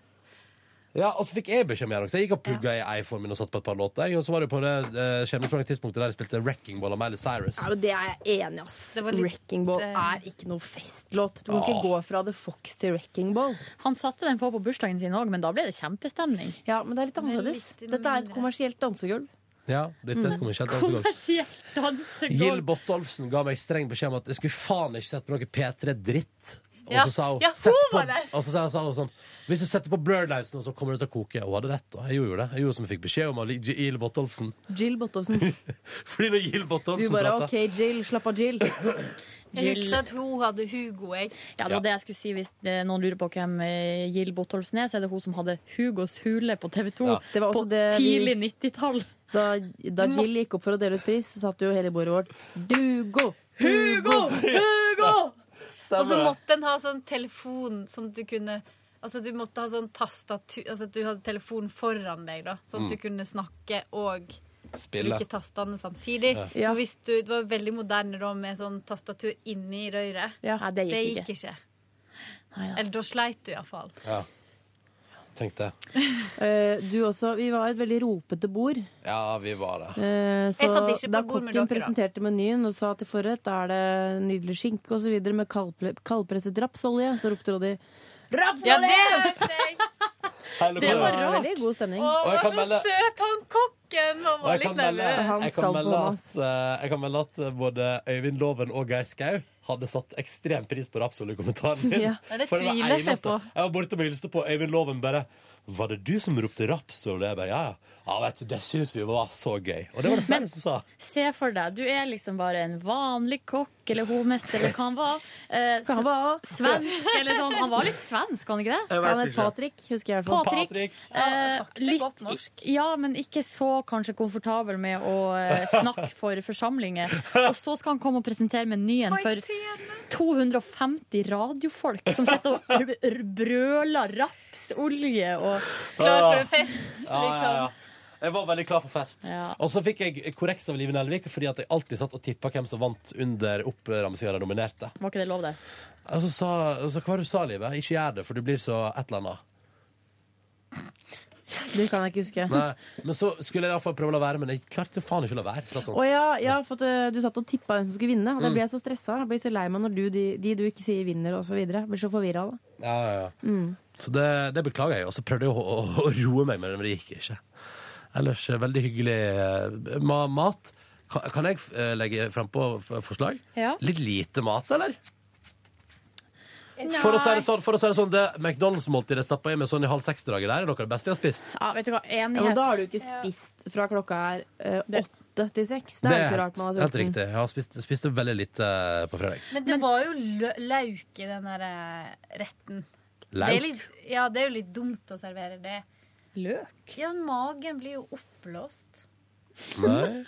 Speaker 2: Ja, og så fikk jeg beskjed om å gjøre noe, så jeg gikk og plugga i iPhonen min og satt på et par låter. jeg. Og så var det på det eh, skjebnesvangre tidspunktet der jeg spilte Wrecking Ball av Miley Cyrus.
Speaker 3: Ja, men det er jeg enig i. ass. Wrecking Ball er ikke noe festlåt. Du kan
Speaker 5: eh, Åh.
Speaker 3: ikke gå fra The Fox til Wrecking Ball.
Speaker 5: Han satte den på på bursdagen sin òg, men da ble det kjempestemning.
Speaker 3: Ja, men det er litt annerledes. Dette er et kommersielt dansegulv.
Speaker 2: Ja, dette
Speaker 5: Mm.
Speaker 2: kommer ikke helt an så godt.
Speaker 5: Kommersiell dansegolv.
Speaker 2: Gill Botolfsen ga meg streng beskjed om at jeg skulle faen ikke sette på noe P3-dritt. Og
Speaker 5: Ja.
Speaker 2: så sa hun,
Speaker 5: Ja, hun
Speaker 2: "Sett på,
Speaker 5: var der!"
Speaker 2: og så sa sa hun sånn Hvis du setter på Blur Lights nå, så kommer det til å koke. Og hun hadde rett. da. Jeg gjorde jo det. Jeg gjorde som jeg fikk beskjed om av Gill Botolfsen.
Speaker 3: Jill Bottovsen.
Speaker 2: Fordi når Gill
Speaker 3: Du
Speaker 2: Botolfsen
Speaker 3: bare
Speaker 2: prater-
Speaker 3: OK, Jill. Slapp av, Jill.
Speaker 5: Jeg husker
Speaker 7: at hun hadde Hugo, jeg.
Speaker 5: Ja, det var det jeg skulle si Hvis eh, noen lurer på hvem eh, Jill Botolfsen er, så er det hun som hadde Hugos hule på TV 2
Speaker 3: Det var
Speaker 5: på
Speaker 3: også det vi-
Speaker 5: tidlig 90-tall.
Speaker 3: Da, da Jill gikk opp for å dele ut pris, så satt jo hele bordet vårt Dugo!
Speaker 7: Hugo! Hugo!
Speaker 3: Stemmer
Speaker 7: Og så
Speaker 3: det.
Speaker 7: måtte en ha sånn telefon som du kunne Altså du måtte ha sånn tastatur Altså at du hadde telefonen foran deg, da. Sånn at
Speaker 5: Mm.
Speaker 7: du kunne snakke og
Speaker 5: Spille.
Speaker 7: bruke tastene samtidig.
Speaker 5: Ja.
Speaker 7: Og hvis du, det var veldig moderne da med sånn tastatur inni røret.
Speaker 5: Nei, det gikk
Speaker 7: gikk ikke. Eller da sleit du iallfall.
Speaker 2: Ja. Tenk det.
Speaker 3: Eh, du også. Vi var et veldig ropete bord.
Speaker 2: Ja, vi var det.
Speaker 3: Eh,
Speaker 7: Jeg satt ikke på
Speaker 3: da
Speaker 7: bord
Speaker 3: kokken
Speaker 7: med dere, da.
Speaker 3: presenterte menyen og sa til forrett da er det nydelig skinke osv. med kaldple- kaldpresset rapsolje, så ropte Roddy
Speaker 7: Ja,
Speaker 3: rapsolje!
Speaker 7: det hørte jeg!
Speaker 2: Hele
Speaker 3: det var
Speaker 2: bordet.
Speaker 3: veldig god stemning.
Speaker 7: Å,
Speaker 2: Og jeg
Speaker 7: var
Speaker 2: kan
Speaker 7: så
Speaker 2: melde-
Speaker 7: søt han kokken! Man
Speaker 2: Og
Speaker 7: var
Speaker 2: jeg
Speaker 7: litt
Speaker 2: kan melde,
Speaker 7: nervøs.
Speaker 2: jeg kan melde at, eh, jeg kan melde at eh, både Øyvind Loven og Geir Skau hadde satt ekstrem pris på Rapsol-kommentaren min.
Speaker 7: Ja, men det
Speaker 2: For var
Speaker 7: tviler jeg
Speaker 2: eneste-
Speaker 7: på.
Speaker 2: Jeg var borte og hilste på Øyvind Loven bare Var det du som ropte Rapsol? Jeg bare, ja, ja. ja vet du, det syns vi var så gøy. Og det var det flere som sa.
Speaker 5: Se for deg, du er liksom bare en vanlig kokk eller hovmester eller hva han var. Eh,
Speaker 3: Hva han var?
Speaker 5: Svensk eller sånn. Han var litt svensk, var han ikke det?
Speaker 3: Ja, Han het Patrick, husker jeg. i hvert fall.
Speaker 5: Patrick. Eh, litt, godt norsk. Ja, men ikke så kanskje komfortabel med å eh, snakke for forsamlinger. Og så skal han komme og presentere menyen for 250 radiofolk som sitter og r- r- brøler rapsolje og
Speaker 2: Ja, ja,
Speaker 7: sånn.
Speaker 2: ja. Jeg var veldig klar for fest.
Speaker 5: Ja.
Speaker 2: Og så fikk jeg korreks av Live Nelvik fordi at jeg alltid satt og tippa hvem som vant under oppramsinga de nominerte.
Speaker 5: Var ikke det lov, det?
Speaker 2: Og så sa altså, Hva var det du sa, Live? Ikke gjør det, for du blir så et eller annet.
Speaker 3: Det kan jeg ikke huske.
Speaker 2: Nei, men så skulle jeg iallfall prøve å la være, men jeg klarte jo faen ikke å la være. Så
Speaker 3: Å ja, ja, for at eh, du satt og tippa hvem som skulle vinne. Og da
Speaker 2: Mm.
Speaker 3: blir jeg så stressa. Jeg blir så lei meg når du, de, de du ikke sier vinner, og så videre. Jeg Blir så forvirra av det.
Speaker 2: ja, ja, ja.
Speaker 3: Mm.
Speaker 2: Så det, det beklager jeg, og så prøvde jeg å, å, å roe meg, men det gikk ikke. Ellers eh, veldig hyggelig eh, ma mat. Kan, kan jeg eh, legge frampå forslag?
Speaker 5: Ja.
Speaker 2: Litt lite mat, eller? For å si det sånn, for å si det, sånn det McDonald's-måltidet stappa i med sånn i halv seks-draget der, er noe av det beste jeg har spist.
Speaker 5: Ja, vet du hva,
Speaker 3: Ja,
Speaker 5: enighet.
Speaker 3: men da har du ikke spist fra klokka er eh, åtte til seks. Det
Speaker 2: Det
Speaker 3: er jo
Speaker 2: er
Speaker 3: ikke rart man er
Speaker 2: Helt
Speaker 3: sulten.
Speaker 2: riktig. Jeg har spist, spiste veldig lite eh, på fredag.
Speaker 7: Men det var jo lø- lauk i den der eh, retten.
Speaker 2: Lauk?
Speaker 7: Det er litt, ja, det er jo litt dumt å servere det.
Speaker 5: Løk?
Speaker 7: Ja, men magen blir jo oppblåst.
Speaker 2: Nei.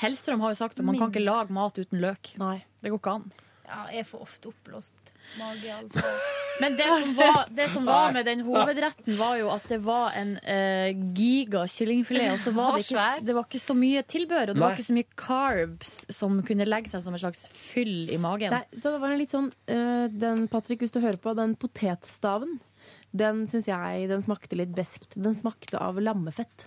Speaker 5: Hellstrøm har jo sagt at man kan ikke lage mat uten løk. Det går ikke an.
Speaker 7: Ja, jeg er for ofte oppblåst. Mage, iallfall.
Speaker 5: Men det som var, det som var med den hovedretten, var jo at det var en eh, giga kyllingfilet. Og så var det, ikke, det var ikke så mye tilbør, og det
Speaker 3: Nei.
Speaker 5: var ikke så mye carbs som kunne legge seg som en slags fyll i magen.
Speaker 3: Der, så det var en litt sånn eh, Den, Patrick, hvis du hører på, den potetstaven den syns jeg den smakte litt beskt. Den smakte av lammefett.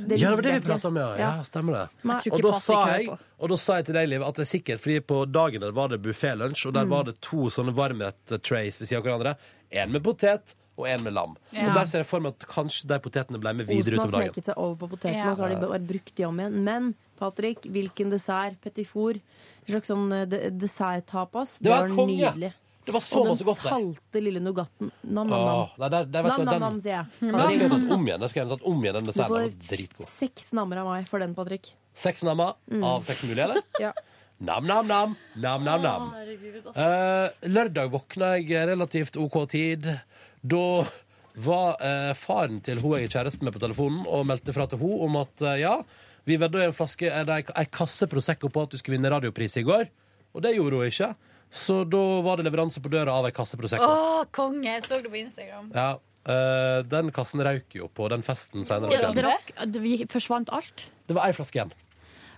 Speaker 2: ja, det var det
Speaker 3: likte jeg
Speaker 2: vi prata om, ja. ja. stemmer det.
Speaker 3: Nei. Jeg tror
Speaker 2: Og
Speaker 3: ikke
Speaker 2: da,
Speaker 3: Patrick
Speaker 2: sa
Speaker 3: hører
Speaker 2: jeg,
Speaker 3: på.
Speaker 2: og da sa jeg til deg, Liv, at det er sikkert fordi på dagen der var det buffé-lunsj, og der
Speaker 3: Mm.
Speaker 2: var det to sånne varmrett-trays ved siden av hverandre. En med potet og en med lam.
Speaker 3: Ja.
Speaker 2: Og der ser jeg for meg at kanskje de potetene ble med videre
Speaker 3: Osen har
Speaker 2: utover dagen.
Speaker 3: sneket seg over på potetene,
Speaker 2: Ja.
Speaker 3: og så har de bare brukt de om igjen. Men Patrick, hvilken dessert? Petit four? En slags sånn eh, de desserttapas.
Speaker 2: Det var helt konge.
Speaker 3: nydelig.
Speaker 2: Det var så
Speaker 3: og
Speaker 2: masse
Speaker 3: den
Speaker 2: godt der.
Speaker 3: salte lille nougatten. Nam, nam, nam.
Speaker 2: Åh, nei, der- der vet du hva,
Speaker 3: nam, nam,
Speaker 2: den-
Speaker 3: nam, sier jeg.
Speaker 2: Den skal jeg ha tatt om igjen. Den skal jeg ha tatt om igjen, den
Speaker 3: Du
Speaker 2: desserten. Den var
Speaker 3: får
Speaker 2: dritgod.
Speaker 3: seks nammer av meg for den, Patrick.
Speaker 2: Seks nammer
Speaker 3: Mm.
Speaker 2: av seks mulige, eller?
Speaker 3: Ja.
Speaker 2: Nam-nam-nam. Nam-nam-nam. Eh, lørdag våkna jeg relativt OK tid. Da var eh, faren til hun jeg er kjæreste med, på telefonen og meldte fra til hun om at eh, ja, vi vedda en flaske eller ei kasse Prosecco på at du skulle vinne radiopris i går. Og det gjorde hun ikke. Så da var det leveranse på døra av ei kasse Prosecco.
Speaker 7: Å, konge! Jeg så det på Instagram.
Speaker 2: Ja, eh, den kassen røyk jo på den festen senere.
Speaker 5: Ja,
Speaker 2: på
Speaker 5: det
Speaker 2: kvelden.
Speaker 5: rakk, det vi- forsvant alt.
Speaker 2: Det var ei flaske igjen.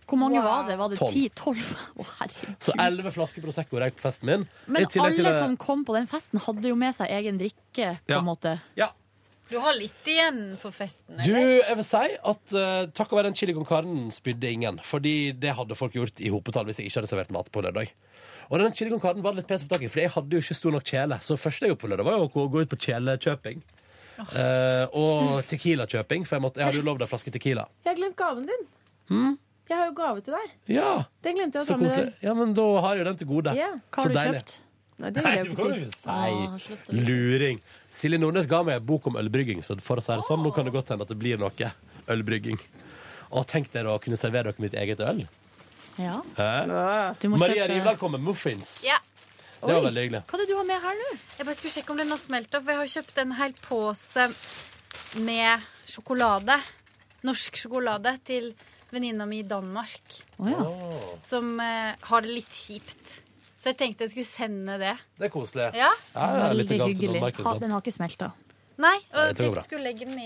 Speaker 5: Hvor mange var det? Var det
Speaker 2: Tolv.
Speaker 5: ti? Tolv? Å, herregud.
Speaker 2: Så elleve flasker Prosecco røyk på festen min.
Speaker 5: Men
Speaker 2: I tillegg til
Speaker 5: alle
Speaker 2: det-
Speaker 5: som kom på den festen, hadde jo med seg egen drikke, på
Speaker 2: Ja.
Speaker 5: en måte.
Speaker 2: Ja.
Speaker 7: Du har litt igjen for festen,
Speaker 2: Du,
Speaker 7: eller?
Speaker 2: jeg vil si at eh, takk å være den chili con carnen spydde ingen. Fordi det hadde folk gjort i hopetall hvis jeg ikke hadde servert mat på lørdag. Og den chili con carnen var det litt pes å få tak i, for jeg hadde jo ikke stor nok kjele. Så første jeg gjorde på lørdag, var jo å gå- gå ut på kjelekjøping. Eh, og tequila-kjøping, for jeg, måtte, jeg hadde jo lovd ei flaske tequila.
Speaker 3: Jeg har glemt gaven din.
Speaker 2: Mm?
Speaker 3: Jeg har jo gave til deg.
Speaker 2: Ja,
Speaker 3: Det glemte jeg å
Speaker 2: så
Speaker 3: ta med
Speaker 2: koselig.
Speaker 3: deg.
Speaker 2: Ja, men da har jeg jo den til gode.
Speaker 3: Ja. Hva
Speaker 2: så
Speaker 3: har du
Speaker 2: deilig.
Speaker 3: kjøpt? Nei, det vil jeg
Speaker 2: Nei, det
Speaker 3: jo ikke si.
Speaker 2: kan du ikke si. Luring. Silje Nordnes ga meg en bok om ølbrygging, så for å si det sånn, nå kan det godt hende at det blir noe ølbrygging. Og tenk dere å kunne servere dere mitt eget øl.
Speaker 7: Ja.
Speaker 2: Hæ?
Speaker 7: Du må
Speaker 2: Maria
Speaker 7: kjøpe-
Speaker 2: Rivland kom med muffins.
Speaker 5: Ja.
Speaker 2: Det var veldig hyggelig.
Speaker 5: Hva er det du har med her nå? Jeg bare skulle sjekke om den har smelt opp. for Jeg har kjøpt en hel pose med sjokolade. Norsk sjokolade til venninna mi i Danmark. Som eh, har det litt kjipt. Så jeg tenkte jeg skulle sende det.
Speaker 2: Det er koselig.
Speaker 5: Ja.
Speaker 2: ja, litt
Speaker 7: Veldig
Speaker 2: galt sånn. til
Speaker 7: hyggelig.
Speaker 2: Danmark, ikke
Speaker 7: Ha,
Speaker 2: sant?
Speaker 7: den har ikke smelta.
Speaker 5: Nei,
Speaker 2: Nei,
Speaker 5: og jeg
Speaker 2: det går
Speaker 5: tenkte
Speaker 2: bra.
Speaker 5: jeg skulle legge den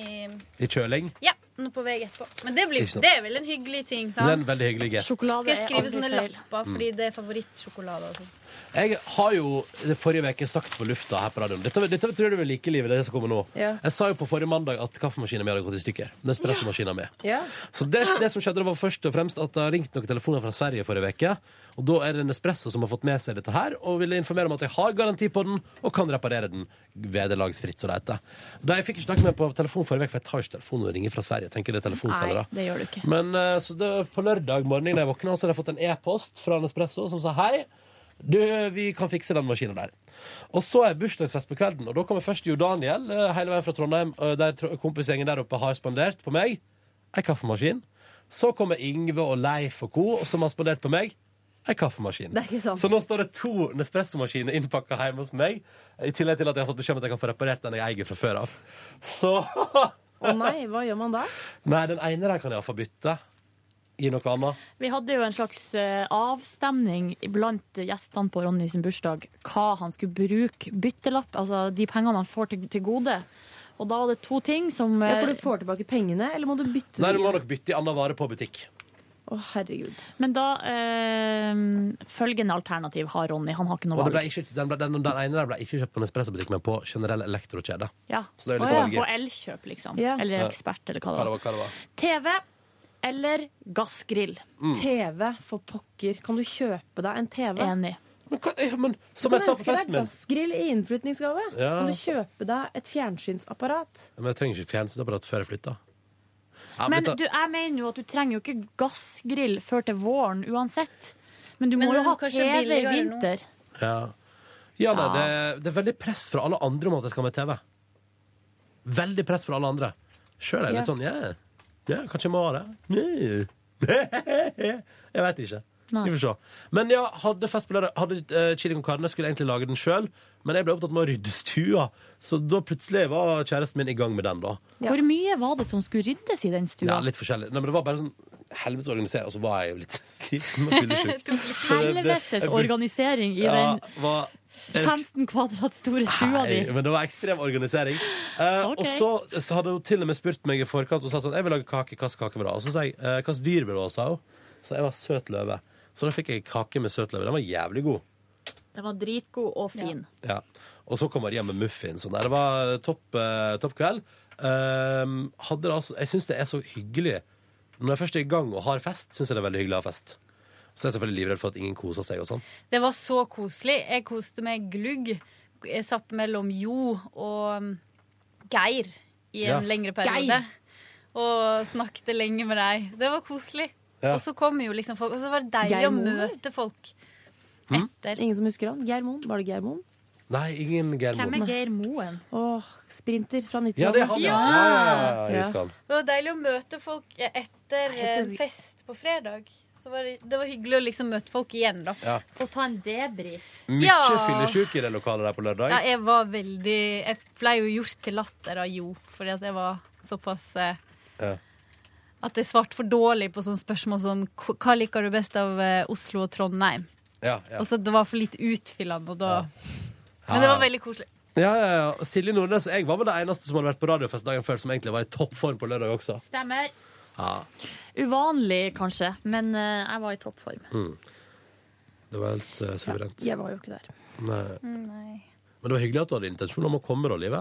Speaker 5: i
Speaker 2: I kjøling.
Speaker 5: Ja, nå på vei etterpå. Men det, blir,
Speaker 2: Ikke sant.
Speaker 5: det er vel en hyggelig ting,
Speaker 2: Det er en
Speaker 5: sant?
Speaker 2: veldig hyggelig gest.
Speaker 5: Skal jeg skrive
Speaker 7: aldri
Speaker 5: sånne
Speaker 7: feil.
Speaker 5: lapper
Speaker 2: Mm.
Speaker 5: fordi det er favorittsjokolade og sånn?
Speaker 2: Jeg har jo det forrige uke sagt på lufta her på radioen Dette, dette tror jeg du vil like, livet, det som kommer nå.
Speaker 3: Ja.
Speaker 2: Jeg sa jo på forrige mandag at kaffemaskinen min hadde gått i stykker. Nespresso-maskinen min.
Speaker 3: Ja.
Speaker 2: Så det, det som skjedde, det var først og fremst at det har ringt noen telefoner fra Sverige forrige uke. Og da er det Nespresso som har fått med seg dette her, og ville informere om at jeg har garanti på den, og kan reparere den vederlagsfritt, som det heter. Da jeg fikk ikke snakket med på telefon forrige uke, for jeg tar ikke telefonen og ringer fra Sverige. tenker det er telefonselgere.
Speaker 7: Nei, det gjør du ikke.
Speaker 2: Men eh, så det, på lørdag morgen da jeg våkna, så hadde jeg fått en e-post fra Nespresso som sa hei. Du, vi kan fikse den maskinen der. Og så er bursdagsfest på kvelden, og da kommer først Jo Daniel eh, hele veien fra Trondheim, eh, der tro- kompisgjengen der oppe har spandert på meg ei kaffemaskin. Så kommer Yngve og Leif og co., som har spandert på meg ei kaffemaskin.
Speaker 3: Det er ikke sant.
Speaker 2: Så nå står det to Nespresso-maskiner innpakka hjemme hos meg, i tillegg til at jeg har fått beskjed om at jeg kan få reparert den jeg eier fra før av. Så
Speaker 3: Å nei, hva gjør man da?
Speaker 2: Nei, den ene der kan jeg iallfall bytte i noe annet.
Speaker 7: Vi hadde jo en slags eh, avstemning blant gjestene på Ronny sin bursdag hva han skulle bruke byttelapp, altså de pengene han får til, til gode. Og da var det to ting som
Speaker 3: Ja, for
Speaker 7: eh,
Speaker 3: du får tilbake pengene, eller må du bytte
Speaker 2: Nei, du
Speaker 3: dem?
Speaker 2: må nok bytte i annen vare på butikk.
Speaker 3: Å, herregud.
Speaker 7: Men da eh, Følgende alternativ har Ronny. Han har
Speaker 2: Og
Speaker 7: ikke noe
Speaker 2: det ble
Speaker 7: valg.
Speaker 2: ikke, den, ble, den, den ene der ble ikke kjøpt på Nespresso-butikk, men på generell elektrokjede.
Speaker 7: Ja.
Speaker 2: Så det er litt
Speaker 7: Å ja,
Speaker 2: valg i.
Speaker 7: på elkjøp, liksom.
Speaker 2: Ja.
Speaker 7: Eller
Speaker 2: Ja.
Speaker 7: ekspert, eller hva
Speaker 2: Hva
Speaker 7: det
Speaker 2: det
Speaker 7: var.
Speaker 2: var, hva det var.
Speaker 7: TV eller gassgrill?
Speaker 2: Mm.
Speaker 3: TV, for pokker. Kan du kjøpe deg en TV?
Speaker 7: Enig.
Speaker 2: Men, hva, ja, men
Speaker 3: Du
Speaker 2: som
Speaker 3: kan
Speaker 2: jeg sa på
Speaker 3: ønske deg
Speaker 2: festen min
Speaker 3: gassgrill i innflytningsgave.
Speaker 2: Ja.
Speaker 3: Kan du kjøpe deg et fjernsynsapparat?
Speaker 2: Men jeg trenger ikke fjernsynsapparat før jeg flytter. Ja,
Speaker 7: Men
Speaker 2: dette-
Speaker 7: du, jeg mener jo at du trenger jo ikke gassgrill før til våren uansett. Men du
Speaker 5: Men
Speaker 7: må
Speaker 5: det
Speaker 7: jo
Speaker 5: er
Speaker 7: ha
Speaker 5: kanskje
Speaker 7: TV i
Speaker 5: billigere nå.
Speaker 7: vinter.
Speaker 2: ja. Ja, nei,
Speaker 7: Ja.
Speaker 2: det, det er veldig press fra alle andre om at jeg skal ha med TV. Veldig press fra alle andre. Sjøl er jeg litt
Speaker 7: Ja.
Speaker 2: sånn ja, ja, kanskje jeg må ha det. Yeah. jeg veit ikke.
Speaker 7: Nei.
Speaker 2: Vi får se. Men ja, hadde fest på lørdag. Hadde eh, chili con carne. Skulle egentlig lage den sjøl, men jeg ble opptatt med å rydde stua. Så da plutselig var kjæresten min i gang med den, da.
Speaker 7: Hvor mye var det som skulle ryddes i den stua?
Speaker 2: Ja, litt forskjellig. Nei, men det var bare sånn helvetes organisert, og så var jeg jo litt sliten og fyllesyk. Så det- det- jeg
Speaker 7: Helvetes
Speaker 2: brukte-
Speaker 7: organisering i
Speaker 2: Ja,
Speaker 7: den
Speaker 2: var-
Speaker 7: 15 kvadrat store stua di.
Speaker 2: Nei, men det var ekstrem organisering. Eh,
Speaker 7: Ok.
Speaker 2: Og så, så hadde hun til og med spurt meg i forkant og sa sånn Jeg vil lage kake, hva slags kake vil du ha? Og så sa jeg eh, hva slags dyr vil du ha, sa hun. Så jeg var søt løve. Så da fikk jeg kake med søt løve. Den var jævlig god.
Speaker 7: Den var dritgod og fin.
Speaker 2: Ja. Og så kom Maria med muffins. og Nei, det var topp, eh, topp kveld. Ehm, hadde det altså, jeg syns det er så hyggelig. Når jeg først er i gang og har fest, syns jeg det er veldig hyggelig å ha fest. Så er jeg selvfølgelig livredd for at ingen koser seg og sånn.
Speaker 5: Det var så koselig. Jeg koste meg glugg. Jeg satt mellom Jo og um, Geir i en
Speaker 2: Ja.
Speaker 5: lengre periode. Og snakket lenge med deg. Det var koselig.
Speaker 3: Ja.
Speaker 5: Og så kom jo liksom folk, og så var det deilig å
Speaker 3: Geir Moer?
Speaker 5: møte folk.
Speaker 3: Ingen som husker han? Geir Moen? Var det Geir Moen?
Speaker 2: Nei, ingen Geir Moen.
Speaker 7: Geir Moen?
Speaker 3: Åh, sprinter fra 90-tallet.
Speaker 2: Ja, det er han, ja. Ja, ja, ja, jeg husker han.
Speaker 5: Det var deilig å møte folk etter en fest på fredag. Så var det, det var hyggelig å liksom møte folk igjen, da.
Speaker 2: Ja.
Speaker 7: Og ta en debrief.
Speaker 2: Mye
Speaker 5: Ja.
Speaker 2: fyllesyk i det lokalet der på lørdag.
Speaker 5: Ja, jeg var veldig Jeg ble jo gjort til latter av Jo, fordi at jeg var såpass eh,
Speaker 2: Ja.
Speaker 5: At jeg svarte for dårlig på sånne spørsmål som "Hva- Hva liker du best av eh, Oslo og Trondheim?
Speaker 2: Ja, ja.
Speaker 5: Og så Det var for litt utfyllende, og da Men
Speaker 2: Ja,
Speaker 5: det
Speaker 2: ja.
Speaker 5: var veldig koselig.
Speaker 2: Ja, ja, ja. Silje Nordnes og jeg var vel det eneste som hadde vært på radiofest dagen før, som egentlig var i toppform på lørdag også.
Speaker 7: Stemmer.
Speaker 2: Ja.
Speaker 7: Uvanlig, kanskje, men eh, jeg var i toppform.
Speaker 2: Mm. Det var helt eh, suverent.
Speaker 3: Jeg var jo ikke der.
Speaker 2: Nei. Men det var hyggelig at du hadde intensjon om å komme, da, Live.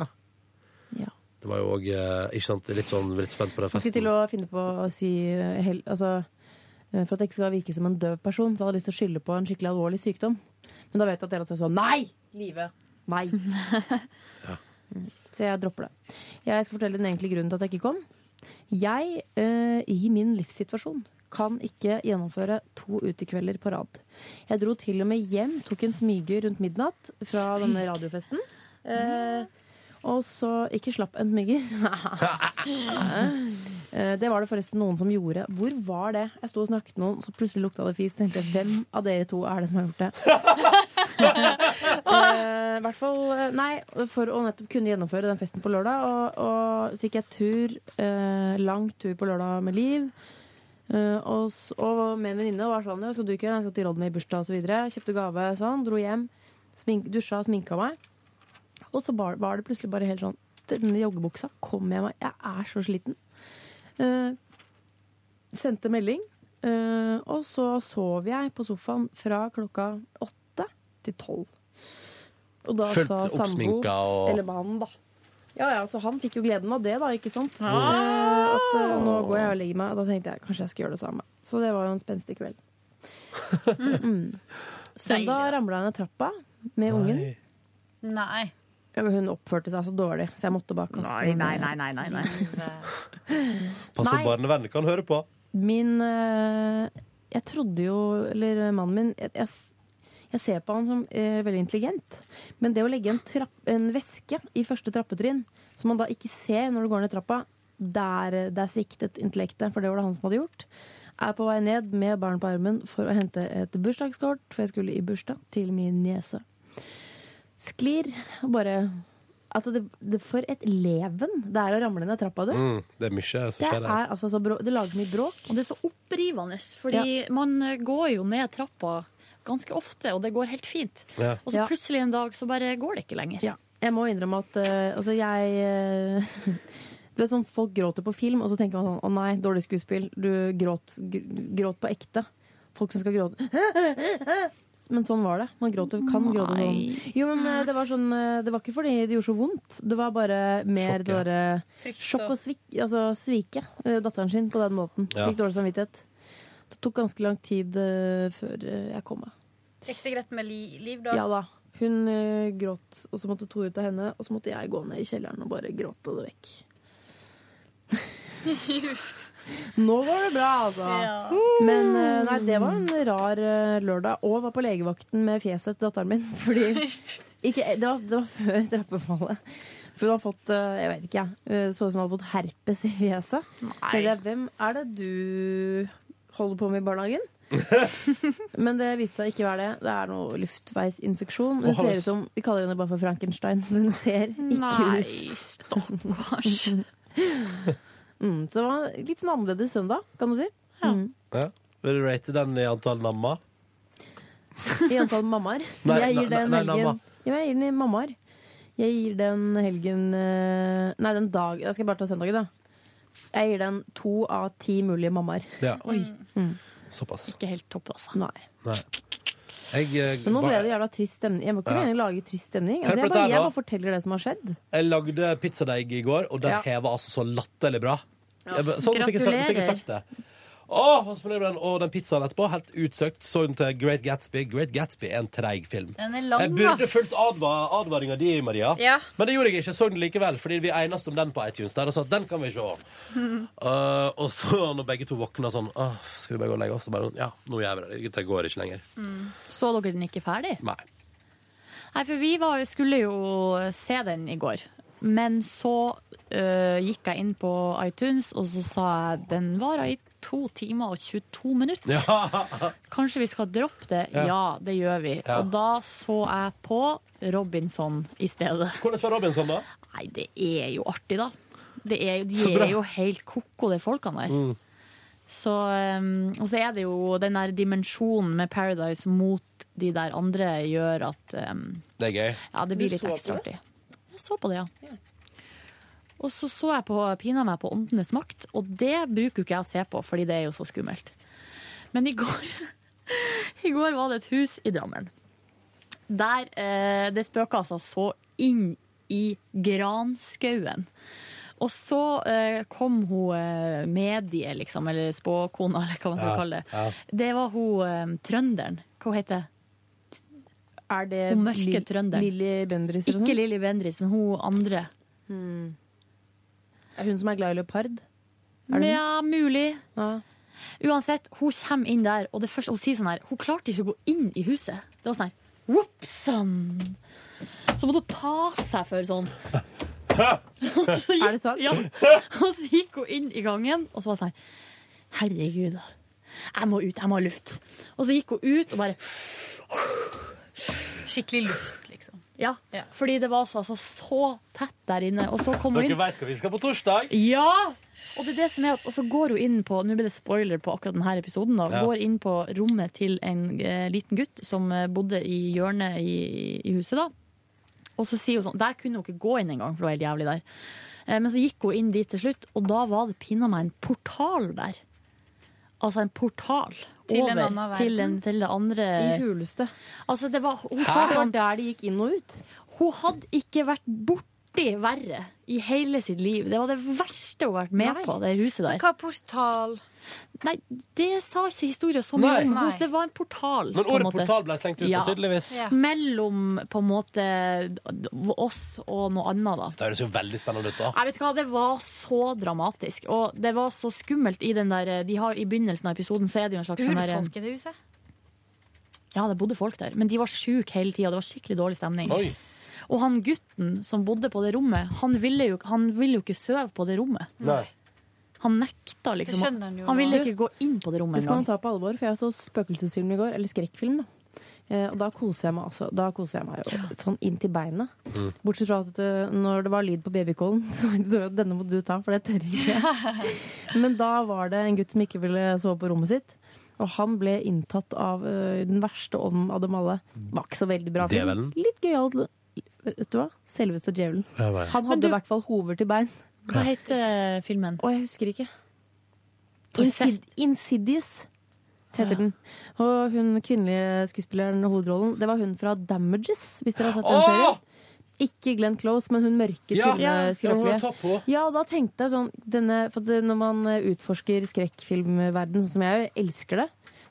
Speaker 3: Ja.
Speaker 2: Det var jo òg Ikke sant, litt sånn litt spent på den
Speaker 3: Jeg skal
Speaker 2: festen.
Speaker 3: til å finne på å si eh, hel, altså, eh, For at jeg ikke skal virke som en døv person, så hadde jeg lyst til å skylde på en skikkelig alvorlig sykdom. Men da vet jeg at dere også er sånn Nei! Live. Nei. Mm. Så jeg dropper det. Jeg skal fortelle den egentlige grunnen til at jeg ikke kom. Jeg, eh, i min livssituasjon, kan ikke gjennomføre to utekvelder på rad. Jeg dro til og med hjem, tok en smyge rundt midnatt fra denne radiofesten. Eh, og så Ikke slapp en smyger. Eh, det var det forresten noen som gjorde. Hvor var det? Jeg sto og snakket med noen, så plutselig lukta det fis. Så tenkte jeg, hvem av dere to er det som har gjort det? Eh, I hvert fall, eh, nei, for å nettopp kunne gjennomføre den festen på lørdag. Og, og så gikk jeg tur, eh, lang tur på lørdag med Liv. Eh, og, s- og med en venninne og var sånn «Ja, Skal du ikke gjøre det? Jeg skal til Rodney i bursdag og så videre Kjøpte gave, sånn, dro hjem. Smink, dusja, sminka meg. Og så var, var det plutselig bare helt sånn Denne joggebuksa kom jeg meg Jeg er så sliten. Eh, sendte melding. eh, og så sov jeg på sofaen fra klokka åtte til tolv. Og da
Speaker 2: Fullt
Speaker 3: sa sambo,
Speaker 2: oppsminka og-
Speaker 3: eller mannen, da. Ja, ja, Så han fikk jo gleden av det, da, ikke sant?
Speaker 2: Ah.
Speaker 3: Eh, at eh, nå går jeg og legger meg. Og da tenkte jeg kanskje jeg skal gjøre det samme. Så det var jo en spenstig kveld. mm. Søndag ramla jeg ned trappa med ungen.
Speaker 20: Nei.
Speaker 3: Ja, men Hun oppførte seg så dårlig, så jeg måtte bare kaste
Speaker 5: Nei,
Speaker 3: henne.
Speaker 5: nei, nei, nei, nei, nei.
Speaker 2: Pass på
Speaker 3: Nei.
Speaker 2: barnevernet, kan høre på.
Speaker 3: Min eh, Jeg trodde jo Eller eh, mannen min Jeg, jeg, s- jeg ser på han som eh, veldig intelligent. Men det å legge en, trapp, en veske i første trappetrinn, som man da ikke ser når du går ned trappa, der, eh, der sviktet intellektet, for det var det han som hadde gjort. Er på vei ned med barn på armen for å hente et bursdagskort, for jeg skulle i bursdag til min niese. Sklir og bare Altså, det, det for et leven det er å ramle ned trappa, du.
Speaker 2: Mm, det er mye som
Speaker 3: Det,
Speaker 2: skjer
Speaker 3: er,
Speaker 2: her.
Speaker 3: altså så brå, det lager mye bråk.
Speaker 5: Og det er så opprivende, fordi man eh, går jo ned trappa ganske ofte, og det går helt fint.
Speaker 3: Ja.
Speaker 5: Og så
Speaker 3: Ja.
Speaker 5: plutselig en dag så bare går det ikke lenger.
Speaker 3: Ja. Jeg må innrømme at eh, altså jeg eh, Du vet sånn folk gråter på film, og så tenker man sånn Å nei, dårlig skuespill. Du gråt, gr- gråt på ekte. Folk som skal gråte Men sånn var det. Man gråter, kan gråte sånn.
Speaker 5: Nei.
Speaker 3: Jo, men eh, det var sånn eh, Det var ikke fordi det gjorde så vondt. Det var bare mer
Speaker 5: Sjokk,
Speaker 3: det
Speaker 5: ja.
Speaker 3: derre Sjokk og svik, altså svike eh, datteren sin på den måten.
Speaker 2: Ja.
Speaker 3: Fikk dårlig samvittighet. Det tok ganske lang tid eh, før eh, jeg kom meg.
Speaker 20: Gikk det greit med li Liv, da?
Speaker 3: Ja da. Hun eh, gråt, og så måtte Tore ta henne. Og så måtte jeg gå ned i kjelleren og bare gråte det vekk. Nå går det bra, altså.
Speaker 21: Ja.
Speaker 3: Men eh, nei, det var en rar eh, lørdag. Og var på legevakten med fjeset til datteren min. Fordi ikke, det, var, det var før trappefallet. For hun har fått eh, jeg vet ikke, jeg, eh, så ut som hun hadde fått herpes i fjeset. Så det er, Hvem er det du holder på med i barnehagen? Men det viste seg ikke være det. Det er noe luftveisinfeksjon.
Speaker 5: Å,
Speaker 3: Hun ser
Speaker 5: Hannes.
Speaker 3: ut som, Vi kaller henne bare for Frankenstein. Hun ser ikke
Speaker 5: Nei,
Speaker 3: ut.
Speaker 5: stakkars.
Speaker 3: mm, så det var en litt sånn annerledes søndag, kan du si. Mm.
Speaker 2: Ja. Vil du rate den i antall namma?
Speaker 3: I antall mammaer.
Speaker 2: Nei,
Speaker 3: Jeg
Speaker 2: nei,
Speaker 3: gir den
Speaker 2: nei, nei,
Speaker 3: helgen
Speaker 2: mamma.
Speaker 3: ja, men jeg gir den i mammaer. Jeg gir den helgen eh, Nei, den dag Jeg skal bare ta søndagen, da. Jeg gir den to av ti mulige mammaer.
Speaker 2: Ja.
Speaker 3: Mm.
Speaker 2: Såpass.
Speaker 5: Ikke helt topp, altså.
Speaker 3: Nei.
Speaker 2: Nei. Jeg, eh,
Speaker 3: Men nå ble
Speaker 2: ba-
Speaker 3: det jævla trist stemning. Jeg må ikke
Speaker 2: Ja.
Speaker 3: meningen å lage trist stemning.
Speaker 2: Hør på
Speaker 3: Altså, jeg,
Speaker 2: dette her,
Speaker 3: bare, jeg
Speaker 2: da.
Speaker 3: bare forteller det som har skjedd.
Speaker 2: jeg lagde pizzadeig i går, og den
Speaker 3: Ja.
Speaker 2: heva altså så latterlig bra.
Speaker 3: Ja.
Speaker 2: Jeg ba- Sånn fikk jeg, sagt- fikk jeg
Speaker 3: Gratulerer.
Speaker 2: sagt det. Åh, var så fornøyd med den. Og den pizzaen etterpå, helt utsøkt, så den til Great Gatsby. Great Gatsby er en treig film.
Speaker 20: Den er lang,
Speaker 2: jeg burde
Speaker 20: ass.
Speaker 2: fulgt adva- advaringa di, Maria,
Speaker 20: Ja.
Speaker 2: men det gjorde jeg ikke. Jeg så den likevel, fordi vi enes om den på iTunes der, og sa at den kan vi se. Eh, og så når begge to våkna sånn «Åh, Skal vi bare gå og legge oss? Så bare sånn, ja, nå gjør vi det. Det går ikke lenger.
Speaker 5: Mm. Så dere den ikke ferdig?
Speaker 2: Nei.
Speaker 5: Nei, for vi var, jo- skulle jo se den i går. Men så øh, gikk jeg inn på iTunes, og så sa jeg den varer i to timer og 22 minutter. Kanskje vi skal droppe det?
Speaker 2: Ja.
Speaker 5: Ja, det gjør vi.
Speaker 2: Ja.
Speaker 5: Og da så jeg på Robinson i stedet.
Speaker 2: Hvordan var Robinson, da?
Speaker 5: Nei, det er jo artig, da. Det er, jo-
Speaker 2: Så
Speaker 5: de
Speaker 2: bra.
Speaker 5: er jo helt koko, de folkene der.
Speaker 2: Mm.
Speaker 5: Så, um, og så er det jo den der dimensjonen med Paradise mot de der andre gjør at um,
Speaker 2: Det er gøy.
Speaker 5: ja, det blir
Speaker 2: Du
Speaker 5: litt
Speaker 2: så på
Speaker 5: ekstra
Speaker 2: det?
Speaker 5: artig. Jeg så på det, ja. Og så så jeg på Pina meg på Åndenes makt, og det bruker jo ikke jeg å se på, fordi det er jo så skummelt. Men i går, i går var det et hus i Drammen. Der eh, det spøka altså så inn i granskauen. Og så eh, kom hun eh, medie, liksom, eller spåkona, eller hva man skal
Speaker 20: Ja,
Speaker 5: kalle det.
Speaker 20: ja.
Speaker 5: Det var hun eh, trønderen. Hva heter det?
Speaker 3: Er det
Speaker 5: Hun mørke
Speaker 3: Li-
Speaker 5: trønderen.
Speaker 3: Lilly Bendriss?
Speaker 5: Ikke
Speaker 3: sånn? eller noe sånt?
Speaker 5: Lilly Bendriss, men hun andre.
Speaker 3: Hmm. Er hun som er glad i leopard? Er det
Speaker 5: Ja, mulig. Uansett, hun kommer inn der, og det første hun sier sånn her Hun klarte ikke å gå inn i huset. Det var sånn her «Whoop, sann!» Så måtte hun ta seg for sånn. er det sant? Ja. Og så gikk hun inn i gangen, og så var det sånn her, Herregud, jeg må ut, jeg må ha luft. Og så gikk hun ut og bare
Speaker 7: Skikkelig luft, liksom.
Speaker 5: Ja, fordi det var altså så, så tett der inne. Og så kom hun inn.
Speaker 22: Dere veit hva vi skal på torsdag.
Speaker 5: Ja! Og det er det som er at, og så går hun inn på Nå blir det spoiler på akkurat denne episoden. da
Speaker 22: Ja.
Speaker 5: Går inn på rommet til en eh, liten gutt som eh, bodde i hjørnet i, i huset. da Og så sier hun sånn Der kunne hun ikke gå inn engang, for det var helt jævlig der. Eh, men så gikk hun inn dit til slutt, og da var det pinadø meg en portal der. Altså en portal
Speaker 7: Til
Speaker 5: over
Speaker 7: en annen verden.
Speaker 5: til, en, til det andre
Speaker 3: I huleste.
Speaker 5: Altså, det var, hun
Speaker 3: Hæ?
Speaker 5: sa
Speaker 3: Det var
Speaker 5: sånn der de gikk inn og ut? Hun hadde ikke vært borti verre i hele sitt liv. Det var det verste hun har vært med
Speaker 7: Nei.
Speaker 5: på, det huset der.
Speaker 7: Men hva portal?
Speaker 5: Nei, det sa ikke historien så mye
Speaker 2: Nei.
Speaker 5: om.
Speaker 2: Nei.
Speaker 5: hos- Det var en portal.
Speaker 2: Men
Speaker 5: på en
Speaker 2: ordet
Speaker 5: måte.
Speaker 2: portal ble slengt ut nå, tydeligvis. Ja.
Speaker 5: Mellom på en måte oss og noe annet, da.
Speaker 2: Det høres jo veldig spennende ut, da.
Speaker 5: Jeg vet ikke hva, Det var så dramatisk, og det var så skummelt i den der eh, de har, I begynnelsen av episoden så er det jo en slags
Speaker 7: Bor
Speaker 5: sånn der-
Speaker 7: folk i det huset?
Speaker 5: ja, det bodde folk der, men de var sjuke hele tida. Det var skikkelig dårlig stemning.
Speaker 7: Oi.
Speaker 5: Og han gutten som bodde på det rommet, han ville jo, han ville jo ikke sove på det rommet. Han nekta, liksom.
Speaker 3: Det skjønner han jo nå.
Speaker 5: ville ikke gå inn på det rommet
Speaker 3: Det skal man
Speaker 5: engang.
Speaker 3: ta på alvor, for jeg så spøkelsesfilm i går, eller skrekkfilm. da. Eh, Og da koser jeg meg altså. Da koser jeg meg jo sånn inn til beinet.
Speaker 23: Mm.
Speaker 3: Bortsett fra at eh, når det var lyd på babycallen, så tenkte jeg at denne må du ta, for det tør ikke jeg. Men da var det en gutt som ikke ville sove på rommet sitt. Og han ble inntatt av eh, den verste ånden av dem alle. Var ikke så veldig bra film.
Speaker 2: Djevelen?
Speaker 3: Litt gøyal Vet du hva? Selveste djevelen.
Speaker 2: Ja, vel.
Speaker 3: Han hadde i hvert fall hover til bein.
Speaker 5: Hva heter eh, filmen?
Speaker 3: Å, jeg husker ikke. Insid Insidious heter den. Og hun kvinnelige skuespilleren og hovedrollen, det var hun fra Damages, hvis dere har sett den
Speaker 2: Åh!
Speaker 3: serien. Ikke Glenn Close, men hun mørke,
Speaker 2: Ja,
Speaker 3: tynne,
Speaker 2: ja, hun var topp
Speaker 3: skrøpelige.
Speaker 2: på.
Speaker 3: Ja, og da tenkte jeg sånn denne, For at når man eh, utforsker skrekkfilmverden, sånn som jeg gjør, elsker det,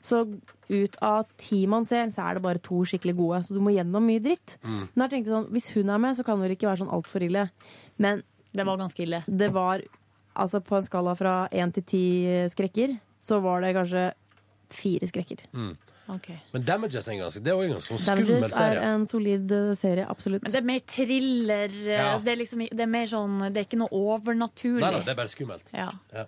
Speaker 3: så ut av ti man ser, så er det bare to skikkelig gode. Så du må gjennom mye dritt.
Speaker 23: Mm.
Speaker 3: Men jeg tenkte sånn, hvis hun er med, så kan det vel ikke være sånn altfor ille. Men
Speaker 5: det var ganske ille.
Speaker 3: Det var, altså På en skala fra én til ti skrekker, så var det kanskje fire skrekker.
Speaker 2: Mm. Men Damages er en ganske, det er også en ganske sånn skummel
Speaker 3: Damages er
Speaker 2: serie.
Speaker 3: en solid eh, serie, absolutt.
Speaker 5: Men det er mer thriller. eh,
Speaker 2: Ja.
Speaker 5: altså, Det, er liksom, det er mer sånn Det er ikke noe overnaturlig.
Speaker 2: Nei, nei, det er bare skummelt.
Speaker 5: Ja.
Speaker 2: Ja.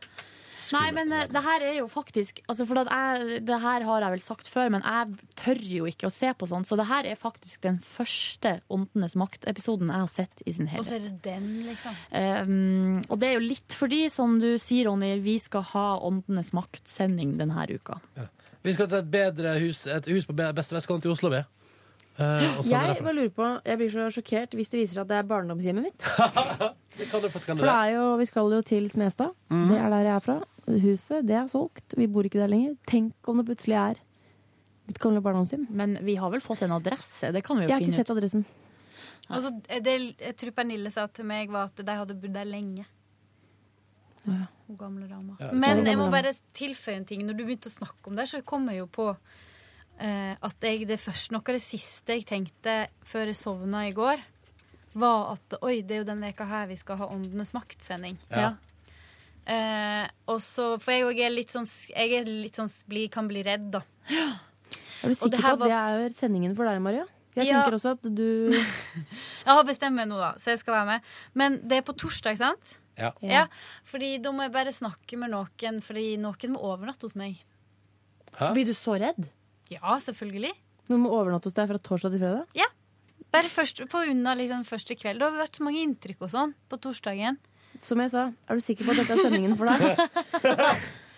Speaker 5: Nei, men eh, det her er jo faktisk altså for at jeg, Det her har jeg vel sagt før, men jeg tør jo ikke å se på sånt. Så det her er faktisk den første Åndenes makt-episoden jeg har sett i sin
Speaker 7: Og så er
Speaker 5: helhet.
Speaker 7: det den, liksom.
Speaker 5: Um, og det er jo litt fordi, som du sier, Ronny, vi skal ha Åndenes makt-sending denne uka.
Speaker 2: Vi skal til et bedre hus, et hus på be- beste vestkant i Oslo, vi. Eh, og sånn er det
Speaker 3: Jeg
Speaker 2: for-
Speaker 3: bare lurer på, jeg blir så sjokkert hvis det viser at det er barndomshjemmet mitt.
Speaker 2: Det kan du faktisk
Speaker 3: For det er jo, vi skal jo til Smestad.
Speaker 2: Mhm.
Speaker 3: Det er der jeg er fra. Huset det er solgt. Vi bor ikke der lenger. Tenk om det plutselig er mitt gamle barndomshjem.
Speaker 5: Men vi har vel fått en adresse? Det kan vi jo
Speaker 3: Jeg har
Speaker 5: finne
Speaker 3: ikke sett
Speaker 5: ut.
Speaker 3: adressen.
Speaker 7: Og så, eh, det, jeg tror Pernille sa til meg var at de hadde bodd der lenge. Hun gamle dama.
Speaker 5: Ja,
Speaker 7: Men
Speaker 5: gamle
Speaker 7: jeg må
Speaker 5: dama.
Speaker 7: bare tilføye en ting. Når du begynte å snakke om det, så kom jeg jo på eh, at jeg, det første, noe av det siste jeg tenkte før jeg sovna i går, var at oi, det er jo den veka her vi skal ha Åndenes makt-sending.
Speaker 5: Ja.
Speaker 7: Eh, og så, For jeg òg er litt sånn, jeg er litt sånn bli, kan bli redd, da.
Speaker 3: Er du
Speaker 7: Og det
Speaker 3: sikker
Speaker 7: her
Speaker 3: på at det er sendingen for deg, Maria? Jeg
Speaker 7: Ja.
Speaker 3: tenker også at du
Speaker 7: Jeg har bestemt meg nå, da, så jeg skal være med. Men det er på torsdag, ikke sant?
Speaker 2: Ja.
Speaker 7: Ja, fordi da må jeg bare snakke med noen, fordi noen må overnatte hos meg.
Speaker 2: Hæ?
Speaker 5: Blir du så redd?
Speaker 7: Ja, selvfølgelig.
Speaker 3: Noen må overnatte hos deg fra torsdag til fredag?
Speaker 7: Ja. Bare først, få unna liksom første kveld. Det har vært så mange inntrykk og sånn på torsdagen.
Speaker 3: Som jeg sa, er du sikker på at dette er sendingen for deg?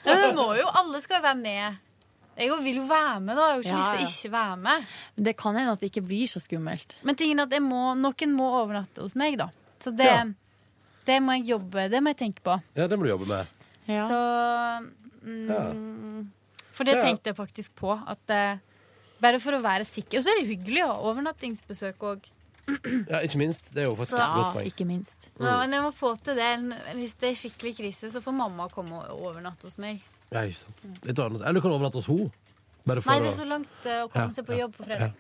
Speaker 7: Ja, men det må jo, alle skal jo være med. Jeg jo vil jo være med, da. Jeg har jo ikke
Speaker 5: Ja,
Speaker 7: lyst til å ikke være med.
Speaker 5: Det kan hende at det ikke blir så skummelt.
Speaker 7: Men tingen er at jeg må, noen må overnatte hos meg, da. Så det,
Speaker 2: Ja.
Speaker 7: det må jeg jobbe, det må jeg tenke på.
Speaker 2: Ja, det må du jobbe med.
Speaker 7: Så mm, For det
Speaker 2: Ja, ja.
Speaker 7: tenkte jeg faktisk på. At eh, Bare for å være sikker. Og så er det hyggelig å ha overnattingsbesøk òg.
Speaker 2: Ja, ikke minst. Det er jo faktisk
Speaker 7: Så-
Speaker 2: et godt poeng.
Speaker 5: Ikke minst.
Speaker 7: Mm. Ja, men jeg må få til det. En- Hvis det er skikkelig krise, så får mamma komme og overnatte hos meg.
Speaker 2: Ja, ikke sant. Litt annet. Eller du kan overnatte hos henne. Bare for
Speaker 7: Nei, det er
Speaker 2: å-
Speaker 7: så langt eh, å komme
Speaker 2: Ja,
Speaker 7: seg på jobb på fredag.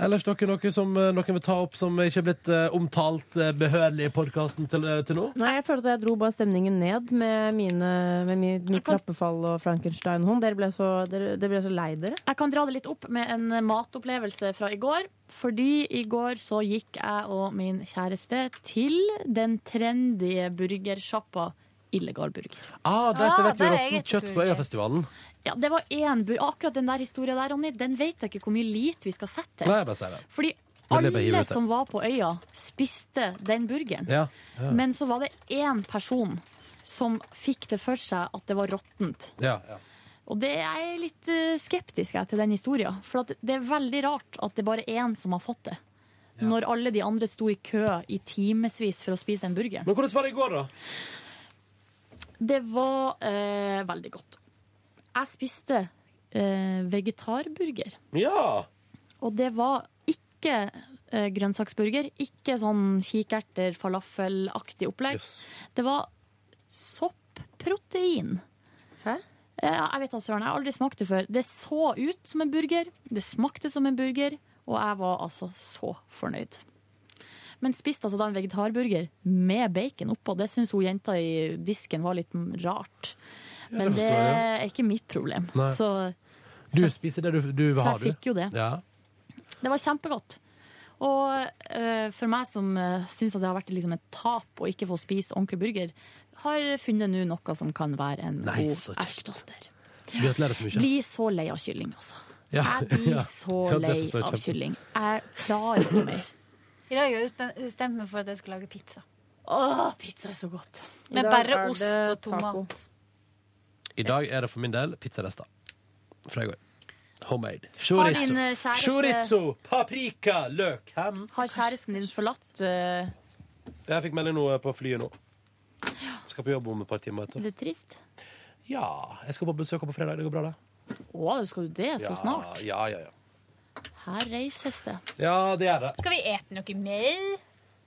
Speaker 2: Ellers noe, noe som eh, noen vil ta opp som ikke er blitt eh, omtalt eh, behørig i podkasten til, eh, til nå?
Speaker 24: Nei, jeg følte at jeg dro bare stemningen ned med, mine, med mi- mitt trappefall og Frankenstein-hånd. Dere, ble så- dere, dere ble så lei dere.
Speaker 5: Jeg kan dra det litt opp med en matopplevelse fra i går. Fordi i går så gikk jeg og min kjæreste til den trendy burgersjappa Illegal Burger.
Speaker 2: Ah, der
Speaker 5: Ah,
Speaker 2: serverte vi
Speaker 5: der er jeg
Speaker 2: råttent kjøtt på
Speaker 5: etterpå.
Speaker 2: Øyafestivalen.
Speaker 5: Ja, det var én bur Akkurat den der historien der, Ronny, den vet jeg ikke hvor mye lit vi skal sette.
Speaker 2: Nei, jeg bare sier det.
Speaker 5: Fordi
Speaker 2: Det blir bare
Speaker 5: alle
Speaker 2: hivet ut,
Speaker 5: som var på øya, spiste den burgeren.
Speaker 2: Ja, ja.
Speaker 5: Men så var det én person som fikk det for seg at det var råttent.
Speaker 2: Ja, ja.
Speaker 5: Og det er jeg litt eh, skeptisk jeg, til den historien. For at det er veldig rart at det er bare én som har fått det. Når alle de andre sto i kø i timevis for å spise den burgeren.
Speaker 2: Men hvordan var det i går, da?
Speaker 5: Det var eh, veldig godt. Jeg spiste eh, vegetarburger.
Speaker 2: Ja!
Speaker 5: Og det var ikke eh, grønnsaksburger, ikke sånn kikerter, falafelaktig opplegg. Det var soppprotein.
Speaker 24: Hæ?
Speaker 5: jeg vet da søren, jeg har aldri smakt det før. Det så ut som en burger, det smakte som en burger, og jeg var altså så fornøyd. Men spiste altså da en vegetarburger med bacon oppå. Det syns hun jenta i disken var litt rart.
Speaker 2: Ja,
Speaker 5: Men
Speaker 2: det
Speaker 5: det
Speaker 2: forstår jeg,
Speaker 5: er ikke mitt problem.
Speaker 2: Nei.
Speaker 5: Så
Speaker 2: Du spiser det du, du vil
Speaker 5: Så
Speaker 2: ha,
Speaker 5: jeg
Speaker 2: du?
Speaker 5: fikk jo det.
Speaker 2: Ja.
Speaker 5: det var kjempegodt. Og eh, for meg som uh, syns at det har vært liksom et tap å ikke få spise ordentlig burger, har funnet nå noe som kan være en
Speaker 2: Nei, så
Speaker 5: god
Speaker 2: kjekt.
Speaker 5: erstatter.
Speaker 2: Gratulerer så mye.
Speaker 5: Blir så lei av kylling, altså.
Speaker 2: Ja,
Speaker 5: Jeg blir
Speaker 2: ja.
Speaker 5: så
Speaker 2: Ja, det
Speaker 5: lei
Speaker 2: forstår jeg
Speaker 5: av
Speaker 2: kjempe.
Speaker 5: kylling. Jeg klarer ikke mer.
Speaker 25: I dag har jeg bestemt meg for at jeg skal lage pizza.
Speaker 5: Åh, pizza er så godt.
Speaker 25: Med
Speaker 5: I dag
Speaker 25: bare
Speaker 5: er
Speaker 25: ost
Speaker 5: det
Speaker 25: og tomat.
Speaker 2: I dag er det for min del pizzarester fra i går. Homemade.
Speaker 5: Har
Speaker 2: Chorizo.
Speaker 5: din, eh, kjæreste-
Speaker 2: Chorizo, paprika, løk, ham.
Speaker 5: Har kjæresten din forlatt eh,
Speaker 2: Jeg fikk melding nå eh, på flyet nå. Skal på jobb om et par timer. vet du.
Speaker 5: Det er trist.
Speaker 2: Ja, jeg skal på besøk på fredag. Det går bra, det.
Speaker 5: Å, skal du det så
Speaker 2: ja,
Speaker 5: snart?
Speaker 2: Ja, ja, ja.
Speaker 5: Her reises det.
Speaker 2: ja, det er det.
Speaker 25: Skal vi ete noe mer?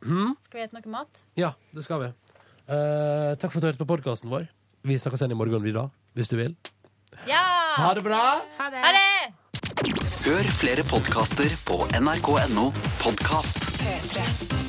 Speaker 2: Hm?
Speaker 25: Skal vi ete noe mat?
Speaker 2: Ja, det skal vi. Eh, takk for at du hørte på podkasten vår. Vi snakkes igjen i morgen, vi da, hvis du vil.
Speaker 25: Ja!
Speaker 2: Ha det bra!
Speaker 25: Ha det! Ha det!
Speaker 13: Hør flere podkaster på nrk.no podkast.
Speaker 8: P3.